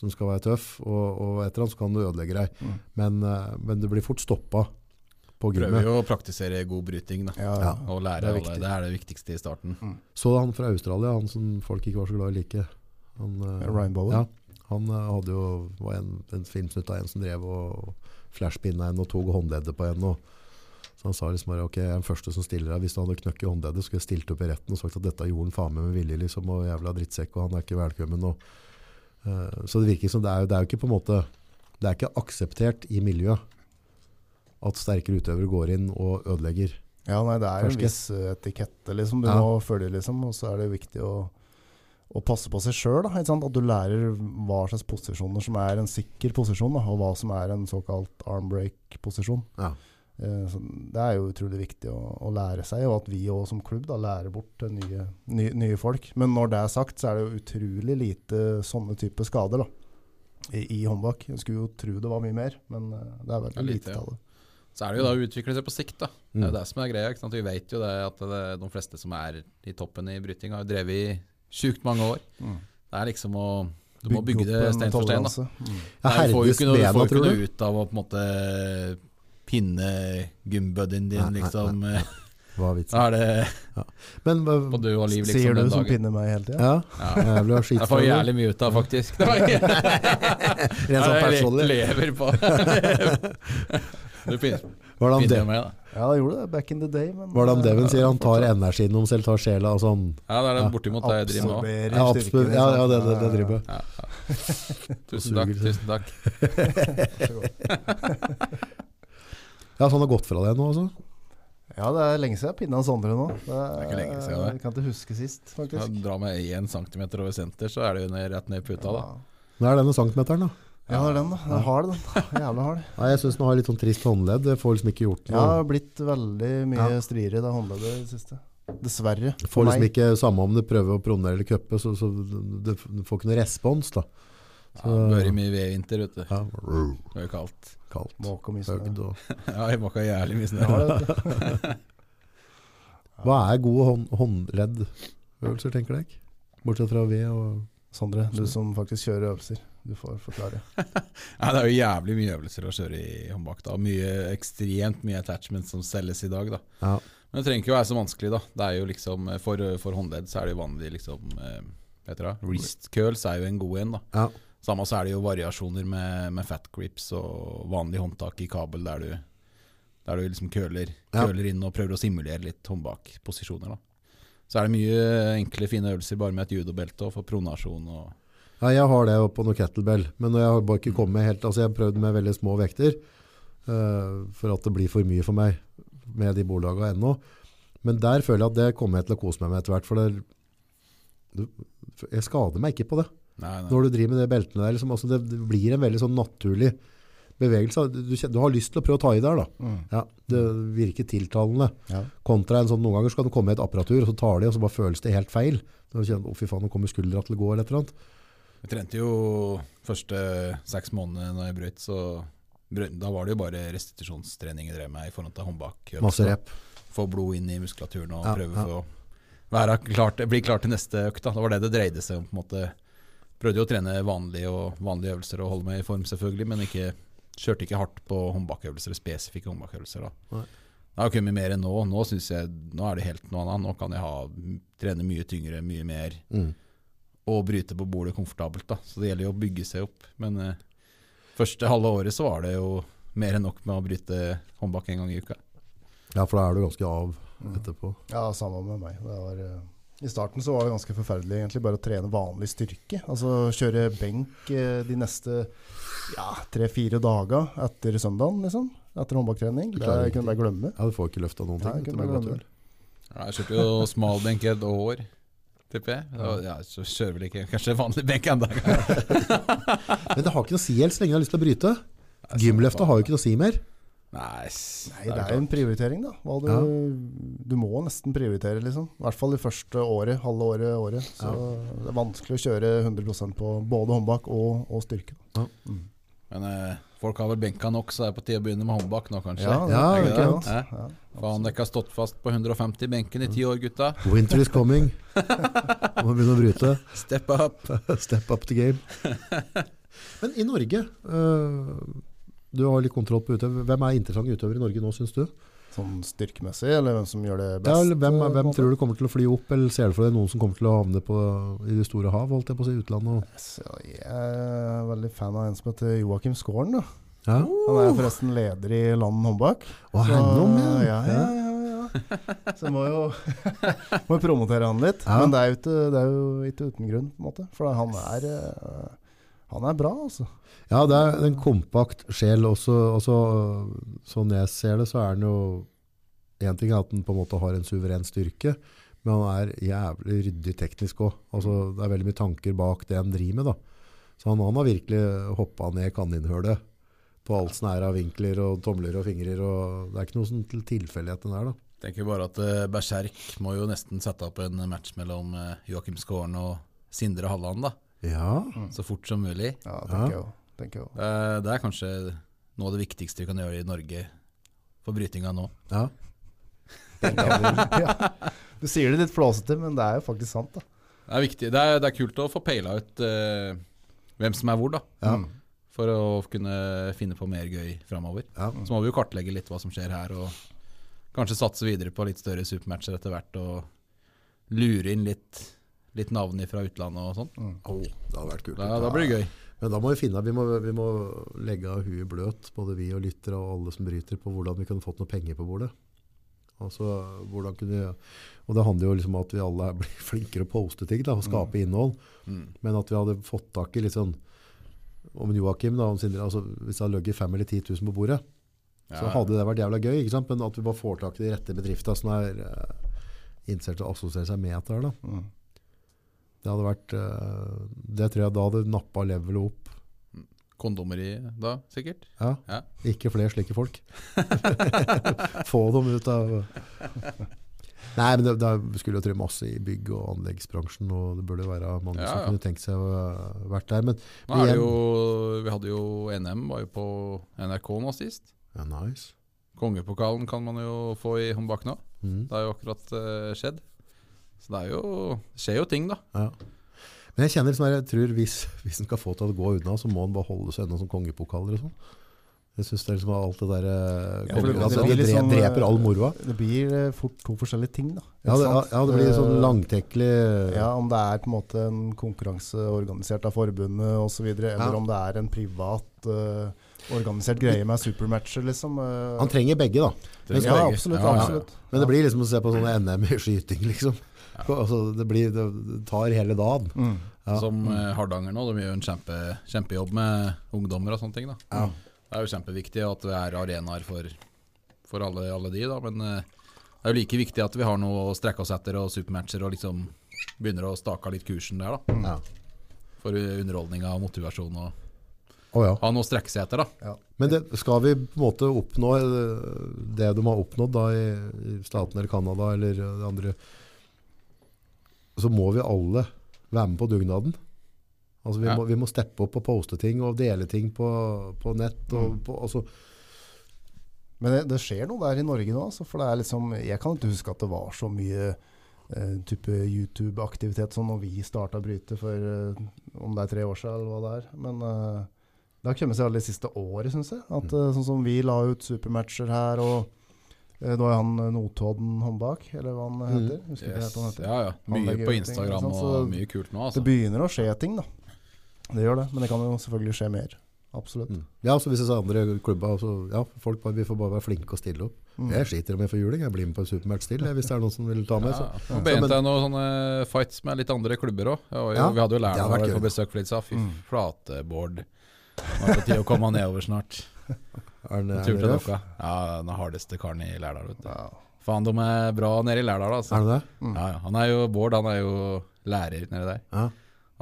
[SPEAKER 2] som skal være tøff, og, og et eller annet, så kan du ødelegge deg.
[SPEAKER 1] Mm.
[SPEAKER 2] Men, eh, men du blir fort stoppa på
[SPEAKER 3] Prøver
[SPEAKER 2] gymmet.
[SPEAKER 3] jo å praktisere god bryting, da.
[SPEAKER 1] Ja, ja.
[SPEAKER 2] Ja.
[SPEAKER 3] Og lære
[SPEAKER 1] Det er
[SPEAKER 3] alle.
[SPEAKER 1] viktig.
[SPEAKER 3] Det er det viktigste i starten.
[SPEAKER 2] Så han fra Australia, han som folk ikke var så glad i like. Han, eh,
[SPEAKER 1] Ryan Bowen.
[SPEAKER 2] Ja, han eh, hadde jo var en, en filmsnutt av en som drev og flashpinna en og tok håndleddet på en. Og, så han sa liksom bare ok, jeg er den første som stiller deg. Hvis du hadde knøkk i håndleddet, skulle jeg stilt opp i retten og sagt at dette gjorde han faen meg med vilje, liksom, og jævla drittsekk, og han er ikke velkommen. Og, eh, så det virker som det er, jo- det er jo ikke på en måte Det er ikke akseptert i miljøet at sterkere utøvere går inn og ødelegger.
[SPEAKER 1] Ja, nei, det er jo en
[SPEAKER 2] Ferske.
[SPEAKER 1] viss eh, etikette liksom, du
[SPEAKER 2] Ja.
[SPEAKER 1] må følge, liksom, og så er det viktig å, å passe på seg sjøl. At du lærer hva slags posisjoner som er en sikker posisjon, da, og hva som er en såkalt armbreak-posisjon.
[SPEAKER 2] Ja.
[SPEAKER 1] Eh, så Det er jo utrolig viktig å, å lære seg, og at vi òg som klubb da, lærer bort til nye, nye, nye folk. Men når det er sagt, så er det jo utrolig lite sånne type skader da, i, i håndbak. Jeg skulle jo tro det var mye mer, men eh, det er
[SPEAKER 3] Det er
[SPEAKER 1] veldig
[SPEAKER 3] lite,
[SPEAKER 1] lite
[SPEAKER 3] ja.
[SPEAKER 1] av det.
[SPEAKER 3] Så er det jo da å utvikle seg på sikt, da. Det er
[SPEAKER 2] Mm.
[SPEAKER 3] jo det som er greia. ikke sant? Vi vet jo det at det, de fleste som er i toppen i bryting, har jo drevet i sjukt mange år.
[SPEAKER 1] Mm.
[SPEAKER 3] Det er liksom å Du må bygge det stein for stein, da.
[SPEAKER 1] Mm.
[SPEAKER 2] Jeg
[SPEAKER 3] Nei, du får jo
[SPEAKER 2] herdes
[SPEAKER 3] ikke noe, du
[SPEAKER 2] bena,
[SPEAKER 3] får jo
[SPEAKER 2] tror
[SPEAKER 3] ikke
[SPEAKER 2] du?
[SPEAKER 3] noe ut av å på en måte pinne
[SPEAKER 2] Nei,
[SPEAKER 3] gymbuddyen din,
[SPEAKER 2] nei,
[SPEAKER 3] liksom.
[SPEAKER 2] Hva er vitsen?
[SPEAKER 3] Da er det
[SPEAKER 2] Men
[SPEAKER 3] på
[SPEAKER 2] hva-
[SPEAKER 3] død og liv, liksom.
[SPEAKER 1] Sier du
[SPEAKER 3] den
[SPEAKER 1] som
[SPEAKER 3] dagen.
[SPEAKER 1] pinner meg hele tida?
[SPEAKER 2] ja,
[SPEAKER 3] Ja.
[SPEAKER 2] jeg vil ha skit
[SPEAKER 3] Jeg får jævlig mye ut av,
[SPEAKER 2] *laughs*
[SPEAKER 3] faktisk. Det var ikke-
[SPEAKER 2] Rent sånn
[SPEAKER 3] Jeg
[SPEAKER 2] personlig.
[SPEAKER 3] lever
[SPEAKER 2] *laughs*
[SPEAKER 3] på Du pinner
[SPEAKER 2] Hva er det han
[SPEAKER 3] pinner meg, da.
[SPEAKER 1] Ja, det gjorde det back in the day, men eh,
[SPEAKER 2] Hva er det han Devin sier? Han tar
[SPEAKER 1] fortsatt.
[SPEAKER 2] energien om selv, tar sjela og sånn.
[SPEAKER 3] Ja, det er
[SPEAKER 2] Ja.
[SPEAKER 3] det bortimot det jeg driver med òg.
[SPEAKER 1] Absorberer
[SPEAKER 2] Ja,
[SPEAKER 1] styrken,
[SPEAKER 2] absolutt. ja, ja det, det, det
[SPEAKER 1] liksom.
[SPEAKER 2] driver jeg.
[SPEAKER 3] Ja, ja. Tusen takk. tusen takk
[SPEAKER 2] Ja, så han har gått fra det nå, altså?
[SPEAKER 1] Ja, det er lenge siden jeg pinna Sondre nå. Det er,
[SPEAKER 3] ikke lenge siden, det.
[SPEAKER 1] Jeg kan ikke huske sist,
[SPEAKER 3] ja,
[SPEAKER 1] faktisk.
[SPEAKER 3] Dra meg én centimeter over senter, så er det jo ned, rett ned i puta. da
[SPEAKER 2] Nå er denne centimeteren, da.
[SPEAKER 1] Ja, det er den, da. Den *laughs* er hard, den. Jævla hard.
[SPEAKER 2] Nei, jeg syns den har litt sånn trist håndledd. Det får liksom ikke gjort
[SPEAKER 1] Jeg
[SPEAKER 2] noe.
[SPEAKER 1] har blitt veldig mye striere i det håndleddet i det siste. Dessverre.
[SPEAKER 2] Får liksom
[SPEAKER 1] meg.
[SPEAKER 2] ikke samme om du prøver å pronere eller cuppe, så, så du du får ikke noe respons, da.
[SPEAKER 3] Ja, Børre mye ved i vinter, vet du.
[SPEAKER 2] Ja, rrr,
[SPEAKER 3] Det er jo kaldt. *laughs*
[SPEAKER 2] kaldt.
[SPEAKER 1] Måke og misnøye.
[SPEAKER 2] Høgd og
[SPEAKER 3] Ja, jeg måka jævlig mye snø.
[SPEAKER 1] Ja, det vet du.
[SPEAKER 2] Hva er gode hånd håndleddøvelser, tenker deg? Bortsett fra ved og
[SPEAKER 1] Sondre, du som faktisk kjører øvelser, du får forklare.
[SPEAKER 3] Nei, det er jo jævlig mye øvelser å kjøre i håndbak. da Mye, Ekstremt mye attachments som selges i dag. da
[SPEAKER 2] ja.
[SPEAKER 3] Men det trenger ikke å være så vanskelig. da Det er jo liksom eh, For, for håndledd så er det jo vanlig liksom eh, hva heter det? Wrist curls er jo en god en. da
[SPEAKER 2] Ja.
[SPEAKER 3] Samme så er det jo variasjoner med, med fat grips og vanlig håndtak i kabel der du, der du liksom køler,
[SPEAKER 2] Ja.
[SPEAKER 3] køler inn og prøver å simulere litt håndbakposisjoner. da Så er det mye enkle, fine øvelser bare med et judobelte og for pronasjon og
[SPEAKER 2] Ja, jeg har det på noe kettlebell, men jeg har bare ikke kommet helt Altså, jeg har prøvd med veldig små vekter, eh, for at det blir for mye for meg med de bordlaga ennå. Men der føler jeg at det kommer jeg til å kose meg med etter hvert, for det, du, jeg skader meg ikke på det.
[SPEAKER 3] Nei, nei.
[SPEAKER 2] Når du driver med det beltene der, liksom, altså, det, det blir en veldig sånn naturlig bevegelse. Du, kjen- du har lyst til å prøve å ta i der, da.
[SPEAKER 1] Mm.
[SPEAKER 2] Ja, det virker tiltalende.
[SPEAKER 1] Ja.
[SPEAKER 2] Kontra en sånn, noen ganger så kan det komme et apparatur, og så tar de, og så bare føles det helt feil. Så kjenner du, å fy faen, nå kommer skuldra til å gå, eller et eller annet.
[SPEAKER 3] Jeg trente jo første seks månedene når jeg brøyt, så brø- da var det jo bare restitusjonstrening jeg drev med i forhold til håndbak.
[SPEAKER 2] Masse rep.
[SPEAKER 3] Få blod inn i muskulaturen og
[SPEAKER 2] Ja,
[SPEAKER 3] prøve
[SPEAKER 2] ja.
[SPEAKER 3] for å være klart, bli klar til neste økt. Da. Det var det det dreide seg om. på en måte. Prøvde jo å trene vanlige, og, vanlige øvelser og holde meg i form, selvfølgelig, men ikke, kjørte ikke hardt på håndbakøvelser, spesifikke håndbakøvelser. Da.
[SPEAKER 2] Nei.
[SPEAKER 3] Det har kommet mer enn nå. Nå, synes jeg, nå er det helt noe annet. Nå kan jeg ha, trene mye tyngre, mye mer
[SPEAKER 2] Mm.
[SPEAKER 3] og bryte på bordet komfortabelt. Da. Så det gjelder jo å bygge seg opp. Men eh, første halve året så var det jo mer enn nok med å bryte håndbak en gang i uka.
[SPEAKER 2] Ja, for da er du ganske av etterpå.
[SPEAKER 1] Ja, samme med meg. Det var, eh, I starten så var det ganske forferdelig egentlig bare å trene vanlig styrke. Altså kjøre benk eh, de neste ja, tre-fire dager etter søndagen, liksom. Etter håndbaktrening.
[SPEAKER 2] Du
[SPEAKER 1] Det
[SPEAKER 2] klarer
[SPEAKER 1] kunne jeg bare glemme.
[SPEAKER 2] Ja, du får ikke løfta noen
[SPEAKER 1] Nei, jeg
[SPEAKER 2] ting. vet
[SPEAKER 1] kunne
[SPEAKER 2] du,
[SPEAKER 1] bare
[SPEAKER 2] med
[SPEAKER 1] glemme
[SPEAKER 2] godt
[SPEAKER 1] det.
[SPEAKER 3] Ja, jeg kjørte jo smalbenk i et år, tipper jeg. Og, ja, så kjører vel ikke kanskje vanlig benk enda.
[SPEAKER 2] øl. Men det har ikke noe å si helt så lenge jeg har lyst til å bryte. Gymløftet har jo ikke noe å si mer.
[SPEAKER 3] Nei,
[SPEAKER 1] Nei, det er jo en prioritering, da. Hva du, du må nesten prioritere, liksom. I hvert fall det første året, halve året, året. Så det er vanskelig å kjøre 100 på både håndbak og, og styrke.
[SPEAKER 3] Men eh, folk har vel benka nok, så det er på tide å begynne med håndbak nå, kanskje.
[SPEAKER 1] Ja,
[SPEAKER 2] Ja,
[SPEAKER 1] det
[SPEAKER 3] ikke
[SPEAKER 1] tenker jeg
[SPEAKER 3] sant?
[SPEAKER 1] også. Ja.
[SPEAKER 3] Faen, dere har stått fast på 150 i benken i ti år, gutta.
[SPEAKER 2] Winter is *laughs* coming. Må begynne å bryte.
[SPEAKER 3] Step up.
[SPEAKER 2] Step up the game. *laughs* Men i Norge øh, Du har litt kontroll på utøvere. Hvem er interessante utøvere i Norge nå, syns du?
[SPEAKER 1] Sånn styrkemessig, eller hvem som gjør det
[SPEAKER 2] Ja,
[SPEAKER 1] best? eh,
[SPEAKER 2] eller hvem,
[SPEAKER 1] på en
[SPEAKER 2] hvem
[SPEAKER 1] måte?
[SPEAKER 2] tror du kommer til å fly opp, eller ser du for deg noen som kommer til å havne på, i det store hav, holdt jeg på å si, utlandet? og-
[SPEAKER 1] Så jeg er veldig fan av en som heter Joakim Skåren. Da.
[SPEAKER 2] Ja?
[SPEAKER 1] Han er forresten leder i Land håndbak.
[SPEAKER 2] Uh. Å, hennom, ja.
[SPEAKER 1] ja, ja, ja, ja.
[SPEAKER 2] *laughs*
[SPEAKER 1] Så må jo *laughs* må jo promotere han litt.
[SPEAKER 2] Ja.
[SPEAKER 1] Men det er, jo ikke, det er jo ikke uten grunn, på en måte. For han er, eh, han er bra, altså.
[SPEAKER 2] Ja, det er en kompakt sjel også. også sånn jeg ser det, så er den jo En ting er at den på en måte har en suveren styrke, men han er jævlig ryddig teknisk òg. Altså, det er veldig mye tanker bak det han driver med. da. Så han, han har virkelig hoppa ned kaninhølet på alt som er av vinkler og tomler og fingrer. og Det er ikke noe sånn til tilfeldighet den er, da.
[SPEAKER 3] Tenker bare at eh, Berserk må jo nesten sette opp en match mellom eh, Joakim Skåren og Sindre Halland, da.
[SPEAKER 2] Ja,
[SPEAKER 3] Så fort som mulig.
[SPEAKER 1] Ja,
[SPEAKER 2] Ja.
[SPEAKER 1] tenker jeg jo. tenker jeg jo.
[SPEAKER 3] Det er, det er kanskje noe av det viktigste du kan gjøre i Norge for brytinga nå.
[SPEAKER 2] ja.
[SPEAKER 1] *laughs* Ja. Du sier det litt flåsete, men det er jo faktisk sant, da.
[SPEAKER 3] Det er viktig. Det er, det er kult å få peila ut eh, hvem som er hvor, da. Mm.
[SPEAKER 1] Ja.
[SPEAKER 3] For å kunne finne på mer gøy framover.
[SPEAKER 2] Ja.
[SPEAKER 3] Så må vi jo kartlegge litt hva som skjer her, og kanskje satse videre på litt større supermatcher etter hvert, og lure inn litt, litt navn fra utlandet og sånn.
[SPEAKER 2] Au, det hadde vært kult.
[SPEAKER 3] Da, da blir det gøy.
[SPEAKER 2] Men da må vi finne, vi må, vi må legge av huet bløt, både vi og lyttere og alle som bryter, på hvordan vi kunne fått noe penger på bordet. Altså, hvordan kunne Og det handler jo liksom om at vi alle blir *laughs* flinkere å poste ting da, og
[SPEAKER 3] Mm.
[SPEAKER 2] skape innhold. Men at vi hadde fått tak i litt sånn om Joakim, da, om Sindre, altså hvis det hadde ligget 5 eller 10 000 på bordet, så
[SPEAKER 3] Ja.
[SPEAKER 2] hadde det vært jævla gøy. ikke sant? Men at vi bare får tak i de rette bedriftene som er uh, interessert i å assosiere seg med dette. her, da.
[SPEAKER 1] Mm.
[SPEAKER 2] Det hadde vært, eh, det tror jeg da hadde nappa levelet opp.
[SPEAKER 3] Kondomeri da, sikkert.
[SPEAKER 2] Ja.
[SPEAKER 3] Ja.
[SPEAKER 2] *laughs* Ikke flere slike folk. Få dem ut av Nei, men det, det skulle jo tro masse i bygg- og anleggsbransjen, og det burde jo være mange
[SPEAKER 3] Ja, ja.
[SPEAKER 2] som kunne tenkt seg å ha vært der. Men
[SPEAKER 3] Nå er det jo, vi hadde jo NM var jo på NRK nå sist.
[SPEAKER 2] ja, nice.
[SPEAKER 3] Kongepokalen kan man jo få i håndbak nå.
[SPEAKER 2] Mm.
[SPEAKER 3] Det har jo akkurat eh, skjedd. Så det er jo, det skjer jo ting, da.
[SPEAKER 2] Ja. Men jeg kjenner liksom, jeg tror hvis, hvis en skal få til å gå unna, så må en bare holde seg unna som kongepokaler og sånn. Jeg synes det er liksom alt det der eh,
[SPEAKER 3] Ja, for det-
[SPEAKER 2] kongepokaler, altså,
[SPEAKER 3] det
[SPEAKER 2] det,
[SPEAKER 1] blir liksom,
[SPEAKER 2] dre- dreper all moroa.
[SPEAKER 1] Det blir eh, fort to forskjellige ting, da. Ikke
[SPEAKER 2] Ja, det,
[SPEAKER 1] sant?
[SPEAKER 2] ja, det blir sånn
[SPEAKER 1] Eh,
[SPEAKER 2] langtekkelig eh,
[SPEAKER 1] Ja, om det er på en måte en konkurranse organisert av forbundet osv., eller
[SPEAKER 2] Ja.
[SPEAKER 1] om det er en privat eh, organisert greie med supermatcher, liksom. eh.
[SPEAKER 2] Han trenger begge, da.
[SPEAKER 1] Men-
[SPEAKER 3] Trenger
[SPEAKER 1] ja,
[SPEAKER 3] begge.
[SPEAKER 1] absolutt.
[SPEAKER 3] Ja, ja, ja.
[SPEAKER 1] absolutt.
[SPEAKER 2] Men det blir liksom å se på sånne NM i skyting, liksom. Altså, det, blir, det tar hele dagen.
[SPEAKER 1] Mm.
[SPEAKER 2] Ja.
[SPEAKER 3] Som eh, Hardanger nå, de gjør en kjempe, kjempejobb med ungdommer og sånne ting. Da.
[SPEAKER 2] Ja.
[SPEAKER 3] Det er jo kjempeviktig at det er arenaer for, for alle, alle de, da. men eh, det er jo like viktig at vi har noe å strekke oss etter og supermatcher og liksom begynner å stake av litt kursen der. da,
[SPEAKER 2] Ja.
[SPEAKER 3] For underholdninga og motivasjon og
[SPEAKER 2] Å ja.
[SPEAKER 3] ha noe å strekke seg etter. da.
[SPEAKER 2] Men det, skal vi på en måte oppnå eh, det de har oppnådd da i, i staten eller Canada eller eh, det andre, så må vi alle være med på dugnaden. Altså vi,
[SPEAKER 3] Ja.
[SPEAKER 2] må, vi må steppe opp og poste ting og dele ting på, på nett.
[SPEAKER 3] Mm.
[SPEAKER 2] Og på, altså,
[SPEAKER 1] Men det, det skjer noe der i Norge nå, altså, for det er liksom Jeg kan ikke huske at det var så mye eh, type YouTube-aktivitet som når vi starta Bryte for eh, om det er tre år siden, eller hva det er. Men eh, det har kommet seg alle det siste året, syns jeg. At, eh, sånn som vi la ut supermatcher her, og eh, nå er han eh, Notodden håndbak, eller hva
[SPEAKER 2] Mm.
[SPEAKER 1] han heter. Husker ikke sånn, helt hva han heter.
[SPEAKER 3] Ja, ja.
[SPEAKER 1] Han
[SPEAKER 3] Mye
[SPEAKER 1] legger ut
[SPEAKER 3] på
[SPEAKER 1] ting,
[SPEAKER 3] Instagram
[SPEAKER 1] ikke sant, så-
[SPEAKER 3] og mye kult nå.
[SPEAKER 1] Det
[SPEAKER 3] altså.
[SPEAKER 1] begynner å skje ting, da. Det gjør det. Men det kan jo selvfølgelig skje mer. Absolutt.
[SPEAKER 2] Mm. ja, så hvis jeg sa andre klubber, så ja, folk bare, vi får bare være flinke og stille opp.
[SPEAKER 3] Mm.
[SPEAKER 2] Jeg sliter om jeg får juling, jeg blir med på en supermatch til jeg, hvis det er noen som vil ta med.
[SPEAKER 3] Ja,
[SPEAKER 2] Så.
[SPEAKER 3] ja. Og BNT er noen sånne fights med litt andre klubber òg.
[SPEAKER 2] Ja,
[SPEAKER 3] Vi hadde
[SPEAKER 2] det
[SPEAKER 3] jo
[SPEAKER 2] har
[SPEAKER 3] Lærna
[SPEAKER 2] vært
[SPEAKER 3] på
[SPEAKER 2] gøy. Mm.
[SPEAKER 3] besøk for litt, sa fy flate, Bård. Nå er det på tide å komme nedover
[SPEAKER 2] *laughs*
[SPEAKER 3] snart.
[SPEAKER 2] Er den, er
[SPEAKER 3] Tur
[SPEAKER 2] den
[SPEAKER 3] til
[SPEAKER 2] røff?
[SPEAKER 3] dere. Ja, den hardeste karen i Lærdal, vet du.
[SPEAKER 1] Ja.
[SPEAKER 3] Faen, de er bra nede i Lærdal, altså.
[SPEAKER 2] Er den det?
[SPEAKER 3] Ja, ja. Han er jo Bård, han er jo lærer nede der.
[SPEAKER 2] Mm. Ja.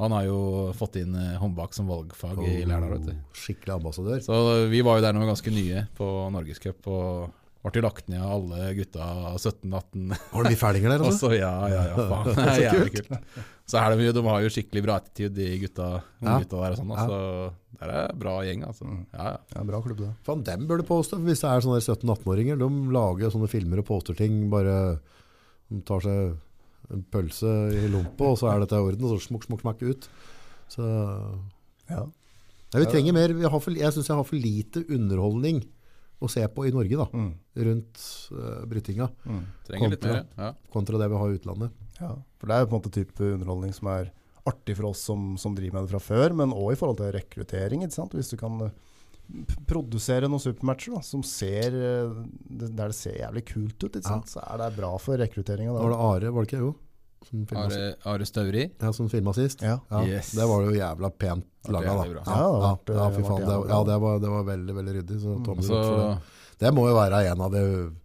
[SPEAKER 3] Han har jo fått inn eh, håndbak som valgfag i
[SPEAKER 2] Oh.
[SPEAKER 3] Lærdal, vet du.
[SPEAKER 2] Skikkelig ambassadør.
[SPEAKER 3] Så vi var jo der når vi var ganske nye på Norgescup, og ble jo lagt ned av alle gutta 17-18.
[SPEAKER 2] Har du mye fælinger der?
[SPEAKER 3] Og *laughs*
[SPEAKER 2] Altså?
[SPEAKER 3] så, ja, ja, ja,
[SPEAKER 2] *laughs*
[SPEAKER 3] faen. Det er jævlig kult. Så er de, jo- de har jo skikkelig bra attityd, de gutta,
[SPEAKER 2] Ja. Mm.
[SPEAKER 3] unge gutta der og sånn. da. Så det er en bra gjeng, altså. Ja, ja.
[SPEAKER 1] Ja, bra klubb, det.
[SPEAKER 2] Faen, dem burde poste. for Hvis det er sånne 17-18-åringer, de lager sånne filmer og poster ting. Bare de tar seg en pølse i lompa, og så er dette i orden. Og så smukk, smukk, smekk ut. Så Nei,
[SPEAKER 1] Ja.
[SPEAKER 2] vi trenger mer. Vi har for, jeg syns jeg har for lite underholdning å se på i Norge, da.
[SPEAKER 1] Mm.
[SPEAKER 2] Rundt eh, brytinga,
[SPEAKER 3] Trenger litt mer.
[SPEAKER 2] Kontra.
[SPEAKER 3] Ja.
[SPEAKER 2] kontra det vi har i utlandet.
[SPEAKER 1] Ja, for det er jo på en måte type underholdning som er artig for oss som, som driver med det fra før, men òg i forhold til rekruttering. ikke sant? Hvis du kan eh, p- produsere noen supermatcher da, som ser, eh, det- der det ser jævlig kult ut, ikke sant? så er det bra for rekrutteringa.
[SPEAKER 2] Da var det Are, var det ikke? Jo. Som filma
[SPEAKER 3] Are, Are Støvri.
[SPEAKER 2] ja, som filma sist.
[SPEAKER 1] Ja.
[SPEAKER 2] Ja,
[SPEAKER 3] Yes.
[SPEAKER 2] Det var jo jævla pent
[SPEAKER 3] var
[SPEAKER 2] laga, da.
[SPEAKER 3] jævlig bra.
[SPEAKER 2] Ja, ja,
[SPEAKER 1] Ja, det
[SPEAKER 2] ja,
[SPEAKER 1] var-
[SPEAKER 2] fy faen.
[SPEAKER 1] det
[SPEAKER 2] Det,
[SPEAKER 1] var jævlig
[SPEAKER 2] ja,
[SPEAKER 1] bra.
[SPEAKER 2] det, var, det var veldig veldig ryddig. Så tommel
[SPEAKER 3] Mm. Så
[SPEAKER 2] opp for det. Det må jo være en av de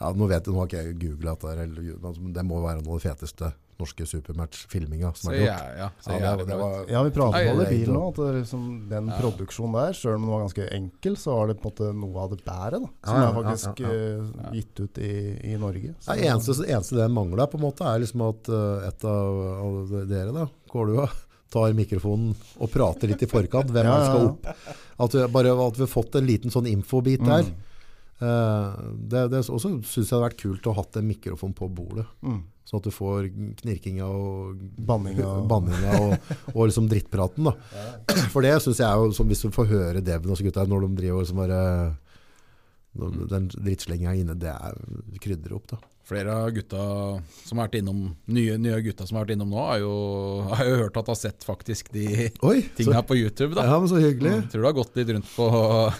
[SPEAKER 2] ja, Nå vet jeg, nå har ikke jeg googlet dette, her, eller- men altså, det må jo være noe av det feteste norske supermatch-filminga som
[SPEAKER 3] så
[SPEAKER 2] er
[SPEAKER 3] jeg,
[SPEAKER 2] gjort.
[SPEAKER 3] ja, så
[SPEAKER 2] Ja,
[SPEAKER 3] jeg,
[SPEAKER 2] det,
[SPEAKER 3] det,
[SPEAKER 2] det var,
[SPEAKER 1] Ja, vi pratet om
[SPEAKER 3] Nei,
[SPEAKER 1] det i
[SPEAKER 2] det er
[SPEAKER 1] bilen
[SPEAKER 2] ikke-
[SPEAKER 1] nå, at det er liksom den produksjonen der, sjøl om den var ganske enkel, så var det på en måte noe av det bære da, som
[SPEAKER 2] Ja, ja,
[SPEAKER 1] er
[SPEAKER 2] ja,
[SPEAKER 1] faktisk
[SPEAKER 2] ja,
[SPEAKER 1] eh, gitt ut i, i Norge.
[SPEAKER 2] ja,
[SPEAKER 1] Så-
[SPEAKER 2] eneste, eneste det mangler, på en måte, er liksom at eh, et av, av dere, da, Kålua, tar mikrofonen og prater litt i forkant hvem
[SPEAKER 1] Ja,
[SPEAKER 2] han skal
[SPEAKER 1] ja,
[SPEAKER 2] opp. At vi, bare at vi har fått en liten sånn
[SPEAKER 1] Mm.
[SPEAKER 2] infobit der. Eh, det, det, og så syns jeg det hadde vært kult å ha hatt en mikrofon på bordet.
[SPEAKER 1] Mm.
[SPEAKER 2] Sånn at du får knirkinga og *laughs*
[SPEAKER 1] Banninga.
[SPEAKER 2] banninga og, og liksom drittpraten. Da. *clears throat* For det syns jeg er jo som hvis du får høre Devin og så gutta når de driver og liksom bare når Den drittslenga inne, det er krydder opp, da.
[SPEAKER 3] Flere av gutta som har vært innom, nye, nye gutta som har vært innom nå, har jo, har jo hørt at de har sett faktisk de
[SPEAKER 2] Oi! *laughs* Så,
[SPEAKER 3] tinga på YouTube. da.
[SPEAKER 2] ja, men så hyggelig.
[SPEAKER 3] Jeg tror det har gått litt rundt på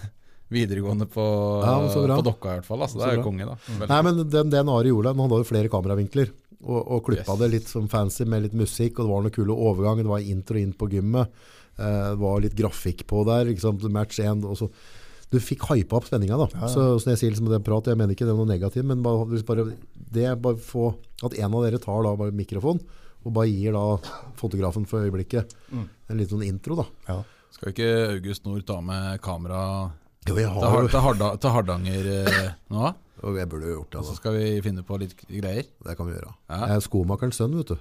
[SPEAKER 3] *laughs* videregående på,
[SPEAKER 2] Ja, men så bra.
[SPEAKER 3] på Dokka i hvert fall. Altså, det
[SPEAKER 2] Så
[SPEAKER 3] er
[SPEAKER 2] bra.
[SPEAKER 3] jo
[SPEAKER 2] Mm.
[SPEAKER 3] konge, da. Vel,
[SPEAKER 2] Nei, men den, den Are Joland, han hadde jo flere kameravinkler. Og, og klippa
[SPEAKER 3] Yes.
[SPEAKER 2] det litt som fancy med litt musikk, og det var noen kule overganger. Det var intro inn på gymmet. Eh, det var litt grafikk på der. Ikke sant? Match 1. Og så, du fikk hypa opp spenninga, da. Så, så når jeg sier liksom det er prat, jeg mener ikke det er noe negativt, men bare, hvis bare, det er bare få At en av dere tar da bare mikrofon, og bare gir da fotografen for Mm. øyeblikket en liten sånn intro, da.
[SPEAKER 1] Ja.
[SPEAKER 3] Skal ikke August Nord ta med kamera
[SPEAKER 2] Jo, jeg
[SPEAKER 3] Til,
[SPEAKER 2] har
[SPEAKER 3] har,
[SPEAKER 2] jo
[SPEAKER 3] til, Harda, til Hardanger eh, nå,
[SPEAKER 2] Og Jeg burde jo gjort det,
[SPEAKER 3] og så
[SPEAKER 2] altså.
[SPEAKER 3] skal vi finne på litt greier.
[SPEAKER 2] Det kan vi gjøre.
[SPEAKER 3] Ja.
[SPEAKER 2] Jeg er skomakerens sønn, vet du.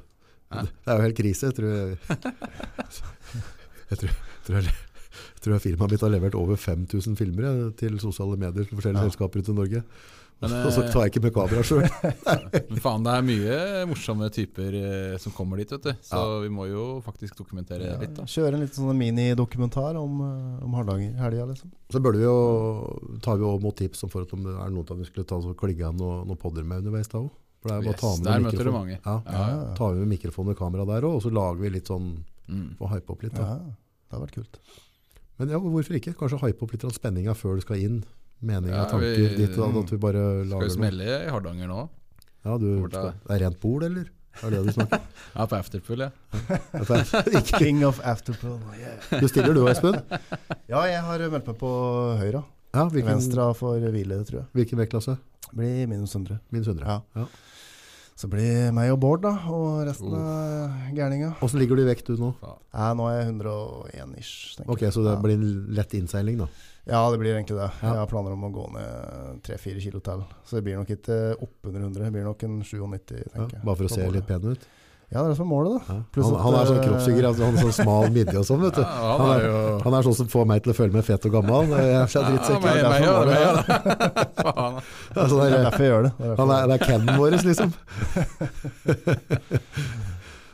[SPEAKER 3] Ja.
[SPEAKER 2] Det er jo helt krise. Jeg tror, jeg, *laughs* jeg tror, tror, jeg, tror jeg firmaet mitt har levert over 5000 filmer jeg, til sosiale medier til forskjellige selskaper ute i Norge.
[SPEAKER 3] Men,
[SPEAKER 2] *laughs* og så
[SPEAKER 3] eh,
[SPEAKER 2] tar jeg ikke med kamera sjøl.
[SPEAKER 3] Men faen, det er mye morsomme typer eh, som kommer dit, vet du. Så vi må jo faktisk dokumentere
[SPEAKER 1] Ja,
[SPEAKER 3] litt, da.
[SPEAKER 1] Kjøre en liten sånn minidokumentar om, eh, om Hardanger i helga, liksom.
[SPEAKER 2] Så burde vi jo, tar vi jo mot tips om for at om det er noen av vi skulle ta så kligge av noen, noen podder med underveis da òg. For det er jo bare å ta
[SPEAKER 3] Yes,
[SPEAKER 2] med
[SPEAKER 3] der
[SPEAKER 2] mikrofon.
[SPEAKER 3] møter du mange.
[SPEAKER 2] Ja,
[SPEAKER 3] Ja, ja.
[SPEAKER 1] ja.
[SPEAKER 2] tar vi med mikrofon og kamera der òg, og så lager vi litt sånn
[SPEAKER 3] Mm.
[SPEAKER 2] og hype opp litt.
[SPEAKER 1] Ja,
[SPEAKER 2] Da.
[SPEAKER 1] det har vært kult.
[SPEAKER 2] Men ja, hvorfor ikke? Kanskje hype opp litt av spenninga før du skal inn. Meninga,
[SPEAKER 3] Ja, vi-
[SPEAKER 2] tanker ditt og datt. At vi bare
[SPEAKER 3] Skal vi
[SPEAKER 2] lager noe.
[SPEAKER 3] smelle i Hardanger nå?
[SPEAKER 2] Ja, du,
[SPEAKER 3] Hvor
[SPEAKER 2] skal,
[SPEAKER 3] da?
[SPEAKER 2] det er rent bord, eller? Er det det du snakker
[SPEAKER 3] Ja, på Afterpool, ja.
[SPEAKER 2] *laughs* Dette er- *laughs* ikke-
[SPEAKER 1] King of afterpool. Yeah.
[SPEAKER 2] Du stiller du, Espen?
[SPEAKER 1] Ja, jeg har meldt meg på høyre.
[SPEAKER 2] Ja, hvilken,
[SPEAKER 1] Venstre får hvile, tror jeg.
[SPEAKER 2] hvilken vektklasse?
[SPEAKER 1] Blir minus 100.
[SPEAKER 2] Min Sundre.
[SPEAKER 1] Ja. Så blir meg og Bård, da, og resten av gærninga.
[SPEAKER 2] Åssen ligger du i vekt du nå?
[SPEAKER 1] Ja, nå er jeg 101 ish, tenker
[SPEAKER 2] Ok, Så det
[SPEAKER 1] Ja.
[SPEAKER 2] blir en lett innseiling, da.
[SPEAKER 1] Ja, det blir egentlig det.
[SPEAKER 2] Ja.
[SPEAKER 1] Jeg har planer om å gå ned 3-4 kilo til. Så det blir nok ikke oppunder 100, det blir nok en 97,
[SPEAKER 2] Ja,
[SPEAKER 1] tenker jeg.
[SPEAKER 2] bare for å
[SPEAKER 1] På
[SPEAKER 2] se
[SPEAKER 1] målet.
[SPEAKER 2] litt pen ut?
[SPEAKER 1] Ja, det er det som er målet, da.
[SPEAKER 2] Ja.
[SPEAKER 1] Pluss
[SPEAKER 2] Han,
[SPEAKER 1] at,
[SPEAKER 2] han er sånn
[SPEAKER 1] eh,
[SPEAKER 2] kroppsbygger, altså, han er sånn smal midje og sånn, vet du.
[SPEAKER 3] Ja, han
[SPEAKER 2] Han
[SPEAKER 3] er
[SPEAKER 2] er,
[SPEAKER 3] jo-
[SPEAKER 2] han er sånn som får meg til å føle meg fet og gammel. Jeg er fra drittsekk, det er
[SPEAKER 3] meg- meg
[SPEAKER 2] derfor
[SPEAKER 3] og
[SPEAKER 2] han
[SPEAKER 3] meg
[SPEAKER 2] er det.
[SPEAKER 3] og *laughs* det. Faen.
[SPEAKER 2] Det er sånn
[SPEAKER 1] Det er
[SPEAKER 2] der,
[SPEAKER 1] derfor jeg gjør det. det, er derfor
[SPEAKER 2] Han
[SPEAKER 1] jeg gjør det.
[SPEAKER 2] er, det er Ken vår, liksom.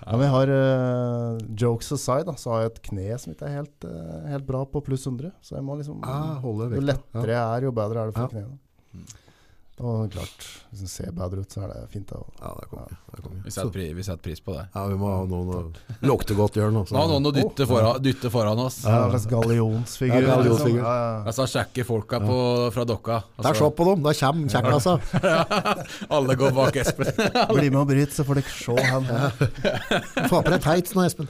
[SPEAKER 1] Ja, men jeg har eh, jokes aside, da, så har jeg et kne som ikke er helt, eh, helt bra på pluss 100. Så jeg må liksom
[SPEAKER 2] Ah, holder
[SPEAKER 1] Jo
[SPEAKER 2] vekta.
[SPEAKER 1] lettere jeg er, jo bedre er det for
[SPEAKER 2] Ja.
[SPEAKER 1] kneet. da. Og klart, hvis en ser bedre ut, så er det fint. Da.
[SPEAKER 2] Ja, det er konge. det er konge.
[SPEAKER 3] Vi setter pri- vi setter pris på det.
[SPEAKER 2] Ja, vi må ha noen å lukte godt, altså. Jørn.
[SPEAKER 3] Nå har noen å
[SPEAKER 1] Å.
[SPEAKER 3] dytte foran, dytte foran oss.
[SPEAKER 1] Ja, en slags gallionsfigur.
[SPEAKER 2] Ja, gallionsfigur.
[SPEAKER 1] Ja, ja.
[SPEAKER 3] Altså, sjekke folka på, fra dokka. Altså-
[SPEAKER 2] Der,
[SPEAKER 3] *laughs*
[SPEAKER 2] se på dem, der kommer kjekklassa.
[SPEAKER 3] Alle går bak Espen.
[SPEAKER 1] Bli med og bryt, så får dere se han.
[SPEAKER 2] Få på deg tights nå,
[SPEAKER 3] *laughs*
[SPEAKER 2] Espen.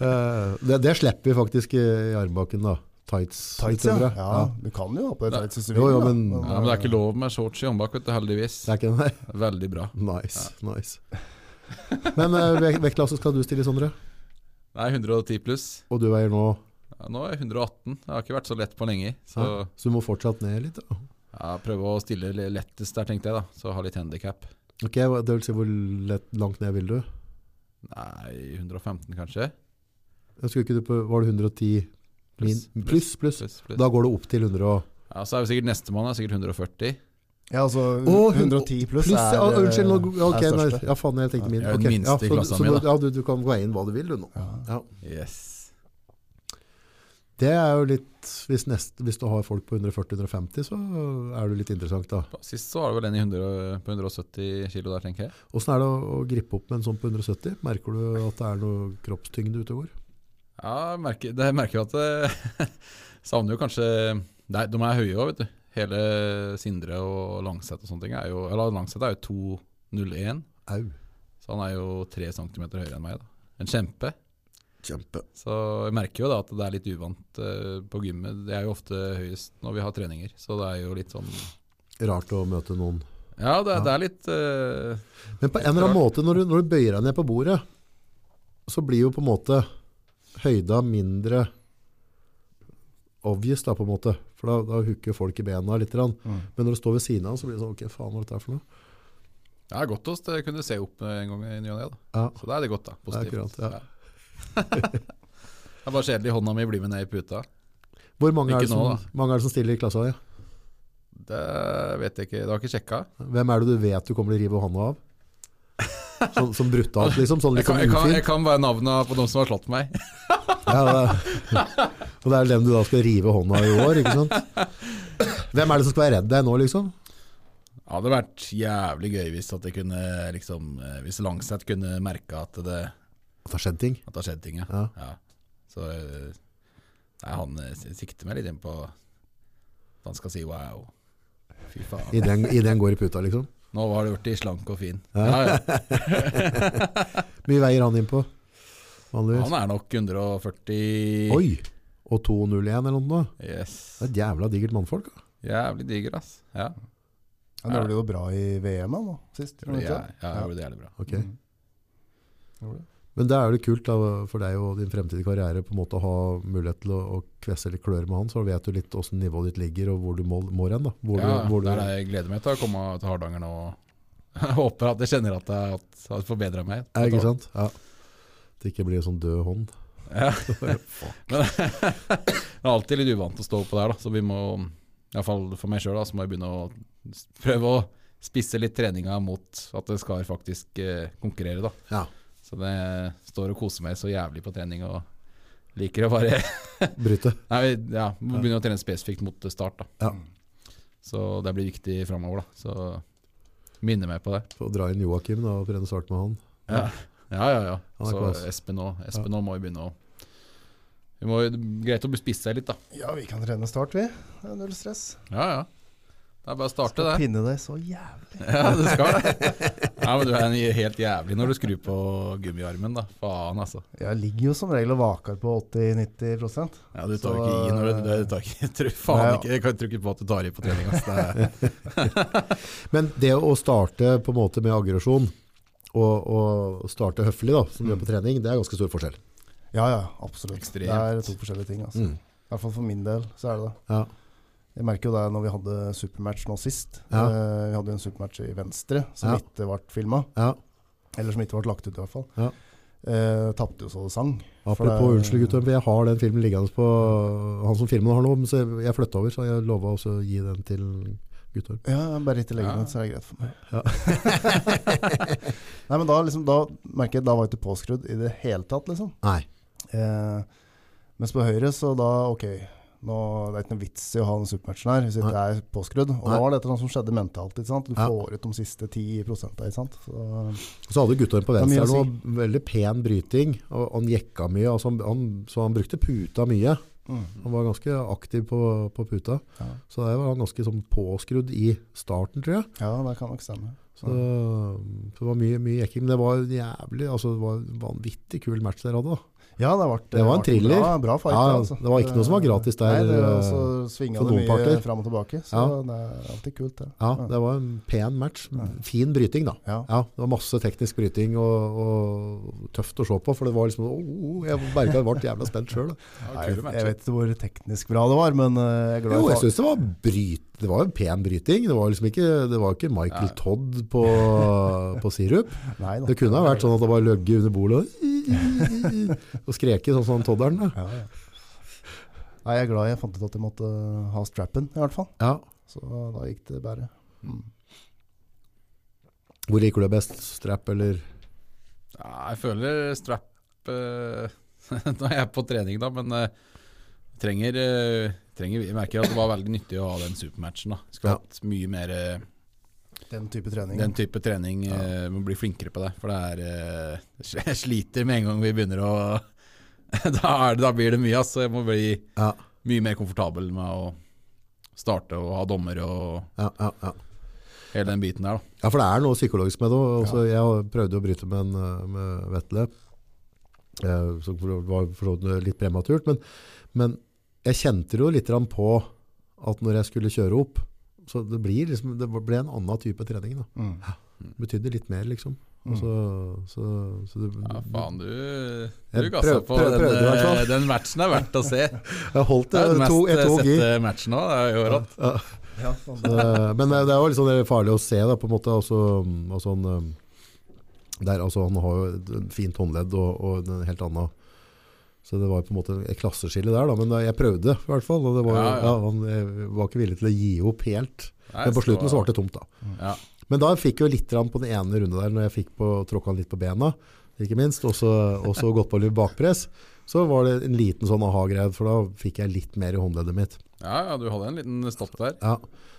[SPEAKER 2] Eh, det, det slipper vi faktisk i i armbaken, da. Tights.
[SPEAKER 1] Tights, ja.
[SPEAKER 2] utøvere.
[SPEAKER 1] ja. Du kan jo ha på deg tights hvis du vil.
[SPEAKER 2] Jo, jo,
[SPEAKER 1] da.
[SPEAKER 2] men-
[SPEAKER 3] Ja, men det er ikke lov med shorts i håndbak, vet du, heldigvis.
[SPEAKER 2] Det er ikke nei.
[SPEAKER 3] Veldig bra.
[SPEAKER 2] *laughs* Nice, nice. Men eh, vek- vektklasse skal du stille, Sondre?
[SPEAKER 3] Nei, 110 pluss.
[SPEAKER 2] Og du veier nå
[SPEAKER 3] Ja, nå er jeg 118. Det har ikke vært så lett på lenge. Så
[SPEAKER 2] Hæ? Så du må fortsatt ned litt? Da.
[SPEAKER 3] ja, prøve å stille le- lettest der, tenkte jeg, da. Så ha litt handikap.
[SPEAKER 2] Ok, hva- Det vil si hvor lett, langt ned vil du?
[SPEAKER 3] Nei, 115 kanskje?
[SPEAKER 2] Jeg skulle ikke du på, Var det 110
[SPEAKER 3] Pluss,
[SPEAKER 2] min, pluss, pluss?
[SPEAKER 3] Pluss, pluss.
[SPEAKER 2] Da går det opp til 100 og
[SPEAKER 3] Ja, så er vi sikkert nestemann, er sikkert 140.
[SPEAKER 1] Ja, altså
[SPEAKER 2] Å, hun-
[SPEAKER 1] 110 pluss,
[SPEAKER 2] Pluss,
[SPEAKER 1] er, eh,
[SPEAKER 2] ja, unnskyld, nå,
[SPEAKER 1] er
[SPEAKER 2] ok, nei,
[SPEAKER 1] største.
[SPEAKER 2] ja faen, jeg tenkte min.
[SPEAKER 3] Ja, den
[SPEAKER 2] Ok,
[SPEAKER 3] minste
[SPEAKER 2] ja, så, du-
[SPEAKER 3] klassa
[SPEAKER 2] så,
[SPEAKER 3] mi,
[SPEAKER 2] du-
[SPEAKER 3] da.
[SPEAKER 2] ja, du, du kan gå inn hva du vil du nå. Ja.
[SPEAKER 3] Yes.
[SPEAKER 2] Det er jo litt, hvis, nest, hvis du har folk på 140-150, så er du litt interessant da.
[SPEAKER 3] Sist så var det vel en i 100, og- på 170 kilo der, tenker jeg.
[SPEAKER 2] Hvordan er det å, å grippe opp med en sånn på 170? Merker du at det er noe kroppstyngde ute og går?
[SPEAKER 3] Ja, jeg merker, det jeg merker jo at det *laughs* savner jo kanskje Nei, de er høye òg, vet du. Hele Sindre og Langseth og sånne ting er jo Eller Langseth er jo 2,01,
[SPEAKER 2] Au,
[SPEAKER 3] så han er jo 3 cm høyere enn meg. da. En kjempe.
[SPEAKER 2] kjempe.
[SPEAKER 3] Så jeg merker jo da at det er litt uvant eh, på gymmet. Det er jo ofte høyest når vi har treninger, så det er jo litt sånn
[SPEAKER 2] Rart å møte noen.
[SPEAKER 3] Ja, det, er- det er litt eh,
[SPEAKER 2] Men på en eller annen måte, når du, når du bøyer deg ned på bordet, så blir jo på en måte høyda mindre obvious da, på en måte. For da, da hooker folk i bena litt. grann. Men når du står ved siden av, så blir det sånn, ok, faen, hva er dette her for noe?
[SPEAKER 3] Det er godt å st- kunne se opp en gang i ny og ne, da.
[SPEAKER 2] Ja,
[SPEAKER 3] Så da er det godt, da.
[SPEAKER 2] det er
[SPEAKER 3] Positivt.
[SPEAKER 2] akkurat, ja.
[SPEAKER 3] *laughs* Det er bare kjedelig. Hånda mi blir med ned i puta.
[SPEAKER 2] Hvor mange er,
[SPEAKER 3] Ikke
[SPEAKER 2] det som,
[SPEAKER 3] nå,
[SPEAKER 2] mange er det som stiller i klassa di?
[SPEAKER 3] Det vet jeg ikke. Det har jeg ikke sjekka.
[SPEAKER 2] Hvem er det du vet du kommer til å rive hånda
[SPEAKER 3] *laughs*
[SPEAKER 2] av? Sånn, sånn brutalt, liksom? Sånn
[SPEAKER 3] Jeg
[SPEAKER 2] litt
[SPEAKER 3] kan,
[SPEAKER 2] sånn
[SPEAKER 3] jeg, kan, jeg
[SPEAKER 2] ufint?
[SPEAKER 3] kan bare navnene på de som har slått meg.
[SPEAKER 2] Ja, det
[SPEAKER 3] *laughs*
[SPEAKER 2] er- og det er dem du da skal rive hånda av i år, ikke sant? Hvem er det som skal være redd deg nå, liksom?
[SPEAKER 3] Ja, det hadde vært jævlig gøy hvis at jeg kunne liksom eh, Hvis Langseth kunne merke at det,
[SPEAKER 2] At det har skjedd ting?
[SPEAKER 3] at det har skjedd ting, ja.
[SPEAKER 2] Ja.
[SPEAKER 3] Ja. Så eh, Nei, han eh, s- sikter meg litt inn på at han skal si wow. Fy faen.
[SPEAKER 2] Idet den, i den går i puta, liksom?
[SPEAKER 3] Nå har du blitt slank og fin.
[SPEAKER 2] Ja.
[SPEAKER 3] Ja, ja.
[SPEAKER 2] Mye veier han inn på? Vanligvis.
[SPEAKER 3] Han er nok 140
[SPEAKER 2] Oi! Og 201 eller noe. nå.
[SPEAKER 3] Yes.
[SPEAKER 2] Det er et jævla digert mannfolk. da.
[SPEAKER 3] Jævlig diger, ass. Ja.
[SPEAKER 1] Han gjorde det jo bra i VM da, sist.
[SPEAKER 3] Ja,
[SPEAKER 1] gjorde han
[SPEAKER 3] ja,
[SPEAKER 1] ikke det?
[SPEAKER 3] jeg gjorde det jævlig bra.
[SPEAKER 2] Ok.
[SPEAKER 1] Mm. Gjorde det.
[SPEAKER 2] Men det er jo litt kult da, for deg og din fremtidige karriere på en måte å ha mulighet til å, å kvesse litt klør med han, så vet du litt hvordan nivået ditt ligger og hvor du må, må hen. da. Hvor
[SPEAKER 3] ja,
[SPEAKER 2] du, hvor du,
[SPEAKER 3] det er det jeg gleder meg til å komme til Hardanger nå. Jeg *laughs* håper at jeg kjenner at jeg at- at jeg forbedrer meg.
[SPEAKER 2] Ja, ikke sant? Ja. At det ikke blir en sånn død hånd. *laughs*
[SPEAKER 3] Ja.
[SPEAKER 2] Fuck.
[SPEAKER 3] Men *laughs* det er alltid litt uvant å stå oppå der, da. så vi må, iallfall for meg sjøl, så må jeg begynne å s- prøve å spisse litt treninga mot at jeg skal faktisk eh, konkurrere, da.
[SPEAKER 2] Ja.
[SPEAKER 3] Så det står og koser meg så jævlig på trening og liker å bare *laughs*
[SPEAKER 2] Bryte.
[SPEAKER 3] Nei, ja, må begynne å trene spesifikt mot start, da.
[SPEAKER 2] Ja.
[SPEAKER 3] Så det blir viktig framover, da. Så minner meg på det.
[SPEAKER 2] Få dra inn Joakim da, og prøve å starte med han.
[SPEAKER 3] Ja, *laughs* ja, ja. ja.
[SPEAKER 2] Han er
[SPEAKER 3] Så
[SPEAKER 2] kvass.
[SPEAKER 3] Espen òg. Espen òg må jo begynne å vi må, jo- Greit å spisse seg litt, da.
[SPEAKER 1] Ja, vi kan trene start, vi. Det er null stress.
[SPEAKER 3] Ja, ja. Det er bare å starte,
[SPEAKER 1] Skal
[SPEAKER 3] det.
[SPEAKER 1] pinne deg så jævlig.
[SPEAKER 3] Ja, du skal det. Ja, men du er en helt jævlig når du skrur på gummiarmen, da. Faen, altså.
[SPEAKER 1] Jeg ligger jo som regel og vaker på 80-90
[SPEAKER 3] Ja, Du
[SPEAKER 1] tar jo ikke i når du- du
[SPEAKER 3] tar ikke,
[SPEAKER 1] faen ikke-
[SPEAKER 3] Jeg tror ikke på at du tar i på trening.
[SPEAKER 2] Men det å starte på en måte med aggresjon, og, og starte høflig da, som du gjør
[SPEAKER 3] Mm.
[SPEAKER 2] på trening, det er ganske stor forskjell.
[SPEAKER 1] Ja, ja, absolutt.
[SPEAKER 3] Ekstremt.
[SPEAKER 1] Det er to forskjellige ting. Altså.
[SPEAKER 3] Mm.
[SPEAKER 1] I hvert fall for min del så er det det.
[SPEAKER 2] Mm. Ja.
[SPEAKER 1] Jeg merker jo det når vi hadde supermatch nå sist.
[SPEAKER 2] Ja.
[SPEAKER 1] Eh, vi hadde jo en supermatch i Venstre som
[SPEAKER 2] Ja.
[SPEAKER 1] ikke ble filma.
[SPEAKER 2] ja.
[SPEAKER 1] Eller som ikke ble lagt ut, i hvert fall.
[SPEAKER 2] Ja.
[SPEAKER 1] Eh, Tapte jo så det sang. For det-
[SPEAKER 2] Apropos unnskyld gutter, men jeg har den filmen liggende på han som filmen har nå, men så jeg- jeg flyttet over, så jeg lovet også å gi den til gutter.
[SPEAKER 1] Ja, bare ikke legge
[SPEAKER 3] Ja.
[SPEAKER 1] den ut, så er det greit for meg.
[SPEAKER 2] Ja.
[SPEAKER 1] *laughs* Nei, men da, liksom, da merker jeg da var jeg ikke påskrudd i det hele tatt, liksom.
[SPEAKER 2] Nei.
[SPEAKER 1] Eh, mens på høyre, så da ok nå, Det er ikke noe vits i å ha den supermatchen her hvis ikke jeg er påskrudd. Og
[SPEAKER 2] Nei.
[SPEAKER 1] da var det et eller annet som skjedde mentalt. ikke sant? Du
[SPEAKER 2] Ja.
[SPEAKER 1] får ut de siste 10 prosentene, ikke sant? Så,
[SPEAKER 2] Og så hadde gutta på
[SPEAKER 1] Det er mye
[SPEAKER 2] venstre
[SPEAKER 1] å
[SPEAKER 2] noe veldig pen bryting, og han jekka mye, altså han, han, så han brukte puta mye. Han var ganske aktiv på, på puta,
[SPEAKER 1] Mm. ja.
[SPEAKER 2] så der var han ganske sånn påskrudd i starten, tror jeg.
[SPEAKER 1] ja, det kan nok stemme.
[SPEAKER 2] Så, så det var mye, mye jekking, men det var en jævlig, altså det var en vanvittig kul match dere hadde da.
[SPEAKER 1] Ja, det, ble,
[SPEAKER 2] Det var en
[SPEAKER 1] ble
[SPEAKER 2] thriller.
[SPEAKER 1] Bra, bra fight,
[SPEAKER 2] Ja, ja,
[SPEAKER 1] altså.
[SPEAKER 2] det var ikke noe som var gratis der,
[SPEAKER 1] Nei, det, så
[SPEAKER 2] eh, for
[SPEAKER 1] svinga
[SPEAKER 2] noen
[SPEAKER 1] det mye
[SPEAKER 2] parter.
[SPEAKER 1] fram og tilbake. Så
[SPEAKER 2] Ja.
[SPEAKER 1] det er alltid kult, det.
[SPEAKER 2] Ja, det var en pen match. Fin bryting, da.
[SPEAKER 1] Ja.
[SPEAKER 2] Ja, det var masse teknisk bryting og, og tøft å se på, for det var liksom oh, oh, Jeg merka jeg ble jævla spent sjøl.
[SPEAKER 1] Nei, jeg vet ikke hvor teknisk bra det var, men eh, jeg er glad
[SPEAKER 2] Jo, jeg
[SPEAKER 1] jeg
[SPEAKER 2] syns det var bryt, Det var en pen bryting. Det var liksom ikke, det var ikke Michael
[SPEAKER 3] Nei.
[SPEAKER 2] Todd på, på sirup.
[SPEAKER 1] tar- Nei da.
[SPEAKER 2] Det kunne ha vært sånn at det var løgge under bordet og, og skreke sånn som Todderen. Da.
[SPEAKER 1] Ja, ja. Nei, jeg er glad jeg fant ut at jeg måtte eh, ha strappen, i hvert fall.
[SPEAKER 2] Ja.
[SPEAKER 1] Så da gikk det bare.
[SPEAKER 2] Hvor liker du det best? Strap eller
[SPEAKER 3] Ja, jeg føler strap eh, *laughs* når jeg er på trening, da, men eh, trenger, eh, trenger Jeg merker at det var veldig nyttig å ha den supermatchen. da Skulle
[SPEAKER 2] Ja.
[SPEAKER 3] hatt mye mer eh,
[SPEAKER 1] Den type trening.
[SPEAKER 3] den type trening. eh, Må bli flinkere på det, for det er eh, *laughs* Jeg sliter med en gang vi begynner å *laughs* da, er det, da blir det mye, ass. Så jeg må bli
[SPEAKER 2] Ja,
[SPEAKER 3] mye mer komfortabel med å starte og ha dommere og
[SPEAKER 2] ja, ja. ja.
[SPEAKER 3] hele den biten der, da.
[SPEAKER 2] Ja, for det er noe psykologisk med det. og- Også, Altså, Jeg prøvde å bryte med, en, eh, med Vetle, eh, som for- var for så vidt litt prematurt. Men, men jeg kjente jo litt grann på at når jeg skulle kjøre opp, så det, blir liksom, det ble en annen type trening. Da.
[SPEAKER 1] Mm.
[SPEAKER 2] Det betydde litt mer, liksom. Og så, så, så det,
[SPEAKER 3] Mm. Ja, faen, du, du
[SPEAKER 2] Jeg
[SPEAKER 3] gassa
[SPEAKER 2] prøv-
[SPEAKER 3] på
[SPEAKER 2] prøv- prøvde i
[SPEAKER 3] den,
[SPEAKER 2] hvert
[SPEAKER 3] eh,
[SPEAKER 2] fall.
[SPEAKER 3] den matchen er verdt å
[SPEAKER 2] *laughs*
[SPEAKER 3] se.
[SPEAKER 2] jeg holdt
[SPEAKER 3] Det er
[SPEAKER 2] det,
[SPEAKER 3] den
[SPEAKER 2] jeg
[SPEAKER 3] mest
[SPEAKER 2] tok, jeg tok i.
[SPEAKER 3] sette matchen òg, det er jo rått.
[SPEAKER 2] Ja.
[SPEAKER 1] Ja, sånn.
[SPEAKER 2] Eh, Men det er jo litt sånn eh, farlig å se da, på en måte. Altså, mm, altså, han, eh, der, altså, han har jo et et fint håndledd og, og en helt annen så det var på en måte et klasseskille der, da, men eh, jeg prøvde i hvert fall. Og det var, ja,
[SPEAKER 3] Ja, ja.
[SPEAKER 2] han, jeg var ikke villig til å gi opp helt.
[SPEAKER 3] Nei,
[SPEAKER 2] men på slutten så
[SPEAKER 3] var-
[SPEAKER 2] ble det tomt, da.
[SPEAKER 3] Ja.
[SPEAKER 2] Men da fikk jeg jo litt grann på den ene runden der, når jeg fikk på, tråkka han litt på bena, ikke minst, og så og så gått på litt bakpress. Så var det en liten sånn aha-greie, for da fikk jeg litt mer i håndleddet mitt.
[SPEAKER 3] Ja, ja, du hadde en liten stopp der.
[SPEAKER 2] Ja,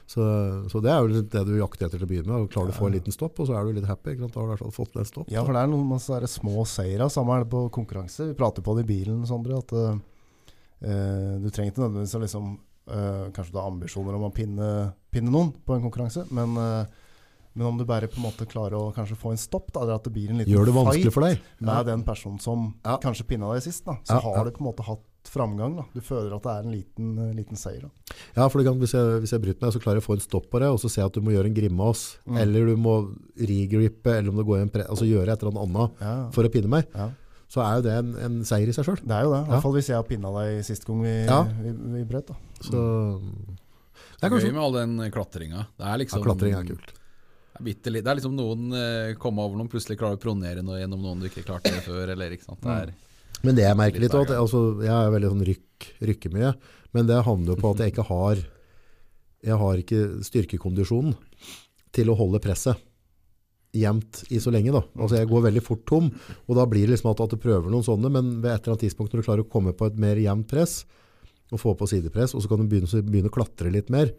[SPEAKER 2] så, så det er jo litt det du jakter etter til å begynne med. og Klarer du å få en liten stopp, og så er du litt happy. Ikke sant? Da har du i hvert fall fått en stopp.
[SPEAKER 1] ja, for det er noen masse sånne små seire. Samme er det på konkurranse. Vi prater på det i bilen, Sondre, at eh, du trenger ikke nødvendigvis å liksom eh, Kanskje du har ambisjoner om å pinne, pinne noen på en konkurranse, men, eh, men om du bare på en måte klarer å kanskje få en stopp, da, eller at det blir en liten
[SPEAKER 2] Gjør det
[SPEAKER 1] fight
[SPEAKER 2] vanskelig for deg.
[SPEAKER 1] med den personen som
[SPEAKER 2] Ja.
[SPEAKER 1] kanskje pinna deg sist, da, så
[SPEAKER 2] Ja, ja.
[SPEAKER 1] har du på en måte hatt framgang. da. Du føler at det er en liten, eh, liten seier. da.
[SPEAKER 2] Ja, for det kan, hvis, jeg, hvis jeg bryter meg, så klarer jeg å få en stopp på det, og så ser jeg at du må gjøre en grimas,
[SPEAKER 1] Mm.
[SPEAKER 2] eller du må regrippe, eller om det går i en pre... Altså gjøre et eller annet annet
[SPEAKER 1] Ja,
[SPEAKER 2] for å pinne meg.
[SPEAKER 1] ja.
[SPEAKER 2] så er jo det en, en seier i seg sjøl.
[SPEAKER 1] Det er jo det. I
[SPEAKER 2] Ja.
[SPEAKER 1] hvert fall hvis jeg har pinna deg sist gang vi,
[SPEAKER 2] Ja.
[SPEAKER 1] vi, vi brøt. Da.
[SPEAKER 2] Så
[SPEAKER 1] Mm.
[SPEAKER 2] det
[SPEAKER 3] Det
[SPEAKER 2] er
[SPEAKER 3] er gøy
[SPEAKER 2] kanskje
[SPEAKER 3] med all den klatringa. Det er
[SPEAKER 2] ja,
[SPEAKER 3] liksom
[SPEAKER 2] Klatring er kult.
[SPEAKER 3] Det er, bitte litt- det er liksom noen eh, komme over noen plutselig klarer å pronere noe gjennom noen du ikke klarte det før, eller ikke sant. Det er,
[SPEAKER 2] Men det jeg merker
[SPEAKER 3] Litt
[SPEAKER 2] litt også, at
[SPEAKER 3] hver
[SPEAKER 2] jeg- altså, jeg er veldig sånn rykk, rykker mye, men det handler jo på at jeg ikke har jeg har ikke styrkekondisjonen til å holde presset jevnt i så lenge da. Altså jeg går veldig fort tom, og da blir det liksom at, at du prøver noen sånne, men ved et eller annet tidspunkt når du klarer å komme på et mer jevnt press, og få på sidepress, og så kan du begynne, så begynne å klatre litt mer.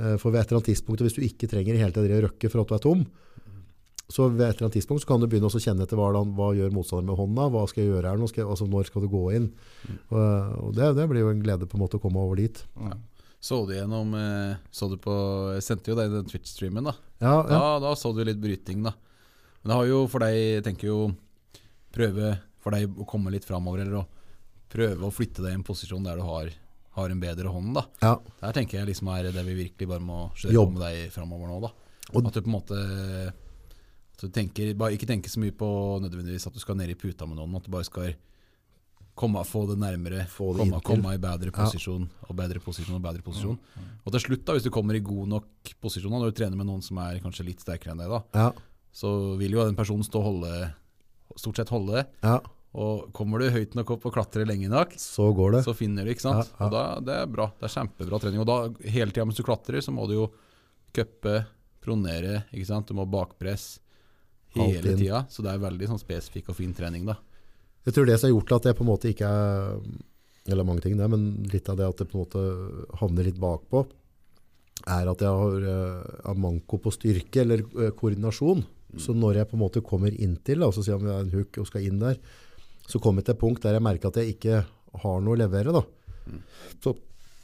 [SPEAKER 2] Eh, For ved et eller annet tidspunkt, hvis du ikke trenger hele tiden å røkke for at du er tom, så ved et eller annet tidspunkt så kan du begynne også å kjenne etter hva, hva gjør motstanderen med hånda, hva skal jeg gjøre her nå, skal jeg, altså når skal du gå inn? Og, og det, det blir jo en glede på en måte å komme over dit.
[SPEAKER 3] så du gjennom eh, Så du på Jeg sendte jo deg den Twitch-streamen, da.
[SPEAKER 2] Ja,
[SPEAKER 3] Da,
[SPEAKER 2] ja.
[SPEAKER 3] da så du litt bryting, da. Men det har jo for deg Jeg tenker jo prøve for deg å komme litt framover, eller å prøve å flytte deg i en posisjon der du har, har en bedre hånd, da.
[SPEAKER 2] ja.
[SPEAKER 3] Der tenker jeg liksom er det vi virkelig bare må kjøre
[SPEAKER 2] Jobb.
[SPEAKER 3] på med deg framover nå, da.
[SPEAKER 2] Og-
[SPEAKER 3] at du på en måte at du tenker, bare Ikke tenker så mye på nødvendigvis at du skal ned i puta med noen, at du bare skal komme, få det nærmere,
[SPEAKER 2] Få det
[SPEAKER 3] komme,
[SPEAKER 2] inntil.
[SPEAKER 3] komme i bedre posisjon og bedre posisjon og bedre posisjon. Og til slutt, da, hvis du kommer i god nok posisjon, da, når du trener med noen som er kanskje litt sterkere enn deg, da,
[SPEAKER 2] ja,
[SPEAKER 3] så vil jo den personen stå og holde, stort sett holde.
[SPEAKER 2] ja.
[SPEAKER 3] Og kommer du høyt nok opp og klatrer lenge nok,
[SPEAKER 2] Så går det.
[SPEAKER 3] så finner du, ikke sant?
[SPEAKER 2] Ja, ja.
[SPEAKER 3] Og da, det er bra. Det er kjempebra trening. Og da, hele tida mens du klatrer, så må du jo cuppe, pronere, ikke sant? Du må bakpress
[SPEAKER 2] Alt
[SPEAKER 3] hele
[SPEAKER 2] inn.
[SPEAKER 3] tida. Så det er veldig sånn spesifikk og fin trening, da.
[SPEAKER 2] Jeg tror det som har gjort at jeg på en måte ikke er, eller mange ting der, men litt av det at jeg på en måte havner litt bakpå, er at jeg har, eh, har manko på styrke eller eh, koordinasjon. Så når jeg på en måte kommer inntil, da, og så sier jeg om jeg er en hook og skal inn der, så kommer jeg til et punkt der jeg merker at jeg ikke har noe å levere. Da. Så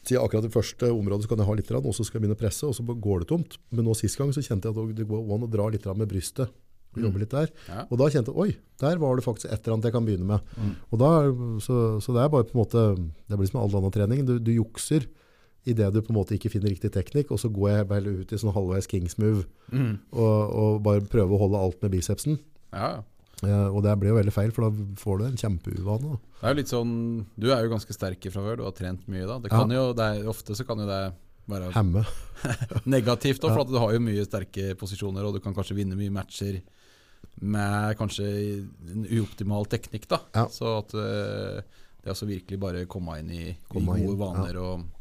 [SPEAKER 2] til akkurat det første området så kan jeg ha litt, grann, og så skal jeg begynne å presse, og så går det tomt. Men nå sist gang så kjente jeg at det går an å dra litt grann med brystet. Jobbe litt der.
[SPEAKER 3] Ja. Mm.
[SPEAKER 2] Og da kjente jeg, oi, der var det faktisk et eller annet jeg kan begynne med. Og da, så, så det er bare på en måte, det blir som all annen trening, du, du jukser i det du på en måte ikke finner riktig teknikk, og så går jeg bare ut i sånn halvveis kings move,
[SPEAKER 3] Mm.
[SPEAKER 2] og, og bare prøver å holde alt med bicepsen.
[SPEAKER 3] Ja, ja.
[SPEAKER 2] Eh, og det blir jo veldig feil, for da får du en kjempeuvane. da.
[SPEAKER 3] Det er jo litt sånn Du er jo ganske sterk fra før, du har trent mye da. Det kan jo, det er, ofte så kan jo det være
[SPEAKER 2] Hemme.
[SPEAKER 3] negativt, da, for at du har jo mye sterke posisjoner, og du kan kanskje vinne mye matcher med kanskje en uoptimal teknikk. da.
[SPEAKER 2] Ja.
[SPEAKER 3] Så at eh, det er altså virkelig bare å komme inn i,
[SPEAKER 2] Komme
[SPEAKER 3] i gode
[SPEAKER 2] inn,
[SPEAKER 3] vaner. og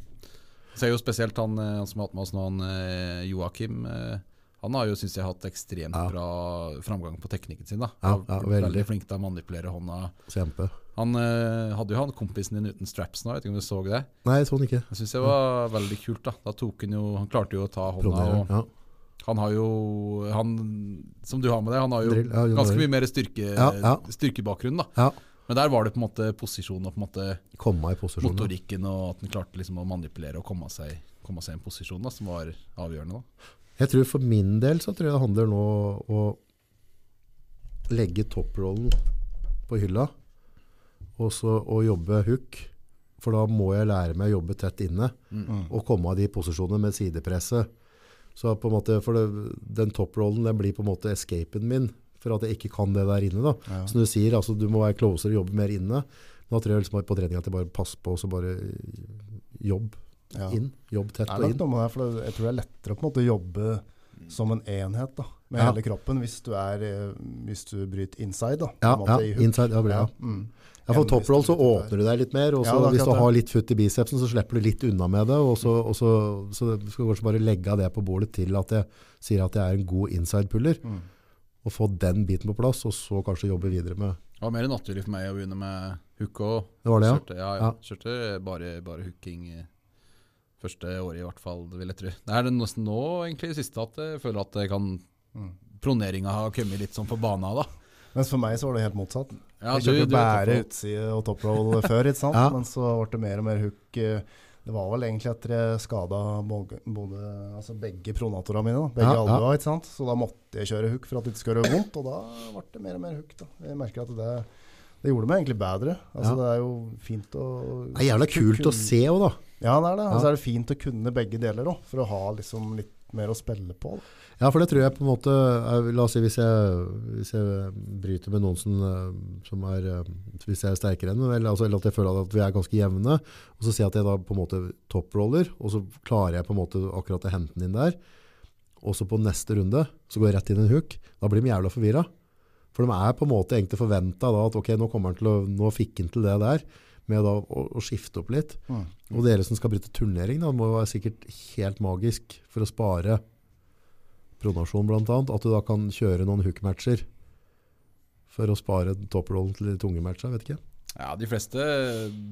[SPEAKER 3] så er jo spesielt han, eh, han som har hatt med oss nå, han eh, Joakim. eh, Han har jo, synes jeg, hatt ekstremt
[SPEAKER 2] Ja.
[SPEAKER 3] bra framgang på teknikken sin. da.
[SPEAKER 2] Ja,
[SPEAKER 3] Han er
[SPEAKER 2] ja, veldig.
[SPEAKER 3] veldig flink til å manipulere hånda.
[SPEAKER 2] Kjempe.
[SPEAKER 3] Han eh, hadde jo han kompisen din uten straps nå, jeg vet ikke om du så det?
[SPEAKER 2] Nei, sånn ikke.
[SPEAKER 3] Jeg syns det var veldig kult. da. Da tok Han jo, han klarte jo å ta hånda og
[SPEAKER 2] Pronerer. Ja.
[SPEAKER 3] han har jo han, Som du har med deg, han har jo
[SPEAKER 2] Drill, ja, Jon
[SPEAKER 3] ganske
[SPEAKER 2] Arild.
[SPEAKER 3] mye mer styrke,
[SPEAKER 2] Ja, ja.
[SPEAKER 3] styrkebakgrunn. da
[SPEAKER 2] ja.
[SPEAKER 3] Men der var det på en måte posisjon og på en måte
[SPEAKER 2] Komme i posisjon. da.
[SPEAKER 3] motorikken, og at han klarte liksom å manipulere og komme seg, komme seg i en posisjon da som var avgjørende. da
[SPEAKER 2] Jeg tror for min del så tror jeg det handler nå å legge topprollen på hylla, og så å jobbe hook, for da må jeg lære meg å jobbe tett inne,
[SPEAKER 3] Mm.
[SPEAKER 1] Mm.
[SPEAKER 2] og komme av de posisjonene med sidepresset. Så på en måte, for det, den topprollen, den blir på en måte escapen min, for at jeg ikke kan det der inne da. Som du sier, altså du må være closer og jobbe mer inne. Men da tror jeg liksom på trening at jeg bare passer på, og så bare jobb
[SPEAKER 1] Ja.
[SPEAKER 2] inn, jobb tett
[SPEAKER 1] Det
[SPEAKER 2] og
[SPEAKER 1] er nok
[SPEAKER 2] inn. Mm.
[SPEAKER 1] noe med det, for det- jeg tror det er lettere å på en måte jobbe som en enhet da, med
[SPEAKER 2] Ja.
[SPEAKER 1] hele kroppen hvis du, er, eh, hvis du bryter inside. Da, på
[SPEAKER 2] Ja,
[SPEAKER 1] en måte,
[SPEAKER 2] ja,
[SPEAKER 1] i hook.
[SPEAKER 2] inside, ja, bra.
[SPEAKER 1] Ja, mm.
[SPEAKER 2] Ja, for
[SPEAKER 1] Enn
[SPEAKER 2] top
[SPEAKER 1] hvis
[SPEAKER 2] roll så
[SPEAKER 1] du tar-
[SPEAKER 2] åpner du deg litt mer, og så
[SPEAKER 1] Ja, det er
[SPEAKER 2] hvis du
[SPEAKER 1] akkurat det.
[SPEAKER 2] har litt futt i bicepsen, så slipper du litt unna med det, og så, og så, så skal du kanskje bare legge av det på bordet til at jeg sier at jeg er en god inside puller,
[SPEAKER 1] Mm.
[SPEAKER 2] og få den biten på plass, og så kanskje jobbe videre med
[SPEAKER 3] Det var mer naturlig for meg å begynne med hook og
[SPEAKER 2] Det var det, ja.
[SPEAKER 3] kjørte, ja, ja.
[SPEAKER 2] Ja.
[SPEAKER 3] kjørte bare, bare hooking eh, første året, i hvert fall, vil jeg tro. Det er det nesten nå, egentlig, det siste, at jeg føler at jeg kan
[SPEAKER 2] Mm.
[SPEAKER 3] Proneringa har kommet litt sånn på bana, da.
[SPEAKER 1] Mens for meg så var det helt motsatt.
[SPEAKER 3] Ja,
[SPEAKER 1] jeg kjørte
[SPEAKER 3] du-
[SPEAKER 1] jo
[SPEAKER 3] du er
[SPEAKER 1] bare
[SPEAKER 3] topp-
[SPEAKER 1] utside og top roll før, ikke sant?
[SPEAKER 2] *laughs* Ja.
[SPEAKER 1] men så ble det mer og mer hook. eh, Det var vel egentlig etter jeg skada både, både, altså begge pronatorene mine, da, begge
[SPEAKER 2] Ja, ja.
[SPEAKER 1] albua, ikke sant? så da måtte jeg kjøre hook for at det ikke skulle gjøre vondt, og da ble det mer og mer hook. Da. Jeg merker at det, det gjorde meg egentlig bedre. Altså,
[SPEAKER 2] Ja.
[SPEAKER 1] Det er jo fint å
[SPEAKER 2] Det er jævla kult å se også da.
[SPEAKER 1] Ja, det Altså, er det. Og
[SPEAKER 2] Ja.
[SPEAKER 1] så er det fint å kunne begge deler òg, for å ha liksom litt mer å spille på. Da.
[SPEAKER 2] Ja, for det tror jeg på en måte er- La oss si hvis jeg, hvis jeg bryter med noen som, eh, som er eh, Hvis jeg er sterkere enn eller, altså, eller at jeg føler at vi er ganske jevne, og så sier jeg at jeg da på en måte topproller, og så klarer jeg på en måte akkurat å hente den inn der, og så på neste runde så går jeg rett inn i en hook, da blir de jævla forvirra. For de er på en måte egentlig forventa da at ok, nå, kommer han til å, nå fikk han til det der, med da å, å skifte opp litt.
[SPEAKER 1] Mm.
[SPEAKER 2] Og dere som skal bryte turnering, da, må jo være sikkert helt magisk for å spare pronasjon blant annet, at du da kan kjøre noen hook-matcher for å spare topprollen til de tunge matcha, vet ikke.
[SPEAKER 3] Ja, de fleste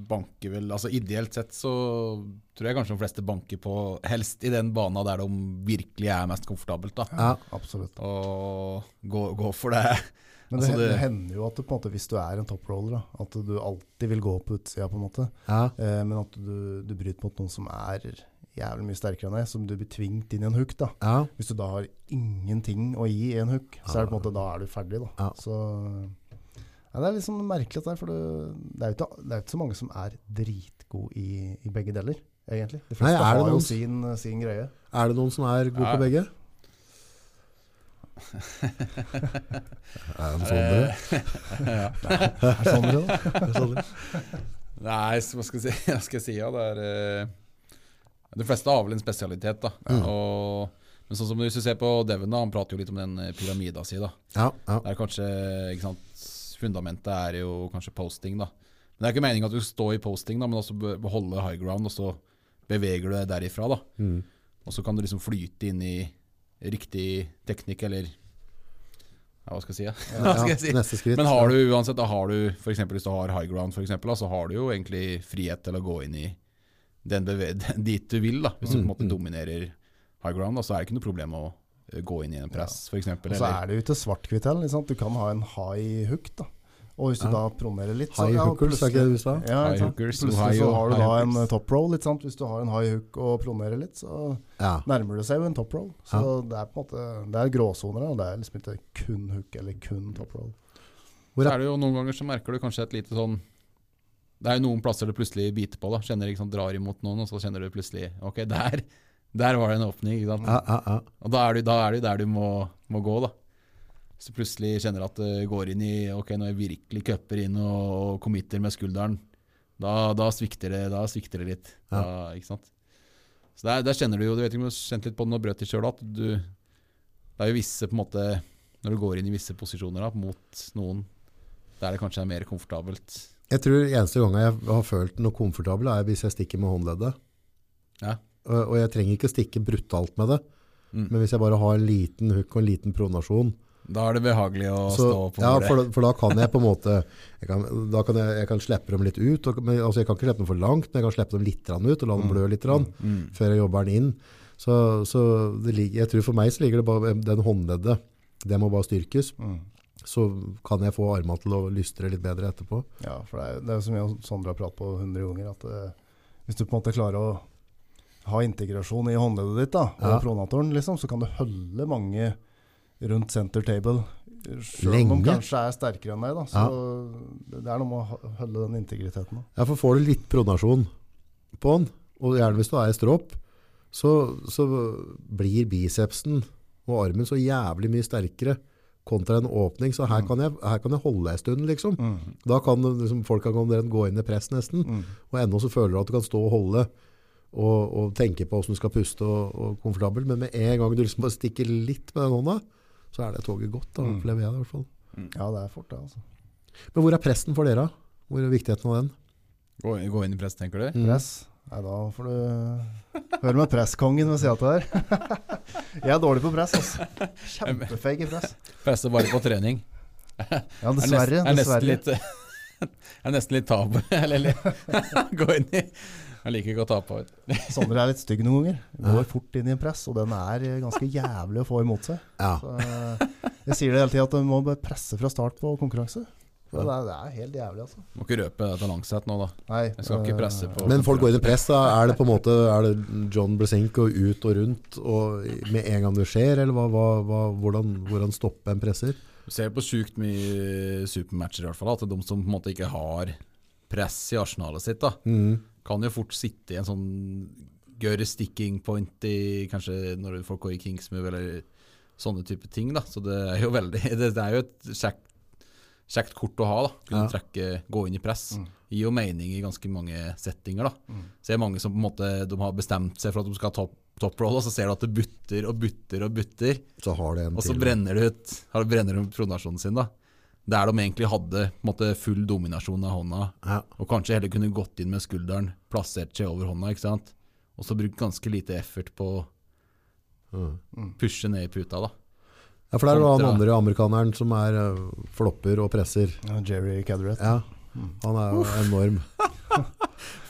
[SPEAKER 3] banker vel Altså Ideelt sett så tror jeg kanskje de fleste banker på helst i den bana der de virkelig er mest komfortabelt. da.
[SPEAKER 2] Ja,
[SPEAKER 1] Absolutt.
[SPEAKER 3] Og gå, gå for det.
[SPEAKER 1] Men det,
[SPEAKER 3] Altså, det-
[SPEAKER 1] det hender jo at du, på en måte, hvis du er en toproller, da, at du alltid vil gå på utsida, på en måte.
[SPEAKER 2] ja,
[SPEAKER 1] Eh, men at du, du bryter mot noen som er jævlig mye sterkere enn deg, som du blir tvingt inn i en hook. da.
[SPEAKER 2] ja.
[SPEAKER 1] Hvis du da har ingenting å gi i en hook, så er det på en måte, da er du ferdig. da.
[SPEAKER 2] Ja.
[SPEAKER 1] Så ja, Det er litt sånn merkelig, dette her, for det, det, er jo ikke, det er jo ikke så mange som er dritgode i, i begge deler, egentlig. De
[SPEAKER 2] Nei,
[SPEAKER 1] fleste
[SPEAKER 2] er det
[SPEAKER 1] har
[SPEAKER 2] noen
[SPEAKER 1] jo
[SPEAKER 2] s-
[SPEAKER 1] sin, sin greie.
[SPEAKER 2] Er det noen som er god
[SPEAKER 3] Ja.
[SPEAKER 2] på
[SPEAKER 3] *laughs*
[SPEAKER 2] begge? er det sånn
[SPEAKER 3] Eh, *laughs* ja.
[SPEAKER 1] Er det sånn det er, da?
[SPEAKER 2] dere?
[SPEAKER 3] Nei, så hva skal jeg si? *laughs* Hva skal jeg si ja, det er, eh, de fleste har vel en spesialitet, da. Og, men sånn som hvis du ser på Devon, da, han prater jo litt om den eh, pyramida si. da.
[SPEAKER 2] Ja, ja.
[SPEAKER 3] Det er kanskje, ikke sant, Fundamentet er jo kanskje posting, da. Men Det er ikke meningen at du står i posting, da, men også be- beholde high ground, og så beveger du deg derifra. da.
[SPEAKER 2] Mm.
[SPEAKER 3] Og så kan du liksom flyte inn i riktig teknikk, eller ja, hva skal jeg si? Ja? *laughs* Hva skal jeg si?
[SPEAKER 2] Ja, neste skritt.
[SPEAKER 3] Men har du uansett, da har du for eksempel, hvis du har high ground, for eksempel, da, så har du jo egentlig frihet til å gå inn i den beve *laughs* dit du vil. da. Hvis du på en måte
[SPEAKER 1] Mm.
[SPEAKER 3] dominerer high ground, da, så er det ikke noe problem å eh, gå inn i en press, for eksempel.
[SPEAKER 1] Og så er det jo ikke svart-hvitt heller. ikke sant? Du kan ha en high hook. da. Og hvis du da promeller litt
[SPEAKER 2] High
[SPEAKER 1] ja,
[SPEAKER 2] hookers, er ikke det du sa?
[SPEAKER 1] Ja,
[SPEAKER 3] High
[SPEAKER 1] ikke sant?
[SPEAKER 3] hookers,
[SPEAKER 1] Plutselig
[SPEAKER 3] high
[SPEAKER 1] så
[SPEAKER 3] og
[SPEAKER 1] har du
[SPEAKER 3] high
[SPEAKER 1] da en
[SPEAKER 3] hookers.
[SPEAKER 1] top roll. ikke sant? Hvis du har en high hook og promeller litt, så
[SPEAKER 2] Ja.
[SPEAKER 1] nærmer det seg jo en top roll. Så det er på en måte, det er gråsoner. da. Det er liksom ikke kun hook eller kun top roll.
[SPEAKER 2] Hvor
[SPEAKER 3] Så
[SPEAKER 2] er-
[SPEAKER 3] er det jo noen ganger så merker du kanskje et lite sånn Det er jo noen plasser du plutselig biter på. da Kjenner ikke sant, drar imot noen, og så kjenner du plutselig Ok, der, der var det en åpning. Ikke sant?
[SPEAKER 2] Ja, ja, ja.
[SPEAKER 3] Og da er du, da er du der du må, må gå, da. Hvis du plutselig kjenner at det går inn i Ok, når jeg virkelig cupper inn og, og committer med skulderen, da, da svikter det da svikter det litt. Da, ikke sant? Så der, der kjenner du jo Du vet ikke om du har kjent litt på det når brøt i sjøl, at du Det er jo visse på en måte Når du går inn i visse posisjoner da, mot noen der det kanskje er mer komfortabelt.
[SPEAKER 2] Jeg tror eneste gangen jeg har følt noe komfortabel er hvis jeg stikker med håndleddet.
[SPEAKER 3] Ja.
[SPEAKER 2] Og, og jeg trenger ikke stikke brutalt med det,
[SPEAKER 3] Mm.
[SPEAKER 2] men hvis jeg bare har en liten hook og en liten pronasjon,
[SPEAKER 3] Da er det behagelig å
[SPEAKER 2] så,
[SPEAKER 3] stå på
[SPEAKER 2] ja,
[SPEAKER 3] bordet.
[SPEAKER 2] for, da- for da kan jeg på en måte jeg kan, da kan jeg, jeg kan slippe dem litt ut, og, men, altså jeg kan ikke slippe dem for langt, men jeg kan slippe dem litt grann ut og la dem blø litt grann,
[SPEAKER 3] Mm.
[SPEAKER 2] før jeg jobber den inn. Så, så det ligger, jeg tror for meg så ligger det bare den håndleddet, det må bare styrkes,
[SPEAKER 3] Mm.
[SPEAKER 2] så kan jeg få armene til å lystre litt bedre etterpå.
[SPEAKER 1] Ja, for det er, det er jo som jeg og Sondre har pratet på 100 ganger, at eh, hvis du på en måte klarer å ha integrasjon i håndleddet ditt da, og
[SPEAKER 2] Ja.
[SPEAKER 1] pronatoren, liksom, så kan du holde mange rundt center table. Selv om
[SPEAKER 2] Lenge.
[SPEAKER 1] de kanskje er sterkere enn deg. Da, så det- det er noe med å ha- holde den integriteten. Da.
[SPEAKER 2] Ja, for får du litt pronasjon på den, og gjerne hvis du er i stropp, så, så blir bicepsen og armen så jævlig mye sterkere kontra en åpning, så her kan jeg, her kan jeg holde en stund, liksom. Da kan det liksom, folk kan omtrent gå inn i press nesten, og ennå så føler du at du kan stå og holde, og, og tenke på hvordan du skal puste og, og komfortabel, men med en gang du liksom bare stikker litt med den hånda, så er det toget godt, da opplever jeg det i hvert fall.
[SPEAKER 3] Mm.
[SPEAKER 1] Ja, det er fort det, altså.
[SPEAKER 2] Men hvor er pressen for dere? Hvor er viktigheten av den?
[SPEAKER 3] Gå, gå inn i press, tenker
[SPEAKER 2] Mm.
[SPEAKER 3] du?
[SPEAKER 1] Press. Nei, da får du høre med presskongen ved sida av her. *laughs* Jeg er dårlig på press, altså. Kjempefeig i press.
[SPEAKER 3] Presse bare på trening.
[SPEAKER 1] Ja,
[SPEAKER 3] Er
[SPEAKER 1] dessverre.
[SPEAKER 3] nesten- er nesten
[SPEAKER 1] dessverre.
[SPEAKER 3] litt- *laughs* Er nesten litt tabu. *laughs* Eller, eller gå inn i Jeg liker ikke å tape. vet du.
[SPEAKER 1] Sondre er litt stygg noen ganger. Går fort inn i en press, og den er eh, ganske jævlig å få imot seg.
[SPEAKER 2] Ja.
[SPEAKER 1] Så eh, jeg sier det hele tida at du må bare presse fra start på konkurranse. For Det er, det er helt jævlig, altså.
[SPEAKER 3] Må ikke røpe dette langsett nå, da.
[SPEAKER 1] Nei,
[SPEAKER 3] Jeg skal ikke
[SPEAKER 1] eh,
[SPEAKER 3] presse på.
[SPEAKER 2] Men folk går inn i press, da er det på en måte er det John Bresenko ut og rundt og med en gang det skjer, eller hva, hva, hva, hvordan, hvordan stoppe en presser?
[SPEAKER 3] Du ser på sjukt mye supermatcher, i hvert fall. At de som på en måte
[SPEAKER 1] Mm.
[SPEAKER 3] ikke har press i arsenalet sitt, da, kan jo fort sitte i en sånn gjøre sticking point i kanskje når folk går i kings move eller sånne type ting. da Så det er jo veldig *laughs* Det, det er jo et kjekt, kjekt kort å ha. da Kunne
[SPEAKER 2] Ja.
[SPEAKER 3] trekke, gå inn i press.
[SPEAKER 1] Mm.
[SPEAKER 3] Gir jo mening i ganske mange settinger. da
[SPEAKER 1] Mm.
[SPEAKER 3] Ser mange som på en måte De har bestemt seg for at de skal ha top, top roll, og så ser du at det butter og butter og butter.
[SPEAKER 2] Så har det en
[SPEAKER 3] Og så
[SPEAKER 2] til.
[SPEAKER 3] brenner det ut har- brenner de pronasjonen sin, da. Der de egentlig hadde på en måte, full dominasjon av hånda,
[SPEAKER 2] Ja.
[SPEAKER 3] og kanskje heller kunne gått inn med skulderen, plassert seg over hånda, ikke sant. Og så brukt ganske lite effort på å
[SPEAKER 2] Mm.
[SPEAKER 3] pushe ned i puta, da.
[SPEAKER 2] ja, for der er det han
[SPEAKER 3] Kontra-
[SPEAKER 2] andre amerikaneren som er øh, flopper og presser.
[SPEAKER 1] Ja, Jerry Cadrett.
[SPEAKER 2] Ja, han er jo enorm.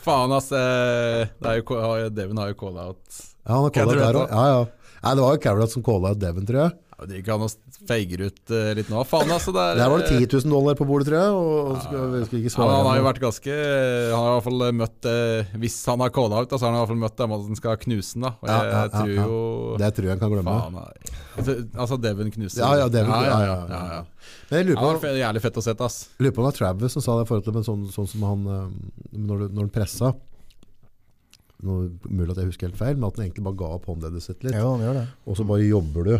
[SPEAKER 3] Faen, ass. eh, Det er jo, ko- har jo- Devin har jo calla out.
[SPEAKER 2] Ja, han har callet
[SPEAKER 3] Cadrett,
[SPEAKER 2] der
[SPEAKER 3] da.
[SPEAKER 2] også. Ja, ja. Nei, det var jo Carrot som calla ut Devon, tror jeg.
[SPEAKER 3] Ja, Det gikk an å feige ut eh, litt nå. Faen, altså. Det er,
[SPEAKER 2] Der var det 10 000 dollar på bordet, tror jeg. Og, og skal, vi skal ikke
[SPEAKER 3] Ja, men
[SPEAKER 2] svare
[SPEAKER 3] han har jo
[SPEAKER 2] ennå.
[SPEAKER 3] vært ganske Han har i hvert fall møtt eh, Hvis han har calla ut, da, så har han i hvert fall møtt dem som skal knuse den. da. Og
[SPEAKER 2] Ja,
[SPEAKER 3] jeg
[SPEAKER 2] ja, ja,
[SPEAKER 3] tror
[SPEAKER 2] ja.
[SPEAKER 3] jo
[SPEAKER 2] Det tror jeg han kan glemme.
[SPEAKER 3] Faen, nei. Altså- altså Devon knuser
[SPEAKER 2] Ja, ja, Devon-
[SPEAKER 3] ja, ja, ja,
[SPEAKER 2] ja, ja, ja.
[SPEAKER 3] ja,
[SPEAKER 2] Men jeg
[SPEAKER 3] Det
[SPEAKER 2] lurer på,
[SPEAKER 3] var fe- jævlig fett å sette, ass.
[SPEAKER 2] lurer på om det var Travis som sa det i forhold til men sånn, sånn som han eh, når, du- når han pressa nå, Mulig at jeg husker helt feil, men at han egentlig bare ga opp håndleddet sitt litt.
[SPEAKER 1] Ja, han gjør det.
[SPEAKER 2] Og så bare jobber du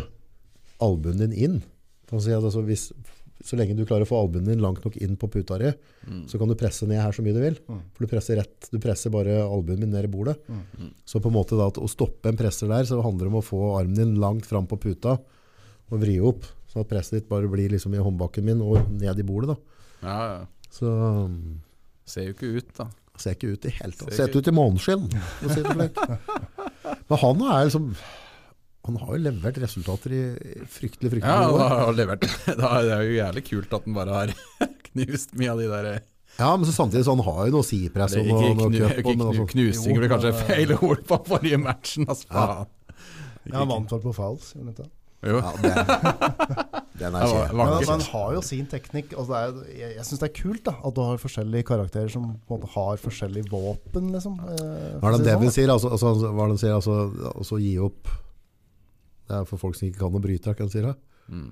[SPEAKER 2] albuen din inn. Han sier at altså, hvis, så lenge du klarer å få albuen din langt nok inn på puta di, så kan du presse ned her så mye du vil.
[SPEAKER 1] Mm.
[SPEAKER 2] For du presser rett, du presser bare albuen min ned i bordet.
[SPEAKER 1] Mm.
[SPEAKER 2] Så på en måte da, at å stoppe en presser der, så handler det om å få armen din langt fram på puta og vri opp, så at presset ditt bare blir liksom i håndbakken min og ned i bordet da.
[SPEAKER 3] Ja, ja.
[SPEAKER 2] Så um,
[SPEAKER 3] Ser jo ikke ut, da.
[SPEAKER 2] ser ikke ut i helt tatt.
[SPEAKER 3] Ser
[SPEAKER 2] Ser
[SPEAKER 3] ikke
[SPEAKER 2] ikke ut i måneskinn, for å si det
[SPEAKER 3] *laughs*
[SPEAKER 2] slik. Men han er liksom, han har jo levert resultater i i fryktelig, fryktelig
[SPEAKER 3] Ja,
[SPEAKER 2] år.
[SPEAKER 3] da har han levert. *laughs* Da er det jo jævlig kult at han bare har *laughs* knust mye av de der eh,
[SPEAKER 2] Ja, men så samtidig så han har jo noe sipress og
[SPEAKER 3] det, Ikke,
[SPEAKER 2] noe, noe
[SPEAKER 3] knu,
[SPEAKER 2] cup.
[SPEAKER 3] ikke
[SPEAKER 2] og- men
[SPEAKER 3] knu,
[SPEAKER 2] altså-
[SPEAKER 3] knusing
[SPEAKER 1] Jo,
[SPEAKER 3] blir kanskje
[SPEAKER 1] men-
[SPEAKER 3] feil ord på forrige matchen, ass.
[SPEAKER 2] Ja.
[SPEAKER 3] Faen.
[SPEAKER 1] Ja, han vant vel på fouls. gjorde han ikke det?
[SPEAKER 3] Jo.
[SPEAKER 2] Ja, den, *laughs* den er
[SPEAKER 3] Det var-
[SPEAKER 2] kjent.
[SPEAKER 3] var
[SPEAKER 1] Men
[SPEAKER 3] ikke-
[SPEAKER 1] han har jo sin teknikk. Altså det er, jeg jeg syns det er kult da, at du har forskjellige karakterer som på en måte har forskjellige våpen. Liksom, eh,
[SPEAKER 2] Hva er
[SPEAKER 1] for å si
[SPEAKER 2] det
[SPEAKER 1] det sånn,
[SPEAKER 2] Devin
[SPEAKER 1] da.
[SPEAKER 2] sier? Altså, altså, hva er det han sier? Altså, altså gi opp. Det er for folk som ikke kan å bryte, kan jeg si det.
[SPEAKER 3] Mm.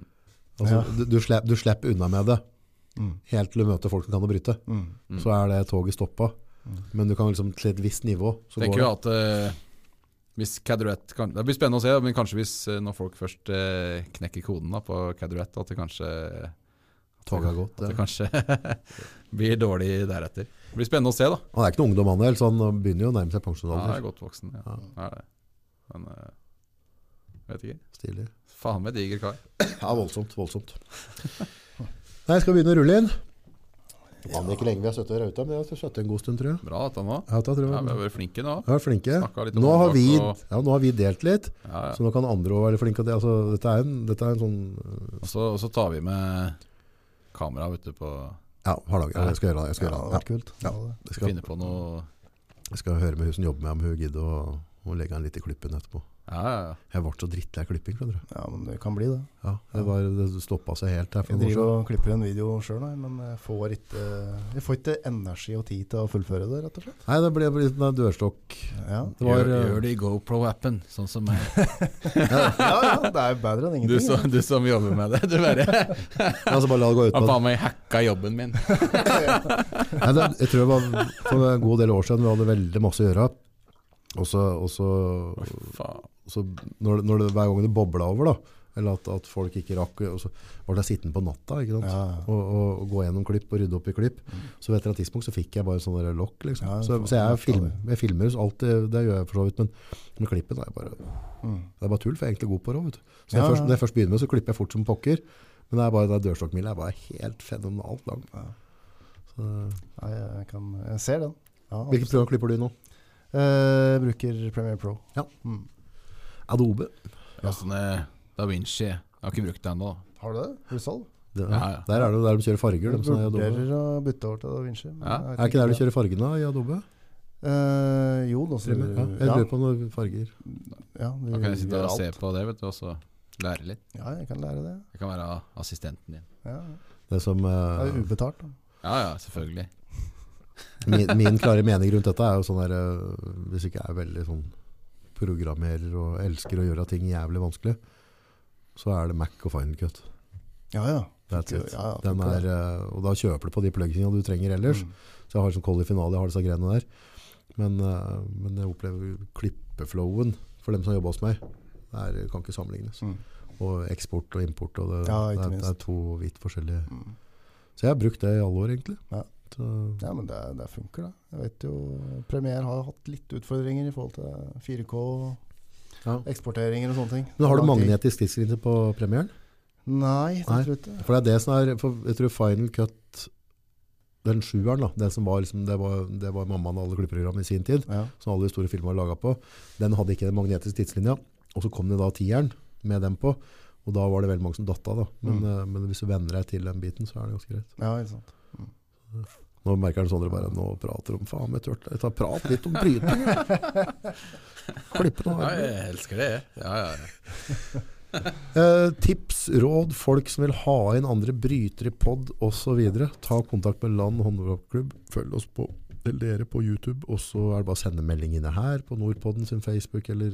[SPEAKER 2] Altså,
[SPEAKER 1] Ja.
[SPEAKER 2] du, du, slipper, du slipper unna med det,
[SPEAKER 1] Mm,
[SPEAKER 2] helt til du møter folk som kan å bryte.
[SPEAKER 1] mm.
[SPEAKER 2] Så er det toget stoppa. Men du kan liksom til et visst nivå. Så
[SPEAKER 3] Mm. Tenker
[SPEAKER 2] går
[SPEAKER 3] jo
[SPEAKER 2] det.
[SPEAKER 3] at eh, hvis Cadrett kan, Det blir spennende å se, men kanskje hvis eh, når folk først eh, knekker koden da, på Cadrett, at det kanskje
[SPEAKER 2] Toget har gått.
[SPEAKER 3] At det
[SPEAKER 2] Ja.
[SPEAKER 3] kanskje *laughs* blir dårlig deretter. Det blir spennende å se, da.
[SPEAKER 2] Han er ikke noen ungdom, han heller, så han begynner jo å nærme seg
[SPEAKER 3] Han er
[SPEAKER 2] pensjonsalder.
[SPEAKER 3] godt voksen. Ja.
[SPEAKER 2] Ja.
[SPEAKER 3] Han Er det. Men eh, vet ikke.
[SPEAKER 2] Stilig.
[SPEAKER 3] Faen meg diger kar.
[SPEAKER 2] Ja, voldsomt. Voldsomt. *laughs* Nei, skal vi begynne å rulle inn? Ja, men ikke lenge vi har støttet Rauta, men vi har støttet en god stund, tror jeg.
[SPEAKER 3] Bra dette nå.
[SPEAKER 2] Ja, da tror jeg.
[SPEAKER 3] Ja, vi har vært flinke nå.
[SPEAKER 2] Ja, flinke.
[SPEAKER 3] Snakket litt om
[SPEAKER 2] Nå har,
[SPEAKER 3] håndbak
[SPEAKER 2] vi,
[SPEAKER 3] og-
[SPEAKER 2] ja, nå har vi delt litt,
[SPEAKER 3] Ja, ja.
[SPEAKER 2] så nå kan andre også være flinke. til det. Altså, dette, er en, dette er en sånn øh,
[SPEAKER 3] Og, så, og så tar vi med kamera ute på
[SPEAKER 2] Ja, hardag. Ja, jeg skal gjøre det. Jeg skal,
[SPEAKER 1] Ja, det
[SPEAKER 2] gjøre
[SPEAKER 1] hadde
[SPEAKER 2] det.
[SPEAKER 1] vært kult.
[SPEAKER 2] Ja.
[SPEAKER 1] Ja, det-
[SPEAKER 2] Ja, jeg skal,
[SPEAKER 3] Finne på noe
[SPEAKER 2] jeg skal høre med hun som jobber med om hun gidder å, å legge en litt i klippen etterpå.
[SPEAKER 3] Ja, ja, ja.
[SPEAKER 2] Jeg ble så drittlei klipping, skjønner du.
[SPEAKER 1] ja, men det kan bli det.
[SPEAKER 2] Ja, det, var, det stoppa seg helt her for
[SPEAKER 1] Jeg
[SPEAKER 2] noen år
[SPEAKER 1] driver
[SPEAKER 2] siden.
[SPEAKER 1] og klipper en video sjøl, men jeg får, ikke, jeg får ikke energi og tid til å fullføre det, rett og slett.
[SPEAKER 2] Nei, det ble ble litt en dørstokk.
[SPEAKER 1] Ja,
[SPEAKER 2] Det var,
[SPEAKER 3] gjør,
[SPEAKER 2] øh,
[SPEAKER 3] gjør det i GoPro-appen, sånn
[SPEAKER 2] *laughs*
[SPEAKER 3] som meg.
[SPEAKER 1] *laughs* ja, ja det er jo bedre enn
[SPEAKER 3] Du,
[SPEAKER 1] ingenting.
[SPEAKER 3] som- du som jobber med det. Du bare
[SPEAKER 2] altså, bare la det gå ut
[SPEAKER 3] Han
[SPEAKER 2] på det.
[SPEAKER 3] faen meg hacka jobben min.
[SPEAKER 2] Nei, det, jeg tror det var for en god del år siden vi hadde veldig masse å gjøre. Og så, og så
[SPEAKER 3] Faen.
[SPEAKER 2] så når, det- når det, hver gang det bobla over, da, eller at, at folk ikke rakk og så var det sittende på natta ikke sant?
[SPEAKER 1] Ja, ja.
[SPEAKER 2] Og, og, og gå gjennom klipp og rydde opp i klipp. Så ved et eller annet tidspunkt så fikk jeg bare sånne der lokk. Liksom.
[SPEAKER 1] Ja,
[SPEAKER 2] så,
[SPEAKER 1] faen,
[SPEAKER 2] så jeg,
[SPEAKER 1] lokk,
[SPEAKER 2] film,
[SPEAKER 1] ja,
[SPEAKER 2] jeg filmer så alt, det, det gjør jeg for så vidt, men, men klippen er bare,
[SPEAKER 1] Mm.
[SPEAKER 2] det er bare tull, for jeg er egentlig god på det. Vet du. Så
[SPEAKER 1] Ja,
[SPEAKER 2] når, jeg først,
[SPEAKER 1] ja.
[SPEAKER 2] når jeg først begynner med, så klipper jeg fort som pokker. Men det er bare, den dørstokkmila er bare helt fenomenalt lang.
[SPEAKER 1] Ja.
[SPEAKER 2] Så,
[SPEAKER 1] Nei, jeg, kan, jeg ser den. Ja,
[SPEAKER 2] hvilket program klipper du nå?
[SPEAKER 1] eh, bruker Premiere Pro.
[SPEAKER 2] Ja.
[SPEAKER 1] Mm.
[SPEAKER 2] Adobe.
[SPEAKER 3] Ja, sånn, eh, Da Vinci. Jeg har ikke brukt det ennå.
[SPEAKER 1] Har du det? Resolve?
[SPEAKER 2] Det,
[SPEAKER 3] Ja, ja.
[SPEAKER 2] Der er det der de kjører farger.
[SPEAKER 1] Jeg
[SPEAKER 2] De, som er, i Adobe.
[SPEAKER 1] vurderer å bytte over til Da Vinci. men
[SPEAKER 3] Ja,
[SPEAKER 1] jeg
[SPEAKER 2] er det ikke der
[SPEAKER 1] det.
[SPEAKER 2] de kjører fargene i Adobe?
[SPEAKER 1] Eh, jo, nå
[SPEAKER 2] Ja,
[SPEAKER 1] ser du
[SPEAKER 2] jeg lurer på noen farger.
[SPEAKER 1] ja, du
[SPEAKER 3] Da kan jeg sitte
[SPEAKER 1] gjør
[SPEAKER 3] og se
[SPEAKER 1] alt.
[SPEAKER 3] på det vet du, og så lære litt.
[SPEAKER 1] Ja, jeg kan lære det.
[SPEAKER 3] Jeg kan være assistenten din.
[SPEAKER 1] Ja.
[SPEAKER 2] Det som,
[SPEAKER 1] Det er
[SPEAKER 2] eh,
[SPEAKER 1] jo ubetalt. Da.
[SPEAKER 3] Ja ja, selvfølgelig.
[SPEAKER 2] min, min klare mening rundt dette er jo sånn der eh, Hvis ikke jeg er veldig sånn programmerer og elsker å gjøre ting jævlig vanskelig, så er det Mac og Final Cut.
[SPEAKER 1] Ja, ja.
[SPEAKER 2] That's
[SPEAKER 1] Funker-
[SPEAKER 2] it.
[SPEAKER 1] ja, ja,
[SPEAKER 2] Den
[SPEAKER 1] funker
[SPEAKER 2] er,
[SPEAKER 1] det.
[SPEAKER 2] eh, og da kjøper du på de plugginene du trenger ellers.
[SPEAKER 1] Mm.
[SPEAKER 2] sånn Så jeg har liksom kold i finale, jeg har disse greiene der. Men, eh, men jeg opplever klipp gruppeflowen for dem som jobber hos meg, det er, kan ikke sammenlignes.
[SPEAKER 1] Mm.
[SPEAKER 2] Og eksport og import, og det,
[SPEAKER 1] Ja,
[SPEAKER 2] det,
[SPEAKER 1] ikke
[SPEAKER 2] er, det
[SPEAKER 1] minst.
[SPEAKER 2] er to vidt forskjellige
[SPEAKER 1] Mm.
[SPEAKER 2] Så jeg har brukt det i alle år, egentlig.
[SPEAKER 1] Ja.
[SPEAKER 2] Så,
[SPEAKER 1] Ja, men det, det funker, det. Jeg vet jo Premier har hatt litt utfordringer i forhold til 4K,
[SPEAKER 2] ja.
[SPEAKER 1] eksporteringer og sånne ting.
[SPEAKER 2] Men har du
[SPEAKER 1] Lang tid.
[SPEAKER 2] magnetisk tidsgrense på premieren?
[SPEAKER 1] Nei, det
[SPEAKER 2] Nei.
[SPEAKER 1] tror jeg ikke.
[SPEAKER 2] For det er det som er for Jeg tror Final Cut den sjueren, da, den som var, liksom, det var, det var mammaen og alle klippeprogram i sin tid,
[SPEAKER 1] Ja.
[SPEAKER 2] som alle de store filmene var laga på, den hadde ikke den magnetiske tidslinja. Og så kom det da tieren med den på, og da var det veldig mange som datt av. da. Men,
[SPEAKER 3] Mm.
[SPEAKER 2] eh, men hvis du venner deg til den biten, så er det ganske greit.
[SPEAKER 1] ja, ikke sant.
[SPEAKER 2] Nå merker han Sondre bare nå prater om faen, jeg turte jeg tar prat litt om bryting.
[SPEAKER 3] *laughs*
[SPEAKER 2] jeg. Klippe noe
[SPEAKER 3] Ja,
[SPEAKER 2] her.
[SPEAKER 3] jeg elsker det. Ja, ja, ja.
[SPEAKER 2] Eh, tips, råd, folk som vil ha inn andre brytere i pod osv. Ta kontakt med Land håndballklubb. Følg oss på eller dere på YouTube, og så er det bare å sende melding inne her på Nordpodden sin Facebook eller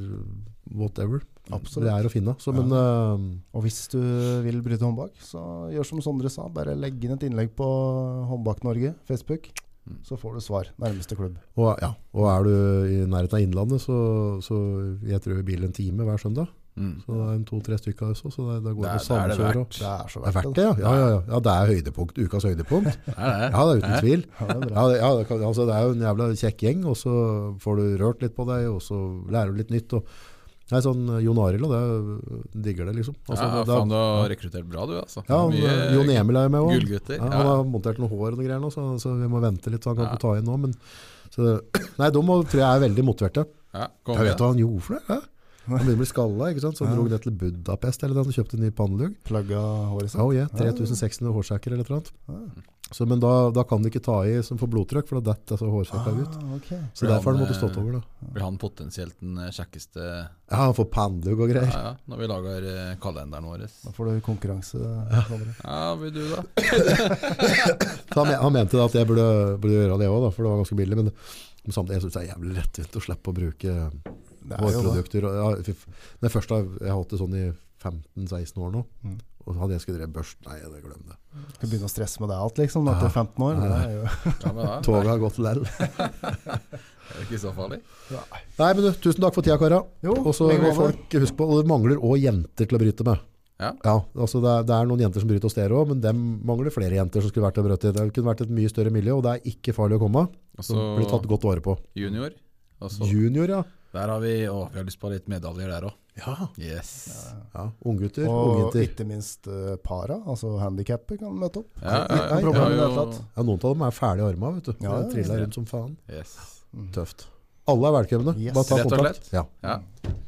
[SPEAKER 2] whatever. Det
[SPEAKER 1] Absolutt.
[SPEAKER 2] er å finne. Så,
[SPEAKER 1] Ja.
[SPEAKER 2] men, eh,
[SPEAKER 1] Og hvis du vil bryte håndbak, så gjør som Sondre sa. Bare legg inn et innlegg på Håndbak Norge, Facebook,
[SPEAKER 3] Mm.
[SPEAKER 1] så får du svar. Nærmeste klubb.
[SPEAKER 2] og, ja, og er du i nærheten av Innlandet, så, så jeg tror vi biler en time hver søndag.
[SPEAKER 3] Mm.
[SPEAKER 2] Så det er en to-tre stykker også, så det, det går
[SPEAKER 3] Det,
[SPEAKER 2] an å
[SPEAKER 3] er- det er det
[SPEAKER 2] samkjøre. og-
[SPEAKER 3] verdt.
[SPEAKER 1] Det er så
[SPEAKER 2] Det er
[SPEAKER 1] verdt
[SPEAKER 2] verdt
[SPEAKER 1] det.
[SPEAKER 2] det, ja. Ja, ja, ja. ja det er høydepunkt, ukas høydepunkt.
[SPEAKER 3] Det er det.
[SPEAKER 2] Ja, det er uten tvil.
[SPEAKER 1] Ja, det er bra.
[SPEAKER 2] Ja, det, ja det, kan, altså, det er jo en jævla kjekk gjeng, og så får du rørt litt på deg, og så lærer du litt nytt. Og, nei, sånn Jon Arild, og det digger det, liksom. Altså,
[SPEAKER 3] ja,
[SPEAKER 2] det- det-
[SPEAKER 3] faen, du har rekruttert bra, du, altså.
[SPEAKER 2] ja, han,
[SPEAKER 3] Mye
[SPEAKER 2] Jon Emil er jo med òg.
[SPEAKER 3] Gullgutter.
[SPEAKER 2] Ja, han har montert noe hår og noe greier nå, så, så vi må vente litt, så han kan
[SPEAKER 3] Ja.
[SPEAKER 2] få ta inn nå. Men, så det, *clears throat* nei, de må- tror jeg er veldig motiverte.
[SPEAKER 3] Ja, kom
[SPEAKER 2] Jeg
[SPEAKER 3] igjen.
[SPEAKER 2] vet hva han gjorde for det. Ja. Han begynner å bli skalla, ikke sant? så han dro ned til Budapest eller den, og kjøpte en ny pannelugg.
[SPEAKER 1] Plugga håret sitt.
[SPEAKER 2] Oh, yeah, 3600 hårsekker eller et eller annet.
[SPEAKER 1] Ja.
[SPEAKER 2] Så, men da, da kan du ikke ta i som får blodtrykk, for da detter altså, hårsekka ut.
[SPEAKER 1] Ah, ok.
[SPEAKER 2] Så derfor har han måttet stått over, da.
[SPEAKER 3] Blir han potensielt den eh, kjekkeste
[SPEAKER 2] Ja, han får pandug og
[SPEAKER 3] ja,
[SPEAKER 2] greier.
[SPEAKER 3] ja, når vi lager eh, kalenderen vår?
[SPEAKER 1] Da får du konkurranse. Sondre.
[SPEAKER 3] Ja, vil du, da?
[SPEAKER 2] Så Han, men- han mente da at jeg burde, burde gjøre det òg, for det var ganske billig. Men, men samtidig jeg synes det er jævlig lettvint å slippe å bruke
[SPEAKER 1] Det er jo det.
[SPEAKER 2] hårprodukter. og- Ja, fy f- når jeg først har jeg har hatt det sånn i 15-16 år nå,
[SPEAKER 1] Mm.
[SPEAKER 2] og hadde jeg skulle drevet børst Nei, det glem det.
[SPEAKER 1] Skal begynne å stresse med det alt, liksom, da, etter
[SPEAKER 2] Ja.
[SPEAKER 1] 15 år. Det er jo
[SPEAKER 3] Ja, men da,
[SPEAKER 2] Toget har gått lell.
[SPEAKER 3] er det ikke så farlig.
[SPEAKER 2] Nei, men du, tusen takk for tida, kara.
[SPEAKER 1] Jo,
[SPEAKER 2] Og så
[SPEAKER 1] like
[SPEAKER 2] må
[SPEAKER 1] måte.
[SPEAKER 2] folk huske på Og det mangler òg jenter til å bryte med.
[SPEAKER 3] Ja.
[SPEAKER 2] altså det, er, det er noen jenter som bryter hos dere òg, men dem mangler flere jenter som skulle vært til å bryte. Det kunne vært et mye større miljø, og det er ikke farlig å komme.
[SPEAKER 3] Og
[SPEAKER 2] Så
[SPEAKER 3] så
[SPEAKER 2] blir tatt godt vare på.
[SPEAKER 3] junior. Og så,
[SPEAKER 2] Junior, ja.
[SPEAKER 3] der har vi Å, vi har lyst på litt medaljer der òg.
[SPEAKER 2] Ja,
[SPEAKER 3] Yes.
[SPEAKER 2] ja. Unggutter,
[SPEAKER 1] Og
[SPEAKER 2] ungjenter.
[SPEAKER 1] ikke minst eh, para, altså handikappet, kan møte opp.
[SPEAKER 3] Ja, ja,
[SPEAKER 1] Uten
[SPEAKER 2] Nei,
[SPEAKER 3] ja,
[SPEAKER 1] problem i det
[SPEAKER 3] jo.
[SPEAKER 1] hele tatt.
[SPEAKER 2] Ja, noen av dem er ferdig arma, vet du.
[SPEAKER 1] Ja,
[SPEAKER 2] Ja,
[SPEAKER 1] ja, Mm.
[SPEAKER 2] Trilla
[SPEAKER 3] ja.
[SPEAKER 2] rundt som faen.
[SPEAKER 3] Yes.
[SPEAKER 2] Tøft. Alle er velkomne.
[SPEAKER 1] Yes.
[SPEAKER 2] Bare ta
[SPEAKER 3] Rett og
[SPEAKER 2] kontakt. Ja.
[SPEAKER 3] Ja.